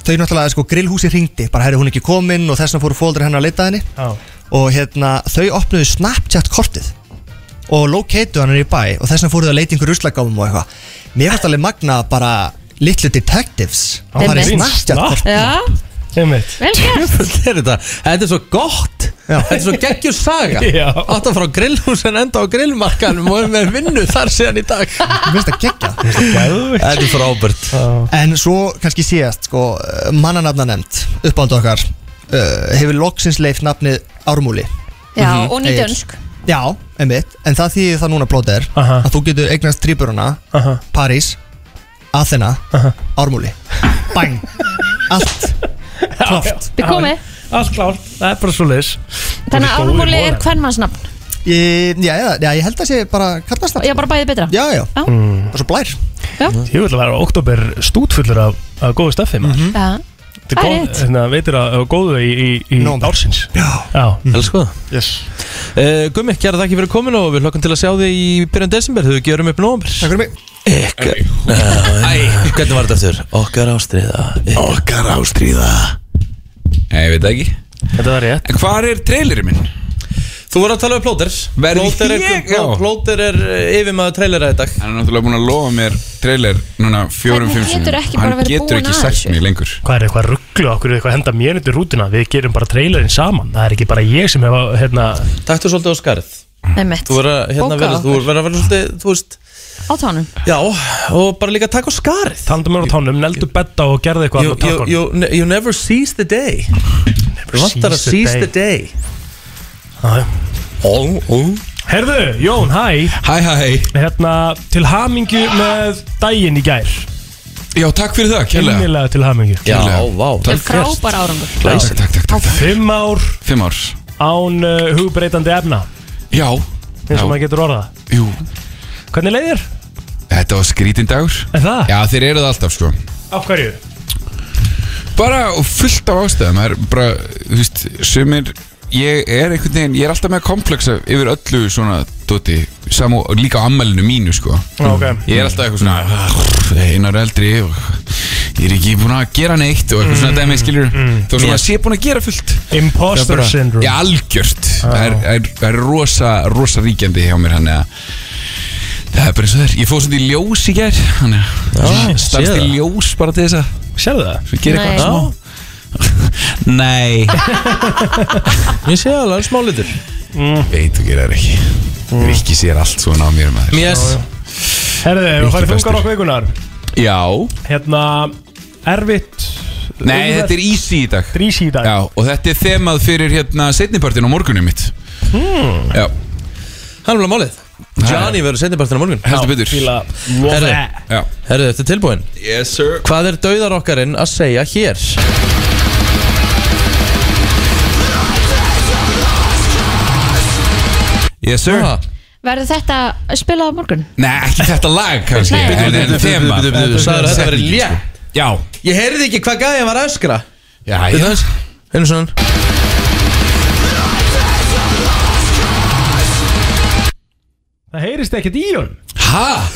Speaker 11: Þau náttúrulega sko grillhúsi ringdi Bara herru hún er ekki komin og þess vegna fóru fóldri hennar að leita að henni
Speaker 4: Já.
Speaker 11: Og hérna þau opnuðu Snapchat kortið Og locateu hann í bæ Og þess vegna fóru þau að leita í einhver ruslagáfum og eitthvað Mér fannst alveg magna bara Little Detectives
Speaker 4: Já,
Speaker 11: Það er
Speaker 4: fín
Speaker 11: Snapchat
Speaker 4: snapp.
Speaker 11: kortið
Speaker 3: Já,
Speaker 4: Einmitt
Speaker 3: vel gert
Speaker 1: Djöfull er þetta Þetta er svo gott Þetta er svo geggjur saga
Speaker 4: Já.
Speaker 1: Átt að fara á grillhús en enda á grillmarkanum og er með vinnu þar síðan í dag
Speaker 11: Mér finnst það geggjað
Speaker 4: Geðveikt.
Speaker 1: Þetta er frábært
Speaker 11: En svo kannski síðast sko, mannanafna nefnd uppándu okkar uh, hefur loksins leift nafnið Ármúli
Speaker 3: Já,
Speaker 11: Mhm.
Speaker 3: og
Speaker 11: Egill.
Speaker 3: nýdönsk
Speaker 11: Já, einmitt, en það þýðir það núna blóter
Speaker 4: Aha.
Speaker 11: að þú getur eignast tríburuna
Speaker 4: Aha.
Speaker 11: París, Athena Ármúli, bang allt, klárt
Speaker 3: Við komið
Speaker 4: Allt klárt Það er bara svo leis
Speaker 3: Þannig að ármúli er hvernmannsnafn
Speaker 11: Ég- Já, já, já, ég held að sé bara kallast það
Speaker 3: Já, bara bæðið betra
Speaker 11: Já, já,
Speaker 3: Já.
Speaker 11: bara svo blær
Speaker 4: Ég vil að vera oktober stútfullur af, af góðu steffi maður
Speaker 3: Já.
Speaker 4: Þetta
Speaker 3: Það er rétt.
Speaker 4: er góð, hérna, veitir að að góðu í, í, í
Speaker 11: Nóvember.
Speaker 4: ársins
Speaker 11: Já,
Speaker 4: Já
Speaker 1: Elsku Eh, það
Speaker 4: yes.
Speaker 1: uh, Gummi, kæra þakki fyrir komin og við hlokkum til að sjá þig í byrjan desember Þau gerum upp nómur
Speaker 11: takk fyrir mig
Speaker 1: Ykkar Æ, Hvernig var þetta aftur? Okkar ástríða
Speaker 12: Okkar ástríða Nei, ég veit það ekki
Speaker 4: Þetta var rétt
Speaker 12: En hvar er trailerinn minn?
Speaker 1: Þú voru að tala um plóter
Speaker 12: Verði
Speaker 1: Plóter er,
Speaker 12: ég- já.
Speaker 1: plóter er eh, yfirmaður trailera í dag
Speaker 12: Hann er náttúrulega búin að lofa mér trailer núna fjórum, fjórum
Speaker 1: Hvernig
Speaker 12: sinnum.
Speaker 1: getur ekki bara
Speaker 12: Hann
Speaker 1: verið
Speaker 12: getur
Speaker 1: búinn
Speaker 12: ekki
Speaker 1: að
Speaker 12: sagt
Speaker 1: þessu?
Speaker 12: mér lengur
Speaker 4: Hvað er eitthvað rugglu okkur eitthvað að henda mér undir rútuna Við gerum bara trailerinn saman Það er ekki bara ég sem hefa hérna
Speaker 1: Taktu svolítið á skarð
Speaker 3: Einmitt.
Speaker 1: Þú voru að hérna
Speaker 3: Bókaðu
Speaker 1: verið Þú
Speaker 3: okkur.
Speaker 1: voru að vera svolítið, þú veist
Speaker 3: Á tánum
Speaker 1: Já, og bara líka takk á skarð
Speaker 4: Tandum mér á tánum, neldu betta og gerði eitthvað
Speaker 1: You,
Speaker 4: annað
Speaker 1: you,
Speaker 4: takk
Speaker 1: you, ne- you never seize the day Never vantar að seize the day
Speaker 12: Ó, ó
Speaker 4: Herðu, Jón, hæ
Speaker 12: Hæ, hæ
Speaker 4: Hérna, til hamingju með daginn í gær
Speaker 12: Já, takk fyrir það, kærlega.
Speaker 4: Kjellega til hamingju
Speaker 12: Já, Kærlega. vá. Takk.
Speaker 3: Með frábær árangur
Speaker 12: Glæsi, takk, takk, takk, takk.
Speaker 4: Fimm ár
Speaker 12: Fimm ár
Speaker 4: án uh, hugbreytandi efna
Speaker 12: Já
Speaker 4: eins
Speaker 12: Já.
Speaker 4: og maður getur orðað
Speaker 12: Jú
Speaker 4: Hvernig leið þér?
Speaker 12: Þetta var skrítin dagur
Speaker 4: Er það?
Speaker 12: Já, þeir eru það alltaf sko
Speaker 4: Af hverju?
Speaker 12: Bara fullt af ástæðum Það er bara, þú veist, sumir Ég er einhvern veginn, ég er alltaf með kompleksa yfir öllu svona doti sam og líka á ammælinu mínu sko
Speaker 4: Já, ok.
Speaker 12: Ég er alltaf eitthvað svona "Ah, Einar er eldri og ég er ekki búin að gera neitt og eitthvað
Speaker 2: Mm,
Speaker 12: svona dæmi skilur Þó sem að sé búin að gera fullt Það er
Speaker 4: Imposter
Speaker 12: bara-
Speaker 4: syndrome Ah.
Speaker 12: Já, algjört Það er, er, er rosa, rosa ríkjandi hjá mér Þannig að Það er bara eins og þér Ég fóð svona í ljós í gær Þannig að starfst í ljós bara til þess að
Speaker 4: Sérðu það?
Speaker 12: Svo gera
Speaker 3: Nei.
Speaker 12: eitthvað smá Nei
Speaker 1: Ég sé alveg smá litur
Speaker 12: Veit þú gerir það ekki Rikki sér allt svona á mér maður
Speaker 1: Yes.
Speaker 4: Herðu, við
Speaker 12: Mikið
Speaker 4: farið
Speaker 12: bestur.
Speaker 4: þungar okkur vikunar
Speaker 12: Já
Speaker 4: Hérna, erfitt
Speaker 12: Nei, þetta er easy í dag Þetta
Speaker 4: er easy í dag
Speaker 12: Já, og þetta er þemað fyrir hérna setnipartin á morgunum mitt
Speaker 4: hmm.
Speaker 12: Já
Speaker 1: Það er alveg málið Johnny verður setnipartin á morgun
Speaker 12: Heldur betur
Speaker 4: Fíla
Speaker 1: Herru,
Speaker 12: Já.
Speaker 1: herru, þetta er tilbúin
Speaker 12: Yes sir
Speaker 1: Hvað er dauðarokkarinn að segja hér?
Speaker 12: Yes sir
Speaker 3: Verður þetta spilað á morgun?
Speaker 12: Nei, ekki þetta lag kannski
Speaker 3: Nei.
Speaker 12: En en
Speaker 1: Bíddu, bíddu,
Speaker 12: þema
Speaker 1: bíddu, bíddu, bíddu, sagðirðu að þetta væri
Speaker 12: Setningin,
Speaker 1: létt?
Speaker 12: sko. Já
Speaker 1: Ég heyrði ekki hvað gæði var að öskra
Speaker 12: Já,
Speaker 1: Þetta
Speaker 12: já
Speaker 1: aðeins, einu svona
Speaker 4: Það heyrist ekkert í hún
Speaker 12: Hæ?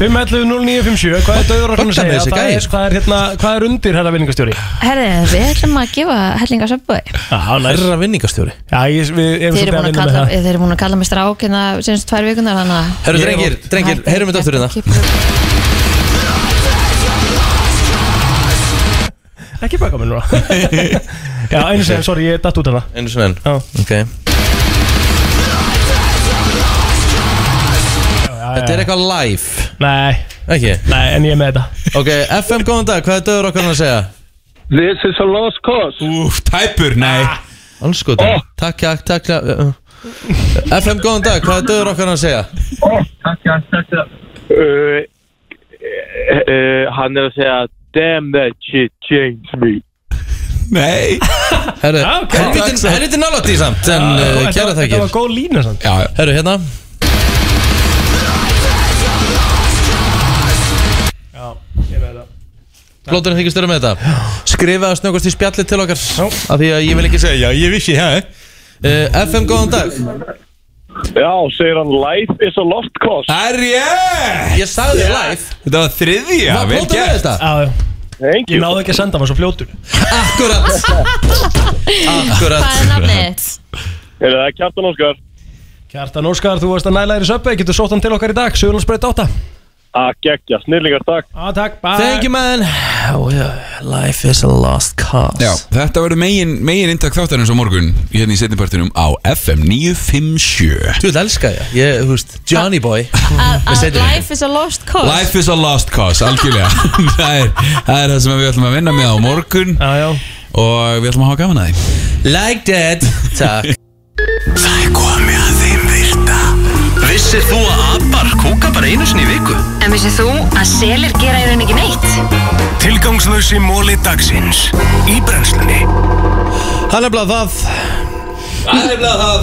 Speaker 4: 5.11.09.57 Hvað er döður
Speaker 1: Bögga
Speaker 4: okkur að
Speaker 1: með
Speaker 4: segja?
Speaker 1: þessi sko? gæi.
Speaker 4: Það er, hvað, er, hérna, hvað er undir herra vinningastjóri?
Speaker 3: Herði, við ætlum að gefa hellinga söpbúi
Speaker 4: Herra
Speaker 1: vinningastjóri
Speaker 4: Já, ég, við
Speaker 3: Þeir
Speaker 4: erum
Speaker 3: eru
Speaker 4: svolítið að
Speaker 3: búin að
Speaker 4: vinna með
Speaker 3: kalla,
Speaker 4: það
Speaker 3: þeir eru búin að kalla mig strák hérna senast tvær vikunar þannig að
Speaker 1: Herru, drengir, drengir, heyrum þetta aftur hérna
Speaker 4: Ekki baka mig núna Já, einu sem, sorry, ég datt út hérna. af það
Speaker 1: Einu svona enn Ok Þetta er eitthvað live
Speaker 4: Nei
Speaker 1: Ekki?
Speaker 4: Nei, en ég er með þetta
Speaker 1: Ok, FM, góðan dag, hvað er döður okkarinn að segja?
Speaker 13: This is a lost cause
Speaker 12: Úf, tæpur, nei
Speaker 3: Ah.
Speaker 1: Allskotin, oh. takk, takk, takk uh, uh. FM, góðan dag, hvað er döður okkarinn að segja?
Speaker 13: Oh, uh, uh, Hann er að segja Damn that shit changed me
Speaker 12: Nei
Speaker 1: Herru, helviti helviti nálægt í samt En uh, kæra
Speaker 4: Ah, Þetta var
Speaker 1: þakkir
Speaker 4: góð lína samt
Speaker 12: Já, já
Speaker 1: Herru, hérna Plóturinn þykist vera með þetta Skrifaðu snöggast í spjalli til okkar Af því að ég vil ekki segja, já, ég vissi það uh, FM, góðan dag
Speaker 13: Já, segir hann Life is a lost cause
Speaker 12: Það er ég
Speaker 1: Ég sagði þér live
Speaker 12: Þetta var þriðja
Speaker 1: Var
Speaker 12: vel
Speaker 1: plótur með
Speaker 12: gert.
Speaker 1: þetta?
Speaker 13: Thank
Speaker 4: Ég náði ekki að senda, maður svo fljótur
Speaker 1: Akkurat Akkurat
Speaker 3: Hvað er nafnið þitt?
Speaker 13: Er það Kjartan Óskar?
Speaker 4: Kjartan Óskar, þú varst að næla þér í söpvei Getur sótt hann til okkar í dag, Suðurlandsbreyt 8
Speaker 13: Að gegja, snillingar, takk
Speaker 4: ah, Takk, bye
Speaker 1: Thank you man oh, yeah. Life is a lost cause
Speaker 12: Já, þetta verður megin, megin inntak þáttarins á morgun Hérna í setnipartinum á FM 957
Speaker 1: Þú vil elska ég, ég, þú veist, Johnny boy
Speaker 3: Að-
Speaker 1: Við
Speaker 3: Að
Speaker 1: setjum hérna. þetta.
Speaker 3: life is a lost cause
Speaker 12: Life is a lost cause, algjörlega það, er, það er það sem við ætlum að vinna með á morgun
Speaker 4: já, já.
Speaker 12: Og við ætlum að hafa gaman að því
Speaker 1: Like that Takk
Speaker 2: Það er komið að þeim virta Vissir þú að abar kúka bara einu sinni í viku?
Speaker 9: En vissið þú að selir gera í raun ekki neitt?
Speaker 2: Tilgangslösi móli dagsins Í brennslunni
Speaker 1: Hann er blað það
Speaker 12: Það er blað það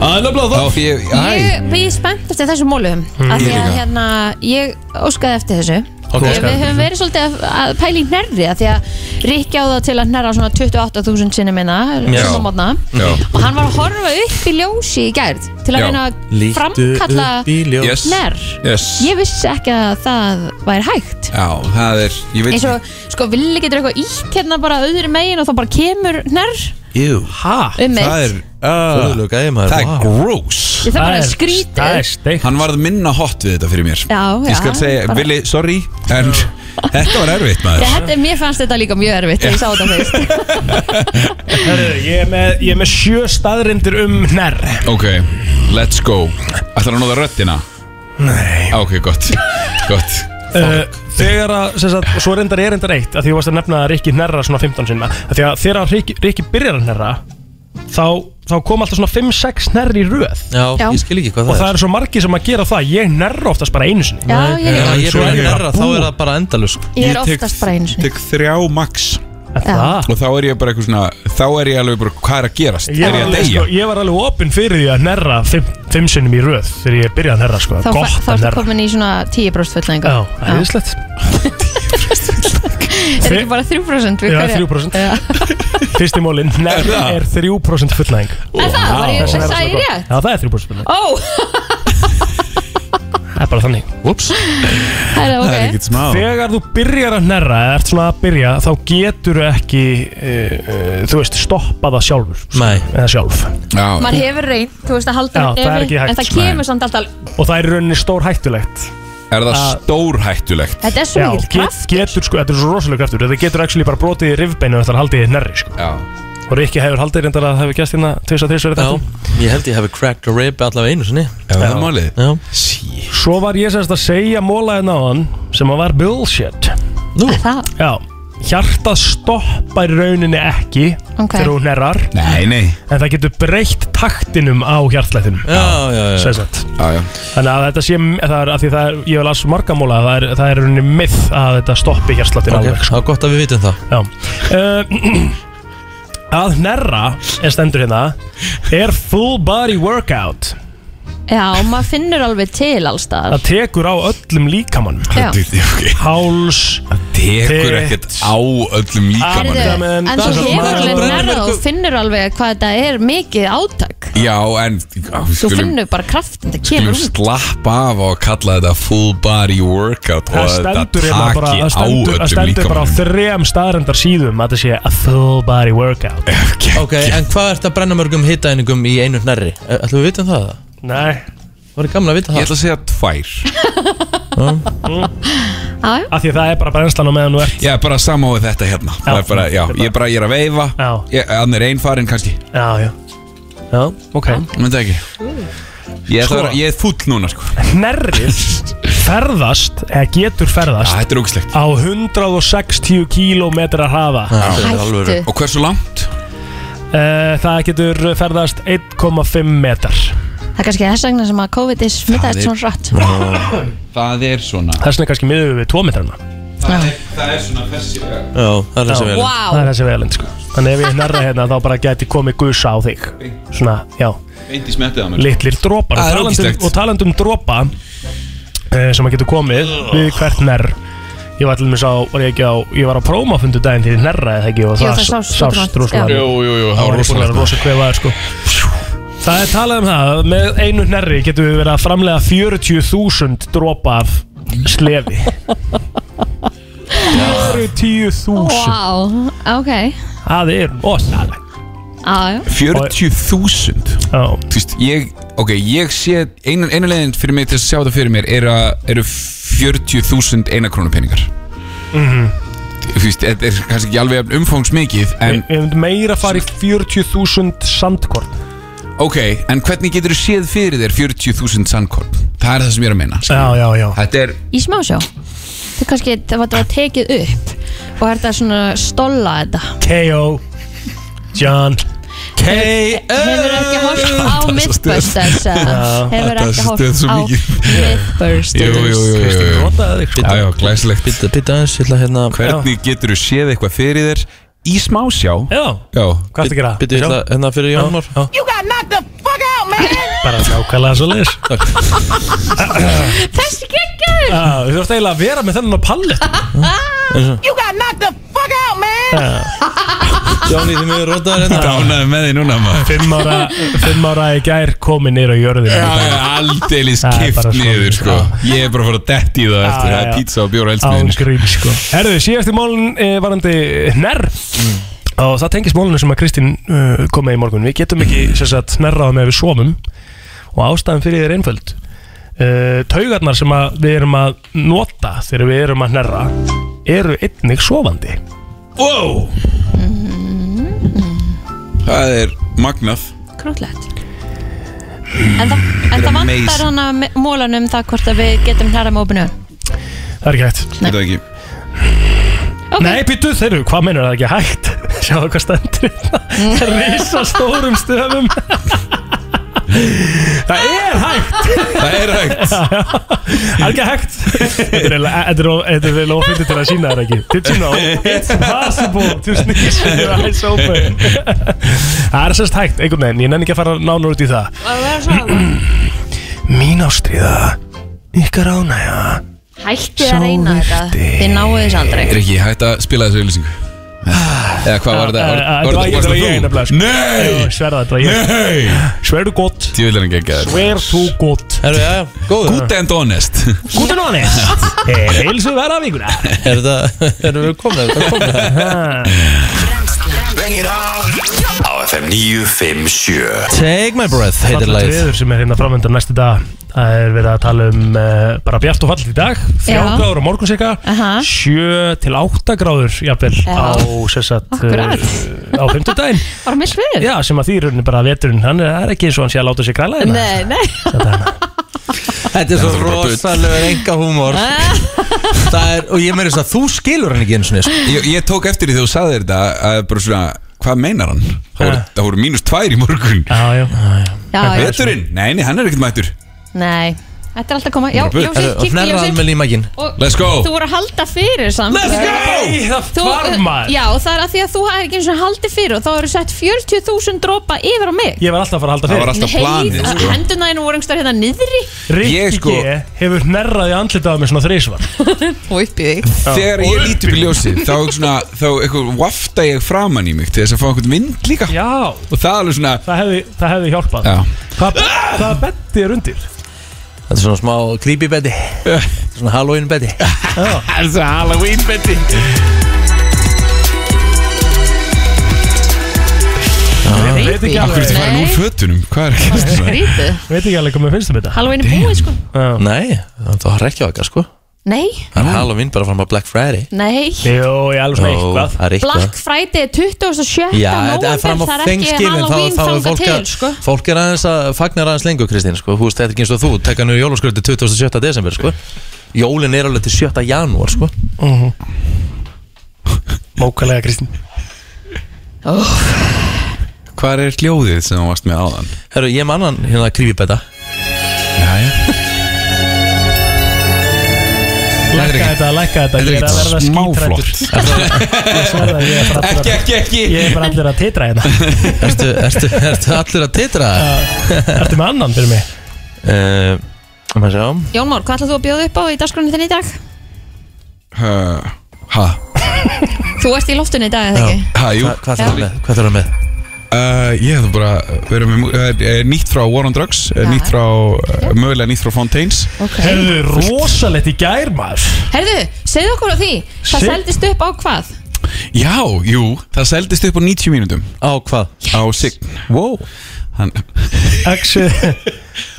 Speaker 1: Það er blað það
Speaker 12: Já, ég, æ
Speaker 3: Ég ég er spennt eftir þessum mólum
Speaker 12: Mm,
Speaker 3: af því
Speaker 12: ég
Speaker 3: að
Speaker 12: líka.
Speaker 3: hérna, ég óskaði eftir þessu Því að Við höfum verið svolítið að- að pæla í nærri Því að Rikki á það til að nærra svona 28.000 sinni minna
Speaker 1: Já.
Speaker 3: hérna, svona mótna.
Speaker 1: Já.
Speaker 3: Og hann var að horfa upp í ljósi í gærd Til að
Speaker 1: Já.
Speaker 3: reyna að
Speaker 1: Líttu
Speaker 3: framkalla
Speaker 1: upp í ljós. Yes.
Speaker 3: nær
Speaker 12: Yes.
Speaker 3: Ég vissi ekki að það væri hægt
Speaker 12: Já, það er, ég veit
Speaker 3: eins og sko villi getur eitthvað ítt hérna bara auður megin og þá bara kemur nær
Speaker 1: Jú,
Speaker 4: Ah,
Speaker 3: ha? Um eitt.
Speaker 12: Það er
Speaker 1: Furðulegur gæði, maður.
Speaker 12: Það er
Speaker 1: Ah. Vá.
Speaker 12: gross
Speaker 3: Ég þarf bara að skrýta
Speaker 12: steikt Hann varð minna hot við þetta fyrir mér
Speaker 3: Já, já,
Speaker 12: Ég skal segja,
Speaker 3: bara-
Speaker 12: Vili, sorry En þetta var erfitt
Speaker 3: Já,
Speaker 12: maður
Speaker 3: þetta, er- mér fannst þetta líka mjög erfitt þegar ég sá þetta fyrst
Speaker 4: Herru, ég er með, ég er með sjö staðrindir um nær
Speaker 12: Ok, let's go Ætlar að nóða röddina? Nei Ok, gott, gott
Speaker 4: Uh, þegar að, sem sagt, svo reyndar er reyndar eitt að því þú varst að nefna að Rikki hnerra svona 15 sinna að því að þegar að Rikki, Rikki byrjar að hnerra þá, þá kom alltaf svona 5-6 hnerri í röð
Speaker 1: Já, ég skil ekki hvað það
Speaker 4: og
Speaker 1: er.
Speaker 4: það eru svo margir sem að gera það ég hnerra oftast bara einu sinni
Speaker 3: Já, ég líka.
Speaker 1: ég er
Speaker 4: Svo
Speaker 1: bara
Speaker 4: ég
Speaker 1: nærra, þá
Speaker 4: búinn.
Speaker 1: er það bara endalus
Speaker 3: Ég er oftast bara einu sinni
Speaker 12: Tek þrjá max
Speaker 3: Já.
Speaker 12: Og þá er ég bara eitthvað svona Þá er ég alveg bara, hvað er að gerast?
Speaker 4: Ég
Speaker 12: er ég
Speaker 4: var,
Speaker 12: að
Speaker 4: alveg,
Speaker 12: deyja?
Speaker 4: sko, ég var alveg opinn fyrir því að hnerra 5 sinnum í röð þegar ég byrjaði að hnerra sko.
Speaker 3: Þá, fa- þá
Speaker 4: gott að
Speaker 3: ertu
Speaker 4: hnerra
Speaker 3: komin í svona 10% fullnæðingu
Speaker 4: Já, æðislegt
Speaker 3: Er ekki bara 3% við
Speaker 4: Já,
Speaker 3: hverja?
Speaker 4: 3%.
Speaker 3: Já.
Speaker 4: Fyrsti mólin, hnerra er 3% fullnæðing
Speaker 3: Er það? Var ég
Speaker 4: Þess vegna er
Speaker 3: að
Speaker 4: það
Speaker 3: segja
Speaker 4: svo gott.
Speaker 3: rétt?
Speaker 4: Já, það er 3% fullnæðing
Speaker 3: Ó,
Speaker 4: Það er bara þannig Ups
Speaker 3: það er ok
Speaker 4: Þegar þú byrjar að hnerra eða ert svona að byrja þá getur ekki uh, uh, þú veist stoppa það sjálfur Nei eða sjálf
Speaker 3: Maður hefur reynd, þú veist að halda
Speaker 4: Já,
Speaker 3: upp
Speaker 4: það er
Speaker 3: nefið,
Speaker 4: ekki hægt.
Speaker 3: En það kemur samt alltaf
Speaker 4: og það er í rauninni stór hættulegt
Speaker 12: Er það
Speaker 4: Að-
Speaker 12: stórhættulegt?
Speaker 3: Þetta er svo mikill
Speaker 4: kraft getur, sko, Þetta er svo rosalega kraftur Þetta getur actually bara brotið í rifbeinu Þetta er haldið í nærri sko. Og Rikki hefur haldið reyndar að það hefur gæst hérna Tvís að þrísverði
Speaker 1: Já, ég held ég hefði cracked a rib allavega einu sinni Já,
Speaker 12: það er málið.
Speaker 1: Já
Speaker 4: Svo var ég semst að segja mólaðin á hann Sem að var bullshit
Speaker 1: Nú
Speaker 3: Það?
Speaker 4: Já Hjartað stoppar í rauninni ekki
Speaker 3: Ok.
Speaker 4: Þegar hún errar
Speaker 12: Nei, nei
Speaker 4: En það getur breytt taktinum á hjartlæðinum
Speaker 1: Já, já, já.
Speaker 4: Sæsett
Speaker 12: Já, já
Speaker 4: Þannig að þetta sé, það er, að því það er, ég vil alls margamóla, það er, það er í rauninni mið að þetta stoppi hjartsláttinn
Speaker 1: Ok,
Speaker 4: alveg. sko.
Speaker 1: það er gott að við vitum það
Speaker 4: Uh, að hnerra, er stendur hérna, er full body workout.
Speaker 3: Já, maður finnur alveg til allstaðar
Speaker 4: Það tekur á öllum líkamann.
Speaker 3: Já.
Speaker 4: Háls,
Speaker 12: Tekur ekkert á öllum
Speaker 3: Heyrðu,
Speaker 12: líkamann
Speaker 3: En þú hefur alveg nærða og finnur alveg hvað þetta er mikið átak
Speaker 12: Já, en
Speaker 3: Þú finnur bara kraftin, það
Speaker 12: Skulum
Speaker 3: kemur út
Speaker 12: slappa af og kalla þetta full body workout
Speaker 4: Það
Speaker 12: og þetta
Speaker 4: stendur hérna bara,
Speaker 12: taki
Speaker 4: það
Speaker 12: á
Speaker 4: stendur, það
Speaker 12: öllum
Speaker 4: stendur bara á
Speaker 12: líkamann
Speaker 4: þrem staðrendar síðum að þetta sé a full body workout.
Speaker 1: Ok, en hvað ert að brenna mörgum hitaeiningum í einu nærri? Ætlum við vitum það?
Speaker 4: Nei
Speaker 1: Það er gamla að vita það
Speaker 12: Ég ætla að segja tvær
Speaker 4: Af því að það er bara brennslan á meðan þú ert
Speaker 12: Já, bara sama á við þetta hérna Það er bara, já, ég, bara, ég er að veifa Ég- Hann er einfarinn kannski
Speaker 4: Já, já Já, ok
Speaker 12: Menn það ekki Ég, sko,
Speaker 4: Sko.
Speaker 12: ég er fúll núna sko
Speaker 4: Hnerrið ferðast, eða getur ferðast
Speaker 12: Þetta er ógislegt
Speaker 4: á 160 km hraða
Speaker 12: Hættu Og hversu langt?
Speaker 4: Eh, Það getur ferðast 1,5 metrar
Speaker 3: Það er kannski þess vegna sem að COVID er smittaðist svona rætt
Speaker 12: Það er svona
Speaker 4: Þess vegna kannski miður við 2 metrarna
Speaker 12: Það er, það er svona þessi Já,
Speaker 1: Já, það er þessi
Speaker 4: Já,
Speaker 1: vel
Speaker 4: Það er þessi vegalend sko Þannig ef ég hnerra hérna þá bara geti komið gusa á þig Svona, já
Speaker 12: Beint í smettið á mér
Speaker 4: Littlir dropar
Speaker 12: Það er
Speaker 4: Og
Speaker 12: ógislegt.
Speaker 4: talandum, og talandum dropa uh, sem að getur komið við hvert nær Ég var til dæmis á, var ég ekki á, ég var á prómafundu daginn til nærra eða ekki og
Speaker 12: Jú,
Speaker 4: það
Speaker 12: það sást
Speaker 4: sást
Speaker 12: rosalega.
Speaker 4: rosalega
Speaker 12: Jú, jú, jú, það
Speaker 4: Þá
Speaker 12: var
Speaker 4: ég búinn að
Speaker 12: rosalegt.
Speaker 4: vera rosa kvefaður sko Það er talað um það, að með einu nærri getum við verið að framlega 40.000 dropa af slefi 40.000
Speaker 3: Wow, ok
Speaker 4: Það er rosalega
Speaker 3: Já, já.
Speaker 12: 40.000
Speaker 4: Já
Speaker 12: Þú veist, ég, ok, ég sé einu, einu leiðin fyrir mig til að sjá þetta fyrir mér er að, eru 40.000 einakrónupeningar
Speaker 4: Mhm.
Speaker 12: Þú veist, þetta er kannski ekki alveg jafn umfangsmikið en,
Speaker 4: Við höfum meira að fara í 40.000 sandkorn
Speaker 12: ok, en hvernig getur þú séð fyrir þér 40.000 sandkorn? Það er það sem ég er að meina
Speaker 4: Já, já, já
Speaker 12: Þetta er,
Speaker 3: Í smásjó Það er kannski, það var þetta var tekið upp og er þetta svona stolla þetta
Speaker 4: K.O. John
Speaker 1: K.O.
Speaker 3: Hefur ekki
Speaker 12: Eh,
Speaker 3: hort á
Speaker 4: Þetta er svo
Speaker 3: Mythbusters
Speaker 4: stuð.
Speaker 3: eða?
Speaker 4: Já.
Speaker 3: Hefur
Speaker 12: Þetta er
Speaker 3: ekki
Speaker 12: svo
Speaker 3: hort
Speaker 12: stuð, svo
Speaker 3: á
Speaker 12: mikið.
Speaker 3: Mythbusters
Speaker 12: jú, jú, jú, jú, jú. Já, já, glæsilegt
Speaker 1: Bitta, bitta aðeins, ég ætla hérna
Speaker 12: Hvernig getur þú séð eitthvað fyrir þér í smásjá?
Speaker 4: Já,
Speaker 12: já.
Speaker 4: Hvað ertu að gera?
Speaker 1: Bitta, ég ætla hérna fyrir Jónmór
Speaker 14: You got knocked the fuck out, man!
Speaker 4: Bara nákvæmlega svo leis
Speaker 14: Þessi geggjaður
Speaker 5: Já, Þú þarfst eiginlega að vera með þennan á pallet
Speaker 14: You got knocked the fuck out, man
Speaker 1: Jóni, þið miður rotaður hérna
Speaker 12: Dánaði með því núna maður
Speaker 4: Fimm ára, fimm ára í gær komið nýra á jörðinu
Speaker 12: Já, já, aldeilis
Speaker 4: Það er
Speaker 12: kift
Speaker 4: bara svoleiðis,
Speaker 12: niður sko Ég er bara að fara að detti í það
Speaker 4: Já,
Speaker 12: eftir
Speaker 4: já,
Speaker 12: Það er
Speaker 4: já.
Speaker 12: pizza og bjóra
Speaker 4: Án
Speaker 12: eldsmiðin
Speaker 4: grín sko Herðu, síðast í málun e, varandi nær og það tengist málunum sem að Kristín uh, kom með í morgun Við getum ekki sem sagt nærraða með við svomum og ástæðan fyrir því er einföld uh, Taugarnar sem að við erum að nota þegar við erum að nærra eru einnig sofandi
Speaker 12: Wow Það er magnað
Speaker 3: Krútlegt En það, en það vantar
Speaker 12: Amazing.
Speaker 3: hann að mólanum það hvort að við getum hlæra með opinu
Speaker 4: Það er ekki hægt
Speaker 12: Nei, ekki.
Speaker 4: Nei býtu, þeir eru, hvað mennur það er ekki hægt? Sjáðu hvað stendur Það er risa stórum stöfum Það er hægt
Speaker 12: Það er hægt
Speaker 4: Það er ekki hægt Þetta er eiginlega- þetta er of- þetta er vel ofindi til að sína það ekki Did you know it's possible to sneeze with your eyes open Það er sérst hægt, einhvern veginn Ég nenni ekki að fara nánar út í það Mín ástriða Ykkar ánægja
Speaker 3: Hætti að reyna þetta Þið náu þess aldrei
Speaker 12: Er ekki hægt að spila þessu auðlýsingu? Eða hvað var þetta? Var-
Speaker 4: Þetta
Speaker 12: var-
Speaker 4: var Ah,
Speaker 12: varst
Speaker 4: ég, þetta var
Speaker 12: það
Speaker 4: ég
Speaker 12: þú?
Speaker 4: nefnilega sko.
Speaker 12: Nei!
Speaker 4: Jú, Sverða, þetta var
Speaker 12: Nei!
Speaker 4: ég Sverðu gott
Speaker 12: Djöfull er hann geggjaður.
Speaker 4: Sver þú gott
Speaker 1: Herru, já, já, góður
Speaker 12: Good and honest
Speaker 4: Gúti nóni Heilsu verða vikuna
Speaker 1: Er þetta, erum við komið, er þetta komið
Speaker 2: Á FM 957
Speaker 1: Take my breath, heitir
Speaker 4: Fallegt
Speaker 1: lagið.
Speaker 4: veður sem er hérna framöndan næstu dag Það er verið að tala um uh, bara bjart og fallit í dag
Speaker 3: Já.
Speaker 4: 3 gráður á morgun sika
Speaker 3: Aha.
Speaker 4: 7 til 8 gráður jafnvel
Speaker 3: Já.
Speaker 4: á sessat
Speaker 3: Akkurat.
Speaker 4: á 5. daginn
Speaker 3: Bara mjög svið
Speaker 4: Já, sem að því í rauninni bara að veturinn hann er það er ekki eins og hann sé að láta sig græla hérna.
Speaker 3: Nei, nei
Speaker 1: Þetta er svo rosalegur enga húmor Það er, og ég meiri þess að þú skilur hann ekki sko. eins og nýst
Speaker 12: Ég, ég tók eftir því þegar þú saði þetta að bara svona, hvað meinar hann? Það
Speaker 4: Ah.
Speaker 12: voru, það voru mínus tvær í morgun
Speaker 4: Já, já,
Speaker 3: Já, já.
Speaker 12: Veturinn? Nei, nei, hann er ekkert mættur
Speaker 3: Nei, þetta er alltaf að koma Já,
Speaker 12: Bara bull.
Speaker 3: Jósef,
Speaker 12: Herru,
Speaker 3: kikki
Speaker 12: hnerraðu hann
Speaker 3: Jósef
Speaker 12: með límækin.
Speaker 3: Og
Speaker 12: Let's go.
Speaker 3: Þú voru að halda fyrir samt
Speaker 12: Let's go.
Speaker 4: Nei, það
Speaker 3: Þú- uh, eh,
Speaker 4: hvarf maður.
Speaker 3: Já, það er að því að þú hafði ekki eins og haldið fyrir og þá eru sett 40.000 dropa yfir á mig
Speaker 4: Ég var alltaf að fara að halda
Speaker 12: Það
Speaker 4: fyrir
Speaker 12: var alltaf planið sko.
Speaker 3: Hendunæðinu voru einhverstað hérna niðri
Speaker 4: Rikki
Speaker 12: sko-
Speaker 4: G hefur nerraði andlitaði með svona þrísvar
Speaker 3: Og uppið þig
Speaker 12: Þegar ég líti upp í ljósi þá, svona, þá eitthvað vafta ég framan í mig til þess að fá einhvern vind líka
Speaker 4: Já
Speaker 12: Og það er alveg svona
Speaker 4: Það hefði, það hefði hjálpað
Speaker 12: Já.
Speaker 4: Hvað, hvað betti er undir?
Speaker 1: Þetta er svona smá creepy beti Svona Halloween beti
Speaker 12: Það er svo Halloween beti
Speaker 4: Ég veit ekki
Speaker 12: Akkur ertu farin úr fötunum? Hvað er ekki
Speaker 3: Það er skrítið.
Speaker 4: Veit ekki alveg hvað mér finnst um þetta
Speaker 3: Halloween er búið sko
Speaker 1: Nei, það var ekki okkar sko
Speaker 3: Nei,
Speaker 1: Það er Halloween bara fram að Black Friday
Speaker 3: nei
Speaker 4: Jó, ég alveg svona
Speaker 1: Jó,
Speaker 4: eitthvað
Speaker 1: Það er
Speaker 3: Black
Speaker 1: eitthvað
Speaker 3: Friday er 27.
Speaker 1: Já, þetta er fram á
Speaker 3: november, það er ekki
Speaker 1: Thanksgiving þá,
Speaker 3: Halloween
Speaker 1: þá er
Speaker 3: þangað
Speaker 1: fólk,
Speaker 3: til,
Speaker 1: að,
Speaker 3: sko.
Speaker 1: fólk er aðeins að fagnar aðeins lengur Kristín sko. Þú veist, þetta er ekki eins og þú, tekka nú jólaskröldi 27. desember sko. Jólin er alveg til 7. janúar sko.
Speaker 4: Mókalega Kristín
Speaker 12: Hvað er hljóðið sem þú varst með áðan?
Speaker 1: Herru, ég mann hann hérna creepy beta
Speaker 12: Jæja
Speaker 4: Lækka þetta, lækka þetta Ég er að verða skítrættur Ég sverða, ég er bara allir að-
Speaker 12: Ekki, ekki
Speaker 4: Ég er bara allir að titra hérna
Speaker 1: ertu, ertu, ertu allir að titra?
Speaker 4: Ertu með annan fyrir mig?
Speaker 1: Uh, maður sjá
Speaker 3: Jón Már, hvað ætlað þú að bjóða upp á í dagskrunni þinn í dag?
Speaker 12: Ha, ha,
Speaker 3: Þú ert í loftinu í dag, eða ekki?
Speaker 12: ha, jú
Speaker 1: Hvað þarf hann með? Hvað þarf hann með?
Speaker 12: Uh, ég hef bara verið með mú- eh, eh, nýtt frá War on Drugs, ja. nýtt frá, uh, mögulega nýtt frá Fontaines
Speaker 4: Hefðu rosalegt í gær maður
Speaker 3: Herðu, segðu okkur á því Það
Speaker 12: Shit.
Speaker 3: seldist upp á hvað?
Speaker 12: Já, jú, það seldist upp á 90 mínútum
Speaker 1: Á hvað?
Speaker 12: Á Sign
Speaker 1: Wow
Speaker 12: Hann,
Speaker 4: X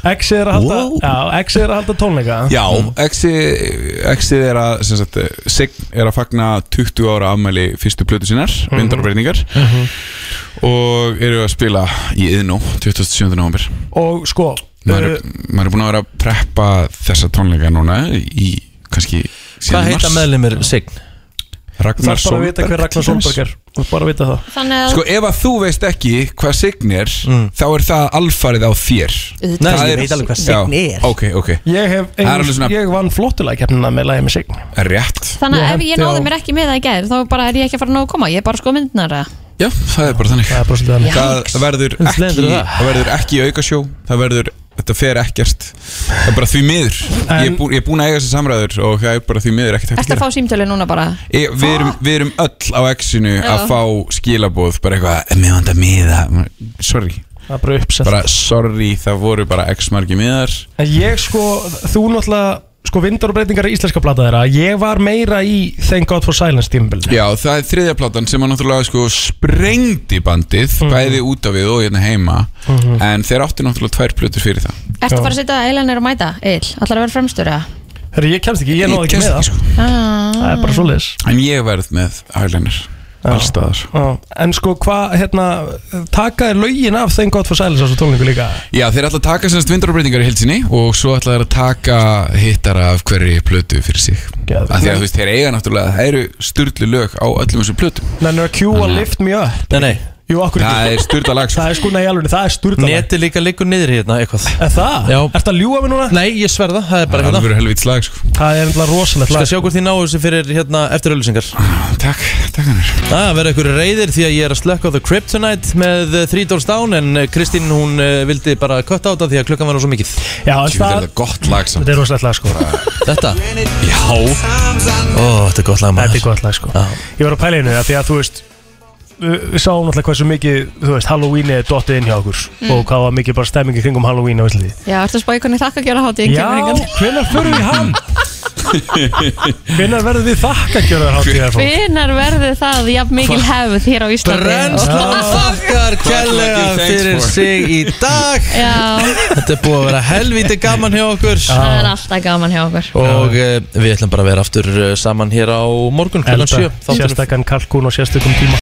Speaker 4: X er að halda Já, X er að halda tónleika
Speaker 12: Já, Exi- Exið er að sem sagt, eh, Sign er að fagna 20 ára afmæli fyrstu plötu sinnar
Speaker 4: Mhm.
Speaker 12: undarbreyningar og eru að spila í Iðnó 27. november
Speaker 4: Og sko
Speaker 12: maður, er- maður er búin að vera að preppa þessa tónleika núna í kannski síðan
Speaker 1: Hvað
Speaker 12: í mars.
Speaker 1: heita meðlumir Sign?
Speaker 12: Ragnar
Speaker 4: Þú þarf bara að
Speaker 12: Sólberg
Speaker 4: vita hver Ragnar
Speaker 12: til dæmis.
Speaker 4: Solberg er Þú þarf bara að vita það
Speaker 3: Þannig að
Speaker 12: Sko ef að þú veist ekki hvað sign er
Speaker 4: Mm.
Speaker 12: þá er það alfarið á þér
Speaker 3: Nei,
Speaker 12: Það
Speaker 1: ég
Speaker 12: er-
Speaker 1: veit alveg hvað sign
Speaker 12: Já,
Speaker 1: er.
Speaker 12: Ok, ok,
Speaker 4: Ég hef,
Speaker 12: Það er alveg svona-
Speaker 4: ég vann flottulega keppnina með lagið með sig
Speaker 12: rétt
Speaker 3: Þannig
Speaker 4: Ég
Speaker 3: að ef ég
Speaker 4: hendi
Speaker 3: náði
Speaker 4: á-
Speaker 3: mér ekki með það í gæðir þá bara er ég ekki að fara að nóg að koma, ég er bara að sko myndnar eða?
Speaker 12: Já, það er bara þannig
Speaker 4: Það er bara svolítið þannig
Speaker 12: Það verður
Speaker 1: Slendur
Speaker 12: ekki,
Speaker 1: það.
Speaker 12: það verður ekki auka sjó Það verður, þetta þetta fer ekkert Það er bara því miður Ég er, bú, ég er búin að eiga þessi samræður og það er bara því miður ekkert hægt
Speaker 15: Ertu að fá símtölu núna bara?
Speaker 12: Ég, við, erum, við erum öll á exinu að
Speaker 15: Já.
Speaker 12: fá skilabóð bara eitthvað, mér vanda miða sorry,
Speaker 4: Það er bara uppsett
Speaker 12: bara sorry það voru bara x margi miðar
Speaker 4: En ég sko, þú náttúrulega sko vindar og breytingar í íslenska blata þeirra ég var meira í Thank God for Silence tímbil
Speaker 12: Já, það er þriðja platan sem að náttúrulega sko sprengdi bandið bæði út af við og hérna heima
Speaker 4: Mhm.
Speaker 12: en þeir áttu náttúrulega tvær plötur fyrir það
Speaker 3: Ertu bara að setja eilanir og mæta? Eil, allar að vera fremstur eða?
Speaker 4: Herri, ég kemst ekki, ég náði
Speaker 12: Ég
Speaker 4: ekki
Speaker 12: kemst sko.
Speaker 4: með það sko. Það er bara svoleiðis
Speaker 12: En ég verð með Highlander allstaðar
Speaker 4: Já, En sko, hvað, hérna taka er lögin af Thank God for Silence á svo tónlingu líka
Speaker 12: Já, þeir ætla að taka semst vindurbreytingar í hilsinni og svo ætla þeir að taka hittar af hverju plötu fyrir sig Af því að þú veist, þeir eiga náttúrulega það eru styrlu lög á öllum þessum plötum
Speaker 4: Menn er að Q að
Speaker 12: Þannig að-
Speaker 4: lift me up
Speaker 1: Nei, nei
Speaker 4: Jú, akkur
Speaker 12: Það er styrla lag
Speaker 4: Það er sko, nei, alveg, það er styrla lag
Speaker 1: Neti líka liggur niður hérna eitthvað
Speaker 4: Er það?
Speaker 1: Já
Speaker 4: Ertu að ljúa mig núna?
Speaker 1: Nei, ég sverða, það er bara hérna.
Speaker 12: Það
Speaker 4: hérna.
Speaker 12: er alveg helvits lag sko
Speaker 4: Það er ennlega rosalegt
Speaker 1: Skal
Speaker 4: lag
Speaker 1: sjá hvort þið náu þessi fyrir hérna eftir öllusingar
Speaker 4: Ah.
Speaker 12: Takk, takk hann
Speaker 1: Það verða ykkur reyðir því að ég er að slökka á The Kryptonite með eh, Three Doors Down en eh, Kristín hún eh, vildi bara kötta á það því að klukkan var nú svo mikið
Speaker 4: Já,
Speaker 12: Jú, það er það gott lag samt
Speaker 4: Þetta er rosalegt lag sko
Speaker 1: Þetta?
Speaker 12: Já
Speaker 1: Ó, þetta er gott lag maður
Speaker 4: Þetta er gott lag sko Ég var að pæla í henni að því að þú veist Við við sáum alltaf hversu mikið, þú veist, Halloween er dottið inn hjá okkur
Speaker 15: Mm.
Speaker 4: og hvað var mikið bara stemmingi kringum Halloween á Íslandi
Speaker 15: Já, ertu að spá í hvernig þakka gera hátíðin
Speaker 4: Já, hvenær förum við hann? Hvenær verðum við þakka kjörðar hátíðar fólk?
Speaker 15: Hvenar verður það jafn mikil hefð hér á Íslandi?
Speaker 1: Brennslan
Speaker 4: Ah.
Speaker 1: þakkar kærlega fyrir sig í dag
Speaker 15: Já,
Speaker 1: Þetta er búið að vera helvíti gaman hjá okkur
Speaker 4: Ah.
Speaker 15: það er alltaf gaman hjá okkur
Speaker 1: Og uh, við ætlum bara að vera aftur eh, saman hér á morgun klukkan
Speaker 4: Elda
Speaker 1: 7 Þátturinn
Speaker 4: sérstakann kalkún og sérstökum tíma